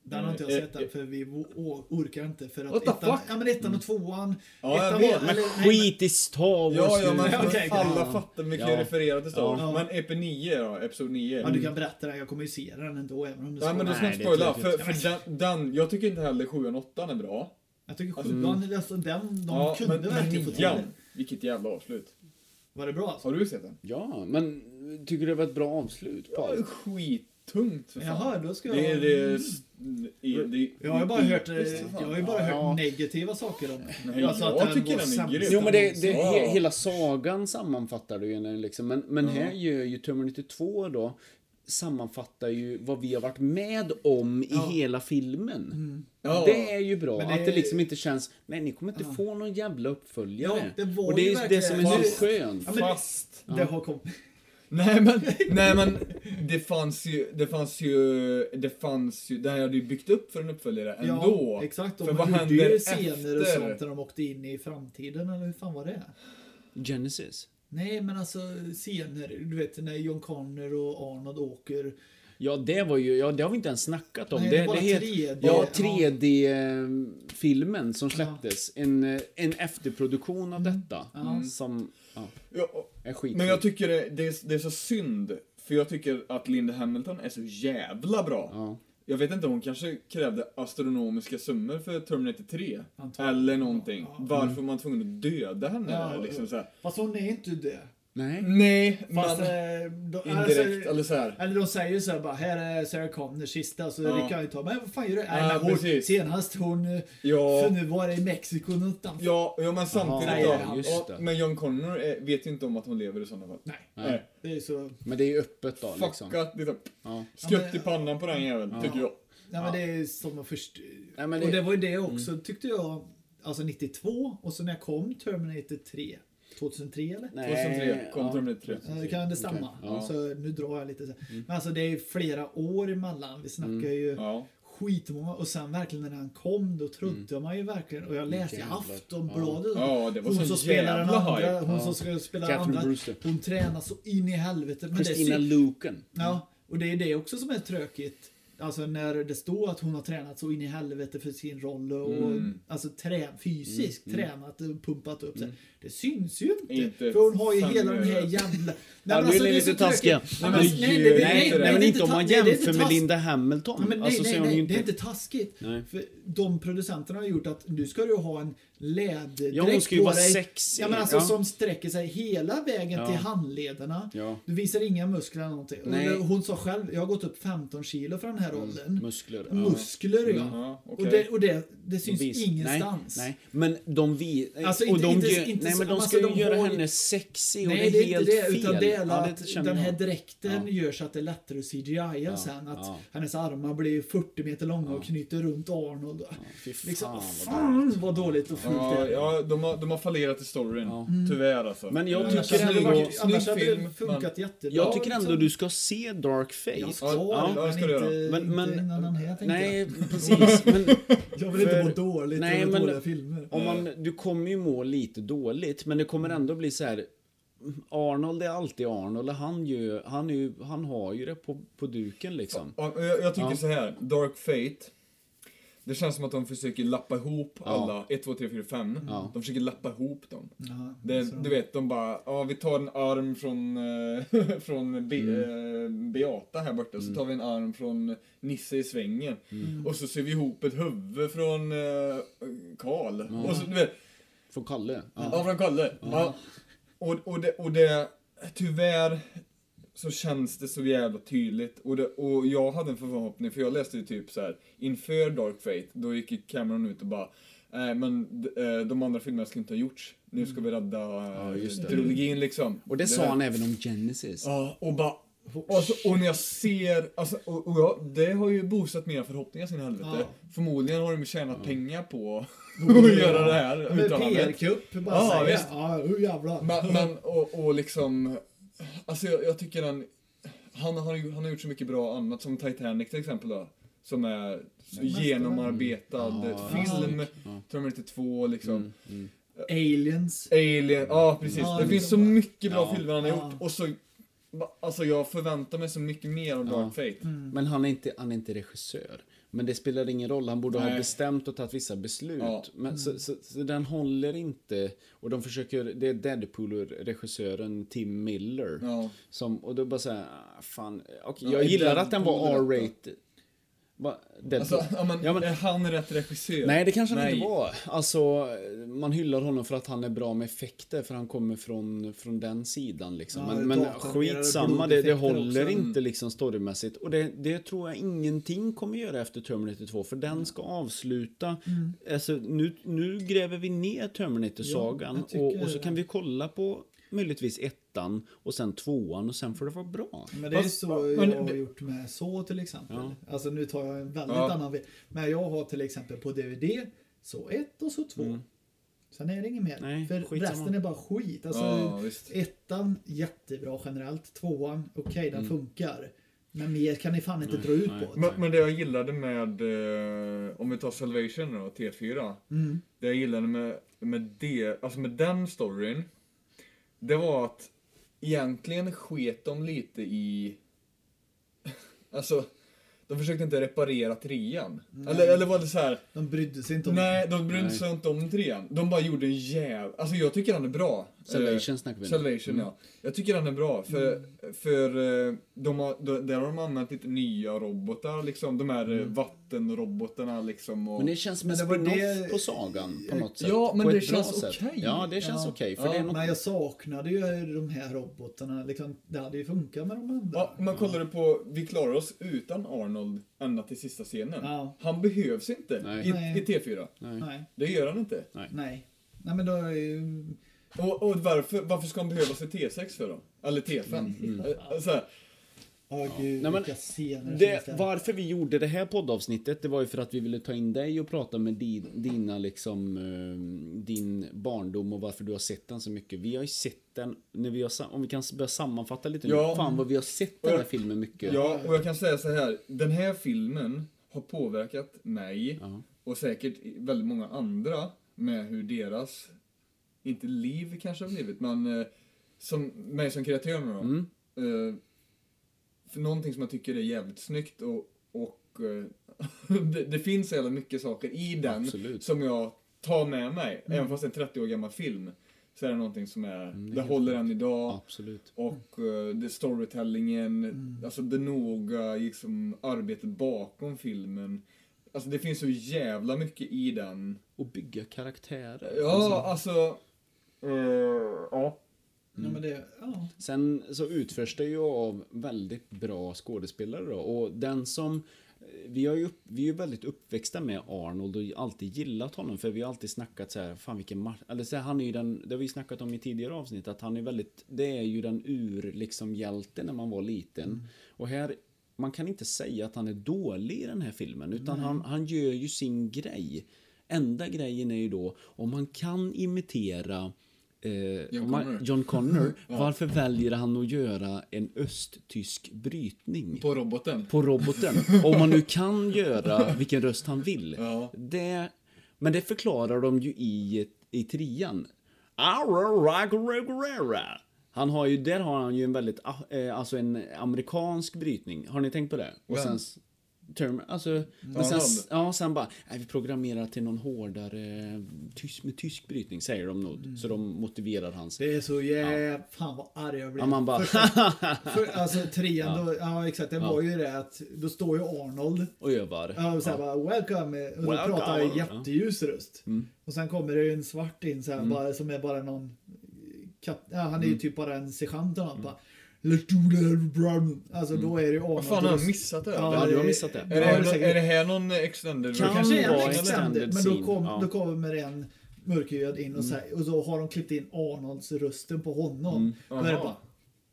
C: Den har inte jag
A: Eh,
C: sett än för vi o- o- orkar inte för att
A: What the
C: ettan,
A: fuck?
C: ja, men ettan och tvåan.
A: Ja, jag
C: ettan
A: vet,
C: var-
A: men
C: eller- nej,
B: Skit i Star
A: Ja,
B: Wars
A: ja,
B: nu.
A: men
C: okej,
A: alla
C: *laughs* ja.
A: fattar mycket
B: Ja.
A: refererar till Star Wars.
C: Ja.
A: Men EP 9 då, Episod 9.
C: Ja, du kan berätta det, jag kommer ju se den ändå även om det
A: Nej men då ska jag
B: Nej,
A: inte
B: det tror
A: spoila,
B: jag
A: för, för den, den, jag tycker inte heller 7 och 8 är bra.
C: Jag tycker sjuan, alltså den, de
A: ja,
C: kunde
A: men, men
C: verkligen få till det.
A: nian, vilket jävla avslut.
C: Var det bra alltså?
A: Har du sett den?
B: Ja, men tycker du det var ett bra avslut på
A: Ja,
B: allt?
A: skittungt för fan.
C: Jaha, då ska jag...
A: Det är... Det är, det är, det är
C: Jag har ju bara hört, eh,
A: Mm, för fan.
C: jag har ju bara hört
B: Ja.
C: negativa saker om den.
A: Nej, jag tycker
C: var
A: den är
C: sämst
A: grym.
B: Jo men det, det,
A: Ja.
B: he, hela sagan sammanfattar du ju när liksom, men, men här gör ju Terminator 2 då sammanfattar ju vad vi har varit med om i hela filmen.
A: Ja.
B: Det är ju bra
C: Mm. Men det-
B: att det liksom inte känns, nej ni kommer inte få någon jävla uppföljare.
C: Ja, det var
B: Och det
C: ju
B: är ju det som är
C: verkligen-
B: så skönt.
C: Nu- Ja, men det-
A: Fast.
C: Det har kommit.
A: Nej men, nej men det fanns ju, det fanns ju, det fanns ju, det här hade ju byggt upp för en uppföljare ändå.
C: Ja, exakt.
A: För
C: De
A: vad
C: gjorde
A: händer
C: ju scener
A: efter?
C: och sånt där de åkte in i framtiden, eller hur fan var det?
B: Genesis.
C: Nej, men alltså scener, du vet när John Connor och Arnold åker.
B: Ja det var ju, ja det har vi inte ens snackat om.
C: Nej, det
B: det,
C: var
B: det het-
C: 3D.
B: Ja,
C: Ja.
B: 3D-filmen som släpptes. En, eh, en efterproduktion
C: Mm.
B: av detta. Som, ja,
A: Ja,
B: är skit.
A: men jag tycker det, det, är, det är så synd, för jag tycker att Linda Hamilton är så jävla bra.
B: Ja.
A: Jag vet inte, hon kanske krävde astronomiska summor för Terminator 3.
C: Antagligen.
A: Eller någonting. Varför var man tvungen att döda henne?
C: Ja,
A: liksom så här.
C: Fast hon är inte det.
B: Nej.
A: Nej,
C: Fast,
A: men...
C: eh, de,
A: Indirekt, eller så här.
C: Eller de säger så här bara, här är Sarah Connor sista, så
A: Ja.
C: Rickard tar, men vad fan gör du? Nej,
A: Ja,
C: men hon,
A: precis.
C: senast hon, eh,
A: Ja.
C: för nu var det i Mexiko någonstans.
A: Ja, ja men
B: Aha,
A: samtidigt
B: ja,
A: då.
B: just
A: Ja,
B: det.
A: men John Connor eh, vet ju inte om att hon lever i sådana fall.
C: Nej,
A: Nej.
C: det är så,
B: Men det är ju öppet då liksom.
A: Fuckat liksom.
B: Ja. Eh,
A: Skutt
C: Ja, men-
A: i pannan på den jäveln, tycker jag.
C: nej men det är som man först,
B: Nej, men
C: och
B: det-
C: det var ju det också tyckte jag, alltså 92 och så när jag kom Terminator 3, 2003 eller?
B: Nej.
A: 2003 kom
B: ja.
A: Terminator 3.
C: Ja, det kan det stämma.
B: Okej, ja.
C: Alltså, nu drar jag lite så. här. Men alltså det är flera år emellan. Vi snackar ju
A: Ja.
C: skitmånga och sen verkligen när han kom då trodde man ju verkligen och jag läste i
B: Jävlar.
C: Aftonbladet.
A: Ja, det var
C: hon
A: så
C: som spelar den
A: jävla
C: andra,
A: hype.
C: hon som ska spela den
B: Catherine
C: andra.
B: Brewster.
C: Hon tränar så in i helvete. Men det är
B: Christina
C: synd.
B: Luken.
C: Ja, och det är det också som är tråkigt. Alltså när det står att hon har tränat så in i helvete för sin roll och
B: Mm.
C: alltså trä, fysiskt tränat och pumpat upp sig. Det syns ju inte.
A: Inte
C: för hon har ju hela den
A: fem
C: här
A: öre.
C: jävla... Nej, alltså,
B: Ja, nu är ni lite taskiga.
C: Nej, men,
A: Men
C: alltså, nej,
A: ju-
C: det- det-
A: nej,
C: nej,
A: inte det.
B: Nej,
C: nej,
B: men
C: det är
B: inte om
C: ta-
B: man
C: nej, det är inte
B: jämför med
C: tas-
B: Linda
C: Ja,
B: Hamilton.
C: men nej,
B: alltså, så
C: nej,
B: är hon
C: nej,
B: ju
C: det är inte
B: inte...
C: taskigt.
B: Nej.
C: För de producenterna har gjort att nu ska du ha en läderdräkt
B: Ja, hon ska ju
C: på
B: vara
C: dig.
B: sexig.
C: Ja, men alltså
B: Ja.
C: som sträcker sig hela vägen
B: Ja.
C: till handlederna.
B: Ja.
C: Du visar inga muskler eller någonting. Och
B: Nej. Mm.
C: Hon sa själv, jag har gått upp 15 kilo för den här rollen.
B: Muskler. ja.
C: Muskler, ja.
A: Ja, okej.
C: Och, det, och det, det syns
B: Vis-
C: ingenstans.
B: Nej, nej, men de vi...
C: Alltså,
B: och
C: inte-
B: de
C: inte-
B: gör,
C: inte
B: nej,
C: så-
B: men de ska
C: alltså,
B: ju
C: de
B: göra
C: har ju-
B: henne sexig och
C: Nej,
B: det
C: det
B: är
C: är
B: helt
C: inte det,
B: fel.
C: utan det är
B: Ja, det
C: att
B: känner
C: den här
B: jag.
C: dräkten
B: Ja.
C: görs att det är lättare att CGI ja, sen. Att
B: ja.
C: hennes armar blir 40 meter långa och knyter runt Arnold.
B: fy fan,
C: liksom,
B: vad
C: fan vad dåligt och fult det
A: Ja,
C: är.
A: ja de, har, de har fallerat i storyn.
C: Mm.
A: Tyvärr alltså.
B: Men jag
A: Eh,
B: tycker
A: alltså,
B: det hade
A: är
B: varit-
A: en snygg
C: Annars hade det
A: film,
C: funkat jättebra.
B: Jag tycker ändå
C: liksom.
B: du ska se Dark Face.
C: Jag ska,
A: ja,
C: men
A: det ska du
C: inte,
A: göra.
B: Men- men-
C: inte innan den här tänkte jag.
B: Nej,
C: *laughs*
B: precis. Men
C: Jag vill inte
B: för-
C: må dåligt
B: Nej,
C: över
B: men-
C: dåliga filmer.
B: om
A: Mm.
B: man, du kommer ju må lite dåligt, men det kommer ändå bli så här. Arnold är alltid Arnold och han, ju, han, är ju, han har ju det på, på duken liksom.
A: Ja, jag, jag tycker så här, Dark Fate. Det känns som att de försöker lappa ihop alla, 1, 2, 3, 4, 5. De försöker lappa ihop dem.
C: Ja,
A: Det,
C: så-
A: du vet, de bara, ja vi tar en arm från, eh, *laughs* från Be- eh, Beata här borta, så tar vi en arm från Nisse i svängen. Och så ser vi ihop ett huvud från eh, Karl. Och så, du vet,
B: Från Kalle. Ja.
A: ja från Kalle. Ja. Och, och, det, och det, tyvärr så känns det så jävla tydligt. Och, det, och jag hade en förhoppning, för jag läste ju typ så här inför Dark Fate, då gick ju Cameron ut och bara Nej men d- eh, de andra filmerna skulle inte ha gjorts. Nu ska vi rädda ja,
B: just det.
A: trilogin liksom.
B: Och det sa han även om Genesis.
A: Ja, och bara... Och, så, och när jag ser, alltså, och, och jag, det har ju boostat mina förhoppningar sin helvete.
C: Ja.
A: Förmodligen har de tjänat pengar
B: *laughs*
A: på att göra det här
C: Men
A: uttalandet.
C: PR-kupp, bara
A: Ja,
C: säga.
A: visst.
C: Ja, oh, jävlar.
A: Men, men och, och liksom... Alltså jag, jag tycker han, han, har ju- han har gjort så mycket bra annat, som Titanic till exempel då. Som är så genomarbetad
B: Ja, Mm.
A: film, Terminator 2 liksom.
C: Aliens.
A: Alien, ja precis.
C: Ja,
A: det
C: liksom
A: finns så
C: bara-
A: mycket bra
B: Ja.
A: filmer han har
C: Ja.
A: gjort. Och så, ba- alltså jag förväntar mig så mycket mer av Dark Fate.
B: Men han är, inte, han är inte regissör. Men det spelar ingen roll, han borde ha
A: Nej.
B: bestämt och tagit vissa beslut.
A: Ja.
B: Men så, så, så den håller inte. Och de försöker, det är Deadpool-regissören Tim Miller.
A: Ja.
B: Som, och då bara såhär, ah, fan. Okay,
A: Ja,
B: jag
A: är
B: gillar att den var
A: Deadpool rätt
B: R-rated. Va, Deadpool.
A: Alltså, ja, men,
B: Ja, men-
A: är han rätt regissör?
B: Nej, det kanske han
A: Nej.
B: inte var. Alltså, man hyllar honom för att han är bra med effekter, för han kommer från, från den sidan liksom.
C: Ja,
B: men men
C: datoranimerade
B: skitsamma, det, det
C: blodeffekter
B: håller
C: också.
B: inte liksom storymässigt. Och det, det tror jag ingenting kommer göra efter Terminator 2, för den ska avsluta. Alltså, nu, nu gräver vi ner Terminator-sagan
C: jag tycker
B: och, och så
C: det.
B: kan vi kolla på möjligtvis ettan och sen tvåan och sen får det vara bra.
C: Men det är ju
A: Fast-
C: så
A: men
C: jag har
A: det-
C: gjort med så till exempel. Alltså nu tar jag en väldigt
A: Ja.
C: annan väg. Men jag har till exempel på DVD så ett och så två. Sen är det inget mer.
B: Mm. Nej,
C: För
B: skitsamma.
C: resten är bara skit. Alltså,
A: Ja, visst.
C: ettan, jättebra generellt. Tvåan, okej den
B: Mm.
C: funkar. Men mer kan ni fan inte dra ut på.
A: Men, men det jag gillade med, eh, om vi tar Salvation då, T4. Det jag gillade med, med, det, alltså med den storyn, det var att egentligen sket de lite i... *laughs* Alltså, de försökte inte reparera trean. Eller, eller var det så här...
C: De brydde sig inte om
A: Nej, de brydde sig inte om trean. De bara gjorde en jäv... Alltså jag tycker han är bra.
B: Salvation
A: Eh,
B: snackar vi nu. Mm.
A: Salvation, ja. Jag tycker han är bra, för, för eh, de har, de, där har de använt lite nya robotar, liksom. De här mm. vattenrobotarna, liksom. Och,
B: Men det känns som en
C: Men det var
B: spin-off
C: det-
B: på sagan på något sätt.
A: Ja, men
B: på
A: det
B: ett bra
A: känns
B: sätt.
A: okej.
B: Ja, det känns
C: Ja.
B: okej. För
A: Ja,
B: det är något...
C: Men jag saknade ju de här robotarna. Liksom, det hade ju funkat med de andra.
A: ja, man kollar på, vi klarar oss utan Arnold ända till sista scenen.
C: Ja.
A: Han behövs inte
B: Nej.
A: i,
C: Nej.
A: i T4.
C: Nej.
A: Det gör han inte.
C: Nej. Nej men då är ju...
A: Och, och varför, varför ska han behövas i T6 för då? Eller T5?
B: Mm.
A: Eh, Så här,
C: Åh
B: Nej,
C: gud,
B: men
C: vilka scener finns
B: Det, varför vi gjorde det här poddavsnittet det var ju för att vi ville ta in dig och prata med din, dina liksom, eh, din barndom och varför du har sett den så mycket. Vi har ju sett den, när vi har, sa- om vi kan börja sammanfatta lite nu,
A: Ja.
B: fan vad vi har sett den här
A: Ja.
B: filmen mycket.
A: Ja, och jag kan säga så här. Den här filmen har påverkat mig
B: Ja.
A: och säkert väldigt många andra med hur deras, inte liv kanske har blivit, men eh, som, mig som kreatör nu då.
B: Mm.
A: Eh, för någonting som jag tycker är jävligt snyggt och, och eh, *laughs* det, det finns så jävla mycket saker i den
B: Absolut.
A: som jag tar med mig. Även fast det är en 30 år gammal film så är det någonting som är, det håller än idag.
B: Absolut.
A: Och eh, det storytellingen,
B: Mm.
A: alltså det noga liksom, arbetet bakom filmen. Alltså det finns så jävla mycket i den.
B: Och bygga karaktärer.
A: Ja, alltså... eh, ja.
C: Ja, men det, ja.
B: Sen så utförs det ju av väldigt bra skådespelare då. Och den som... eh, Vi, har ju, upp- vi är ju väldigt uppväxta med Arnold och alltid gillat honom för vi har alltid snackat så här, fan vilken match... Eller så här, han är ju den, det har vi ju snackat om i tidigare avsnitt, att han är väldigt... Det är ju den ur liksom hjälten när man var liten. Och här, man kan inte säga att han är dålig i den här filmen utan han, han gör ju sin grej. Enda grejen är ju då om man kan imitera eh,
A: John
B: om man-
A: Connor.
B: John
A: Mm-hmm.
B: Connor, varför väljer han att göra en östtysk brytning?
A: På roboten.
B: på roboten. Om man nu kan göra vilken röst han vill.
A: Ja.
B: Det, men det förklarar de ju i, i trian. Araragoragorera. Han har ju, där har han ju en väldigt, ah, eh, alltså en amerikansk brytning. Har ni tänkt på det? Och sen, s- term, alltså, men sen, s- ja, sen bara, nej, vi programmerar till någon hårdare, tysk, med tysk brytning säger de nog.
A: Mm.
B: Så de motiverar hans.
C: Det är så jävla... Fan vad arg jag blev.
B: Ja, man bara, *laughs*
C: För, alltså trean, då, ja exakt, det var ju det att då står ju Arnold
B: och övar.
C: ja, och så här bara welcome och då
B: Welcome.
C: pratar han
B: Ja. Mm.
C: jätteljus röst. Och sen kommer det ju en svart in så här, bara, som är bara någon kap, ja, han är
B: Mm.
C: ju typ bara en sergeant eller något bara Let's do that, brother." Alltså
B: Mm.
C: då är det ju Arnold.
A: Vad fan har jag missat det?
B: Ja,
A: eller?
B: du har missat det.
A: Är, det
C: ja,
A: här,
C: det är
A: någon-
C: säkert-
A: är det här någon extended
B: Kan
A: version?
C: Kanske är
B: vara
C: en
B: extended
C: extended, men då,
B: scene,
C: kom,
B: ja.
C: då kommer en mörkhyad in och, så här, och så har de klippt in Arnolds rösten på honom. Då är det
A: Mm. Aha.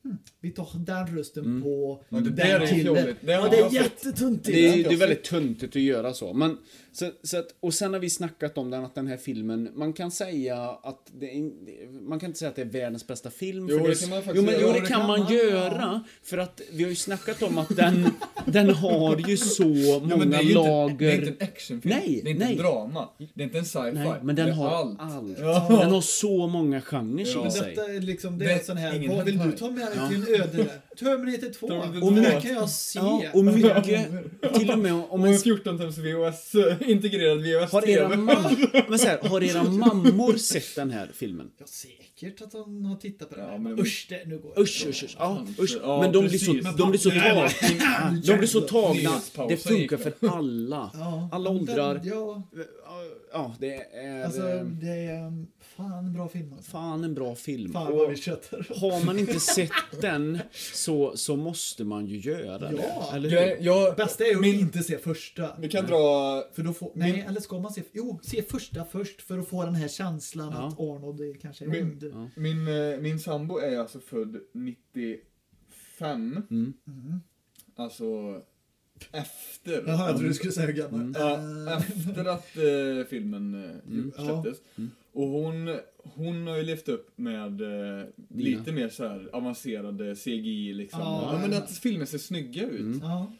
A: Mm.
C: bara vi tar den rösten på
A: Ja, det
C: den
A: där är
C: killen.
A: fjolligt. Det har
C: Ja, det är
A: jag sett.
C: jättetuntigt.
B: Det är,
A: jag
B: det är
A: sett.
B: väldigt tuntigt att göra så. Men, så, så att, och sen har vi snackat om den, att den här filmen, man kan säga att det är, man kan inte säga att det är världens bästa film.
A: Jo,
B: för
A: det
B: är-
A: kan man faktiskt
B: jo, men,
A: göra.
B: jo,
A: Ja,
B: det kan man göra. För att vi har ju snackat om att
A: *laughs*
B: den, den har ju så
A: Ja, men det
B: många
A: är ju inte, det
B: lager.
A: är inte en actionfilm.
B: Nej,
A: det är inte
B: nej.
A: en drama. Det är inte en sci-fi.
B: Nej, men den
A: det är
B: har Ah. allt.
A: allt.
B: Den har så många genrer
A: Ja.
B: i
C: Men
B: sig.
C: detta är liksom, det
A: Det
C: är
A: är
C: en sån här,
A: ingen
C: vad vill du
A: hentai.
C: ta med dig till en öde? Terminator 2.
A: Terminator 2.
C: Och det kan jag se.
B: Ja, och mycket,
A: *laughs*
B: till och med om
A: Och
B: en
A: en 14 tums VHS, eh, *laughs* integrerad
B: Har era,
A: VHS-TV.
B: mam- men så här, har era mammor sett den här filmen?
C: Ja, säkert att han har tittat på det.
A: Ja,
C: här.
A: men-
C: Usch, det, nu går jag.
B: Usch, usch, usch. Ja,
A: Fan,
B: usch.
A: ja,
B: Men de blir så,
A: precis.
B: de blir så
C: Nej,
B: tagna. De blir så tagna.
A: Nyhetspausen
B: Det funkar
A: gick
B: för
A: där.
B: alla.
C: Ja,
B: Alla
C: men
B: åldrar.
C: Den, ja,
B: Ja, det är
C: alltså
B: eh,
C: det är um, fan en bra film. Alltså.
B: fan en bra film.
C: Fan vad
B: Och
C: vi tjötar.
B: har man inte sett den så, så måste man ju göra det.
C: Ja.
B: Eller hur?
A: Jag, jag,
C: Bästa är ju att
A: Min-
C: inte se första.
A: vi kan dra...
C: För då får, nej, eller ska man se... Jo, se första först för att få den här känslan
B: Ja.
C: att Arnold är kanske är
A: Min-
C: ond.
B: Ja.
A: Min, eh, min sambo är alltså född 95.
B: Mm.
A: Alltså efter.
C: Jaha, jag trodde du skulle säga hur gammal.
A: Ja,
C: Eh,
A: efter att eh, filmen
C: Mm,
A: eh, släpptes. Och hon, hon har ju levt upp med eh, lite mer så här avancerade CGI liksom.
C: Ja. Mm.
A: Ja, men att filmer ser snygga ut.
C: ja.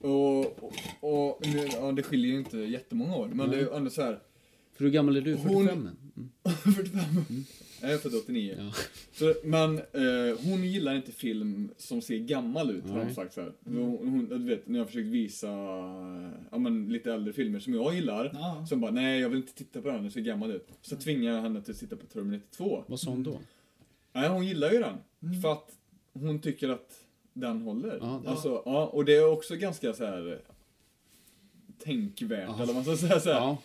A: Och, och, och nu, ja, det skiljer ju inte jättemånga år. Men det är ju ändå så här.
B: För hur gammal är du?
A: Hon-
B: 45? Mm.
A: 45. Jag är född 89.
B: Ja.
A: Så, men eh, hon gillar inte film som ser gammal ut, har hon
B: Nej.
A: sagt så här. Hon, hon, du vet, när jag har försökt visa eh, ja, men, lite äldre filmer som jag gillar,
C: Ja.
A: som bara nej, jag vill inte titta på den, den ser gammal ut. Så tvingar jag henne till att titta på Terminator 2.
B: Vad sa hon då?
A: Nej, hon gillar ju den. För att hon tycker att den håller.
B: Mm. Ja, det-
A: alltså, ja, och det är också ganska så här tänkvärt,
B: Ja.
A: eller vad man ska säga. Så här.
B: Ja.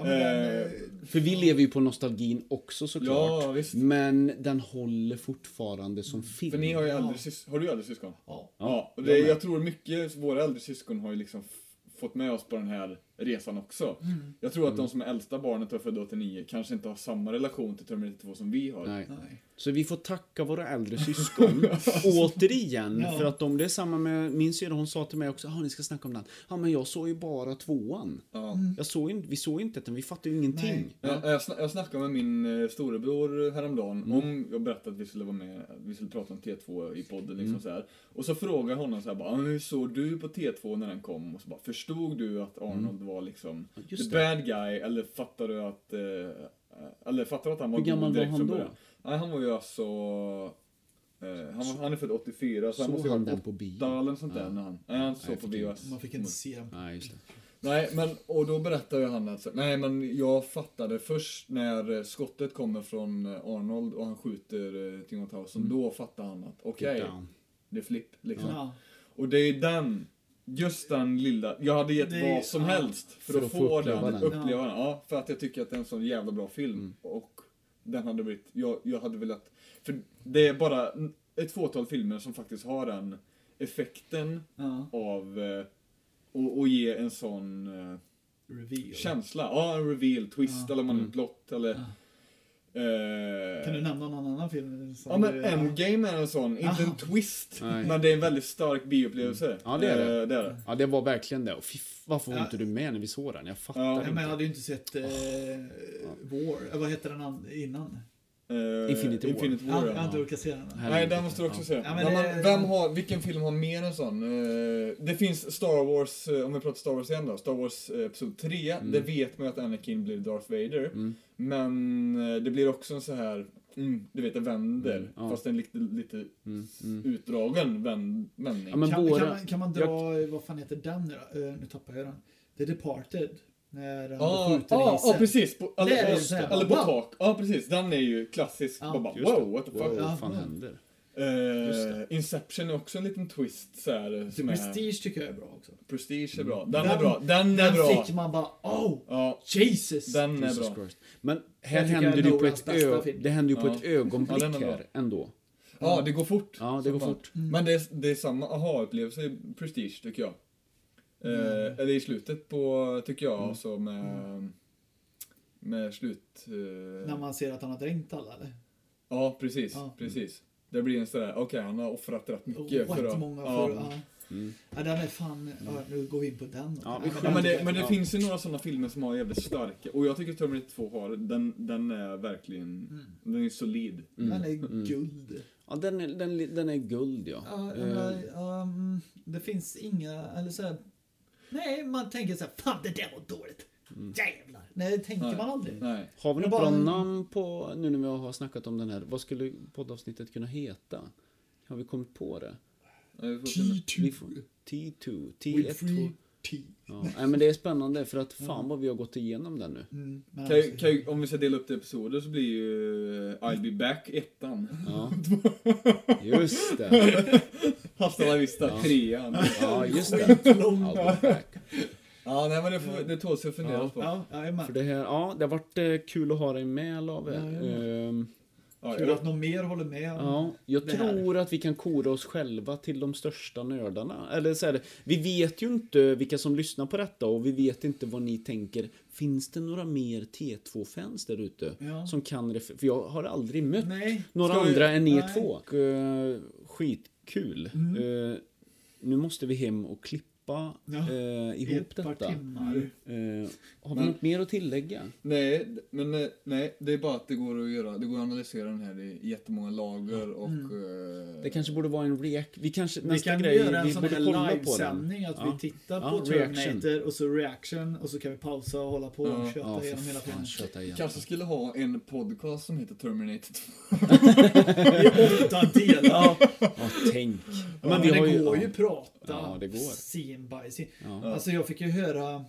C: Ja, men den,
A: Eh,
C: eh,
B: För vi lever ju på nostalgin också såklart.
A: Ja, visst.
B: Men den håller fortfarande som film.
A: För ni har ju aldrig sys- har du aldrig syskon?
C: ja.
A: Ja, och
B: jag
A: det,
B: med.
A: jag tror mycket våra äldre syskon har ju liksom f- fått med oss på den här resan också. Jag tror att
B: Mm.
A: de som är äldsta barnet och är födda 89 kanske inte har samma relation till Terminator 2 som vi har.
B: Nej.
C: Nej.
B: Så vi får tacka våra
A: *laughs*
B: äldre syskon återigen
C: Ja.
B: för att de, det är samma med min syrra hon sa till mig också, ah, ni ska snacka om den. Ja men jag såg ju bara tvåan.
A: Ja.
B: Jag såg, ju- vi såg ju inte den, vi fattade ju ingenting.
C: Nej.
A: Jag, jag, sna- jag snackade med min eh, storebror häromdagen
B: Mm.
A: om, jag berättade att vi skulle vara med, att vi skulle prata om T2 i podden liksom
B: Mm.
A: så här. Och så frågade jag honom så här bara, "Ah, hur såg du på T2 när den kom? Och så bara, förstod du att Arnold var liksom
B: Mm. just
A: the bad guy eller fattade du att, eh, eller fattade du att han var
B: Hur gammal
A: god direkt
B: var han
A: från
B: då?
A: början?" Nej, han var ju alltså, eh, han, var- han är född 84 så, han
B: Såg
A: måste ju
B: han
A: ha varit
B: den på
A: åtta
B: bio?
A: eller något sånt där när han, nej han såg på
B: för tidigt.
A: VHS.
C: Man fick inte se den.
B: Nej, just det.
A: Nej, men och då berättar ju han alltså, nej men jag fattade först när eh, skottet kommer från eh, Arnold och han skjuter eh, Timothy Housen, då fattar han att okej,
B: Down.
A: det är flipp liksom.
C: Ja.
A: Och det är den, just den lilla, jag hade gett
C: Det är-
A: vad som
C: ja.
A: helst för,
B: För
A: att,
B: att få
A: få
B: uppleva
A: den,
B: den.
A: uppleva den. Ja, för att jag tycker att det är en sån jävla bra film. Och den hade blivit, jag, jag hade velat, för det är bara ett fåtal filmer som faktiskt har den effekten
C: Ja.
A: av eh, och, och ge en sån eh,
C: Reveal.
A: känsla. Ja, en reveal, twist eller man mm. plott eller... eh,
C: Kan du nämna någon annan film? Som
A: Ja men
C: du,
A: Endgame är en sån, inte
C: Aha.
A: en twist,
B: Nej. Mm.
A: men det är en väldigt stark bioupplevelse.
B: Ja, det är det.
A: Eh, det, är det.
B: Ja, det var verkligen det. Och fy, varför var
C: Ja.
B: inte du med när vi såg den? Jag fattar
A: Ja,
C: Nej, men
B: inte.
C: jag hade ju inte sett eh, War. Eh, Vad hette den an- innan?
A: Eh,
B: Infinity War.
A: Infinity
C: Ja,
A: War
C: jag har
A: ja.
C: inte orkat se den. än.
A: Nej, den måste du också se.
C: Ja, men
A: men
C: det-
A: man, vem har, vilken film har mer en sån? Eh, det finns Star Wars, eh, om vi pratar Star Wars igen då, Star Wars eh, Episod 3,
B: Mm.
A: det vet man ju att Anakin blir Darth Vader. Men eh, det blir också en så här, mm, du vet, det vänder.
B: Mm, ja. Mm,
A: Fast en lite, lite utdragen vänd, vändning.
B: Ja, men
C: kan,
B: våra...
C: kan, man, kan man dra, vad fan heter den nu då? Eh, nu tappar jag den. The Departed. När han
A: Ja,
C: skjuter
A: ja,
C: isen.
A: ja, Ah, precis. På, eller,
C: ah, Det är ju så här,
A: eller på
C: wow.
A: tak. Ja, precis. Den är ju klassisk.
C: Ja,
A: Man bara,
B: Just det.
A: wow, what the fuck.
B: Wow,
C: Ja.
B: vad fan händer?
A: Eh, Inception är också en liten twist så här, eh,
C: The
A: som är...
C: Prestige tycker jag är bra också.
A: Prestige är bra.
B: Mm.
A: Den, är bra. Den är
C: den
A: bra.
C: fick man bara, oh,
A: Ja,
C: Jesus!
A: den är
B: Jesus
A: bra.
B: Christ. Men här
C: tycker
B: händer
C: jag
B: det,
C: är
B: ju på
C: Nolans
B: ett
C: bästa
B: ö...
C: film.
B: det händer ju på
A: Ja.
B: ett ögonblick
A: Ja, den är bra.
B: här ändå.
A: Ja, det går fort.
B: Ja, det
A: som
B: går
A: fan.
B: fort.
A: Men det är, det är samma aha-upplevelse i Prestige, tycker jag. Eh,
C: Mm.
A: Eller i slutet på, tycker jag, alltså med... Med slut... eh,
C: När man ser att han har dränkt alla eller?
A: Ja, precis.
C: Ja.
A: precis. Det blir en sådär, okej han har offrat rätt mycket. för
C: Rätt
A: att,
C: Oh, många
A: ja. Mm.
C: för... Ja. Ja, den är fan... Ja, nu går vi in på den.
B: Ja, vi
C: men
A: Ja,
C: den
A: men det,
C: tycker
A: men det
C: jag-
A: finns ju några sådana filmer som har jävligt starka, och jag tycker Terminator 2 har, den, den är verkligen,
C: Mm.
A: den är solid.
C: Den
A: Mm.
C: är guld.
B: Ja, den, är, den, den är guld ja.
C: Ja,
B: Eh,
C: men, ehm, det finns inga, eller så här, Nej, man tänker så här, fan det där var dåligt. Jävlar. Nej, det tänker
A: Mm. Nej.
C: man aldrig.
A: Nej.
B: Har vi
C: Jag
B: något
C: bara-
B: bra namn på, nu när vi har snackat om den här, vad skulle poddavsnittet kunna heta? Har vi kommit på det?
A: Ja, vi får se.
B: Vi
C: T2.
B: får, T2,
C: With
B: T1.
C: free
B: två-
C: T.
B: Ja, nej, men det är spännande för att fan vad vi har gått igenom den nu.
C: Mm, men
A: Kan ju-
C: alltså,
A: kan ju- Om vi ska dela upp det i episoder så blir ju eh, I'll be back
C: *laughs*
A: ettan.
B: Ja. Just det.
A: Hasta la vista trean.
B: Ja, just det.
C: lång-
B: I'll be back.
A: Ja, nej men det, får, det tåls att fundera
B: Ja.
A: på.
C: Ja, jajamän.
B: För det här, ja, det har varit eh, kul att ha dig med Lave.
C: Ja, ja.
B: Ehm,
A: Ja,
C: Kul
A: jag,
C: att någon mer håller med. om-
B: Ja, jag
C: Det här.
B: tror att vi kan kora oss själva till de största nördarna. Eller så här, vi vet ju inte vilka som lyssnar på detta och vi vet inte vad ni tänker. Finns det några mer T2-fans där ute?
C: Ja.
B: Som kan refer- För jag har aldrig mött
C: Nej.
B: några
A: Ska vi-
B: andra än er
C: Nej. Mm.
B: två. Och, eh, skitkul. Eh, nu måste vi hem och klippa
C: Ja.
B: eh,
C: I
B: ihop
C: ett par
B: detta.
C: timmar.
B: Eh, har vi
A: Men-
B: något mer att tillägga?
A: nej, d- men eh, nej, det är bara att det går att göra, det går att analysera den här i jättemånga lager och... eh,
B: Mm. Det kanske borde vara en react. Vi kanske,
C: Vi
B: nästa
C: kan
B: grej,
C: göra en
B: vi
C: sån
B: borde
C: här
B: kolla på den.
C: livesändning att
B: Ja.
C: vi tittar
B: Ja,
C: på
B: reaction.
C: Terminator och så reaction och så kan vi pausa och hålla på och
A: Ja.
C: köta
B: Ja, för
C: igenom hela
B: fan,
C: filmen.
B: köta igen.
A: Kanske skulle ha en podcast som heter Terminator 2.
C: I åtta
B: *laughs*
C: delar.
B: Ja,
C: *laughs*
B: tänk.
C: Men
B: vi
C: det
B: har
C: går
B: ja.
C: ju prata.
B: Ja, det går.
C: Scene by scene.
B: Ja.
C: Alltså jag fick ju höra...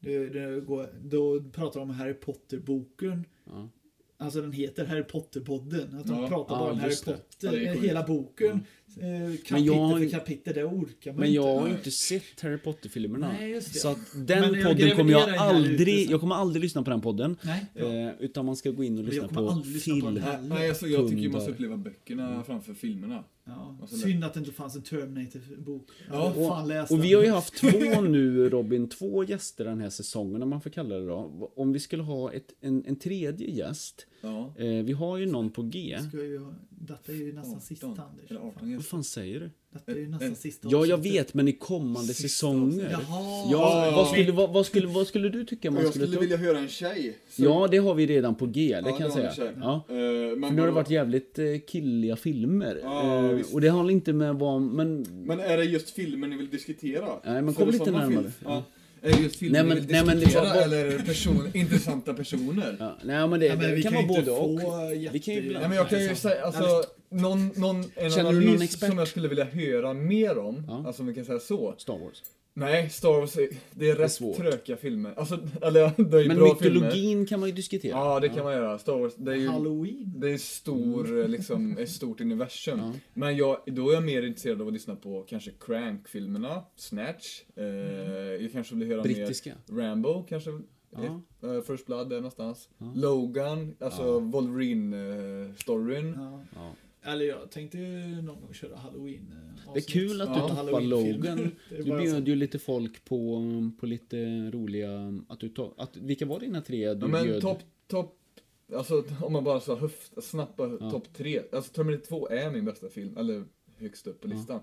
C: Du, du, går- då pratar de om Harry Potter-boken.
B: Ja.
C: Alltså den heter Harry Potter-podden. Att de
A: Ja.
C: pratar bara
B: Ja,
C: om Harry
B: just det.
A: Ja,
C: Potter,
A: det är sjukt.
C: hela boken. Eh, kapitel
B: jag har ju-
C: för kapitel, det orkar man
B: Men
C: inte.
B: jag har ju
A: Nej.
B: inte sett Harry Potter-filmerna.
C: Nej, just det.
B: Så att
C: Men
B: den
C: jag
B: podden kommer jag
C: graviderar här ute
B: aldrig...
C: sen.
B: Jag kommer aldrig lyssna på den podden.
C: Nej.
B: Eh, utan man ska gå in och lyssna
C: kommer
B: på
C: aldrig lyssna på den
B: film.
C: här.
A: *laughs* Nej, alltså, jag tycker ju man ska
B: Hundar. Mm.
A: uppleva böckerna framför filmerna.
C: Ja.
A: Och så
C: Synd att det inte fanns en Terminator-bok. Ja,
A: Ja,
C: ja, fan läs
B: Och
C: den.
B: vi har ju
C: *laughs*
B: haft två nu Robin, två gäster den här säsongen om man får kalla det då. Om vi skulle ha ett, en, en tredje gäst.
A: Ja.
B: Eh, vi har ju någon på G.
C: Ska jag ju... Detta är ju nästan
B: Alltså,
A: 18,
C: sista, Anders.
A: Eller 18
B: Vad
A: gäster.
B: fan säger du?
C: Detta är ju
A: Eh,
C: nästan sista
B: Ja, jag
C: avsnittet.
B: vet, men i kommande
A: Sista
B: säsonger.
A: avsnittet.
C: Jaha.
B: Ja,
A: Ja.
B: vad skulle, vad, vad, skulle, vad skulle du tycka man
A: Jag
B: skulle,
A: skulle
B: ta upp?
A: vilja höra en tjej. Så-
B: Ja, det har vi redan på G, det
A: Ja,
B: kan jag
A: det har vi
B: säga.
A: säkert.
B: Ja.
A: Eh, men
B: För nu har det
A: vadå?
B: varit jävligt eh, killiga filmer.
A: Ja,
B: Eh,
A: visst.
B: och det handlar inte med vad... Men...
A: Men är det just filmer ni vill diskutera?
B: Nej, men
A: För
B: kom
A: det är
B: lite
A: sådana
B: närmare. Mm.
A: film- Ja. Är det just filmer
B: Nej, men-
A: ni vill
B: nej, men liksom- det-
A: diskutera
B: vad- vad-
A: eller är det person, *laughs* intressanta personer?
B: Ja, nej, men det,
C: Ja, men
B: det
C: vi
B: kan
C: kan
B: vara
C: ju inte
B: både
C: få
B: och.
C: jätte-
B: Vi kan ju
C: Nej,
A: Nej, men
B: blanda.
A: jag kan ju
C: liksom
A: säga, alltså, någon, någon, en
B: Känner du
A: analys
B: någon expert?
A: som jag skulle vilja höra mer om,
B: Ja.
A: alltså om vi kan säga så.
B: Star Wars.
A: Nej, Star Wars, är- det är rätt
B: svårt.
A: trökiga filmer. Alltså, eller *laughs* det är ju
B: Men
A: bra filmer.
B: mytologin kan man ju diskutera.
A: Ja, det kan man göra. Star Wars, det är ju...
C: Halloween.
A: Det är stor,
B: Mm.
A: liksom, ett stort universum. Men jag, då är jag mer intresserad av att lyssna på kanske Crank-filmerna, Snatch. Eh, Jag kanske vill höra
B: Brittiska.
A: mer Rambo, kanske.
B: Ja.
A: Eh, First Blood där någonstans. Logan, alltså eh, Wolverine-storyn.
C: Ja.
B: Ja.
C: Eller jag tänkte ju någon gång köra halloween eh,
B: Det är
C: avsnitt.
B: kul att du
A: Ja,
B: toppar
C: Halloween-film.
B: Logan.
C: *laughs* Det är
B: Du
C: bara
B: bjöd ju lite folk på, på lite roliga... Att du to- att, vilka var dina tre du
A: Ja, men
B: bjöd?
A: topp, topp, alltså om man bara så höft, snabba topp tre. Alltså Terminator 2 är min bästa film, eller högst upp på listan.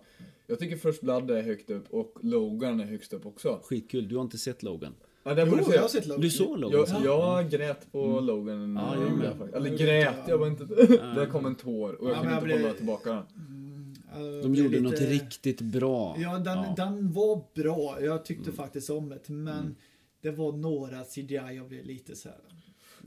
A: Jag tycker First Blood är högt upp och Logan är högst upp också.
B: Skitkul, du har inte sett Logan.
A: Ja, den
C: Jo,
A: borde se.
C: jag har sett Logan.
B: Du såg Logan?
A: Jag,
B: så?
A: jag grät på Logan.
B: Ja, jag
A: jag
B: med.
A: faktiskt. Eller
C: Jag
A: grät,
C: vet,
A: jag var inte... Där kom en tår och jag
C: Ja,
A: kunde inte
C: men jag blev-
A: hålla tillbaka den.
C: Mm, Ja, det
B: De
C: blir
B: gjorde
C: lite-
B: något riktigt bra.
C: Ja, den, den var bra. Jag tyckte faktiskt om det, men det var några CGI jag blev lite så här.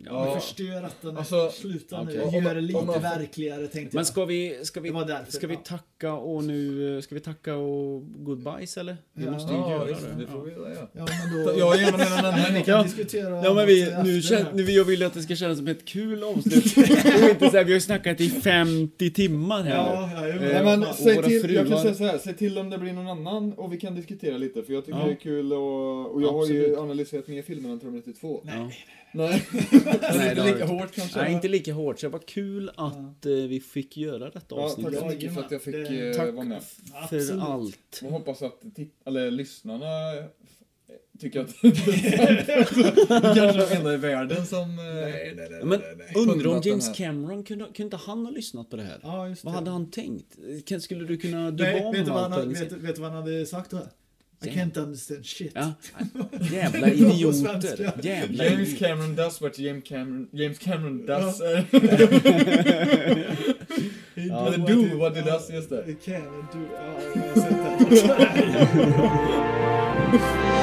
A: Ja.
C: Men förstör att den
A: Alltså,
C: sluta nu.
B: okej.
C: Gör det
A: Om- om-
C: lite
A: om-
C: verkligare tänkte
B: Men ska vi, ska vi,
C: Det var därför,
B: ska vi
C: ja.
B: tacka och nu, eh, ska vi tacka och goodbyes eller? Vi
C: Ja.
B: måste ju
A: Ja,
B: göra
A: visst,
B: det.
A: det får vi göra.
C: jag. Ja, men då...
A: Jag har gärna redan den här.
C: vi kan diskutera...
B: Ja men vi,
C: efter det
B: nu
C: här.
B: kän, nu, jag vill att det ska kännas som ett kul avsnitt. och inte så här, vi har ju snackat i 50 timmar här
C: Ja, ja, jag
B: Eh,
A: Nej,
C: menar-
A: men,
B: och
A: säg
B: våra
A: till, jag
B: fruar.
A: kan säga så här, säg till om det blir någon annan och vi kan diskutera lite för jag tycker
B: Ja.
A: det är kul och, och jag har
B: Absolut.
A: ju analyserat mer filmer än Terminator 2.
B: Nej, ja.
A: Nej,
B: *laughs*
C: Alltså,
B: Nej,
A: inte
B: det har
A: lika
B: du
A: hårt kanske.
B: Nej, inte lika hårt. Så det var kul att eh, vi fick göra detta
A: ja, tack
B: avsnittet.
A: så mycket för att jag fick eh,
B: Tack
A: vara med.
B: för
C: Absolut.
B: allt.
A: Och hoppas att titt- eller, lyssnarna tycker att
B: *laughs*
A: det kanske är den enda i världen som... eh,
B: Men undrar om
A: Undrat den
B: James
A: här.
B: Cameron kunde, kunde inte han ha lyssnat på det här?
C: Ja, just det.
B: vad hade han tänkt? Kan- Skulle du kunna... Du
C: Nej,
B: var
C: vet,
B: med
C: du vad han,
B: allt
C: hade-
B: eller
C: vet,
B: så?
C: vet du vad han hade sagt då? I
B: Damn.
C: can't understand shit.
B: Ja. Jävla
C: *laughs* Det var på
B: idioter.
C: svenska.
B: Jävla
A: James
B: idioter.
A: Cameron does what James Cameron, James Cameron does. *laughs*
B: *laughs*
A: eh, Eller
C: typ-
A: do what he does, just det.
C: I can't do... Ja, jag har sett det.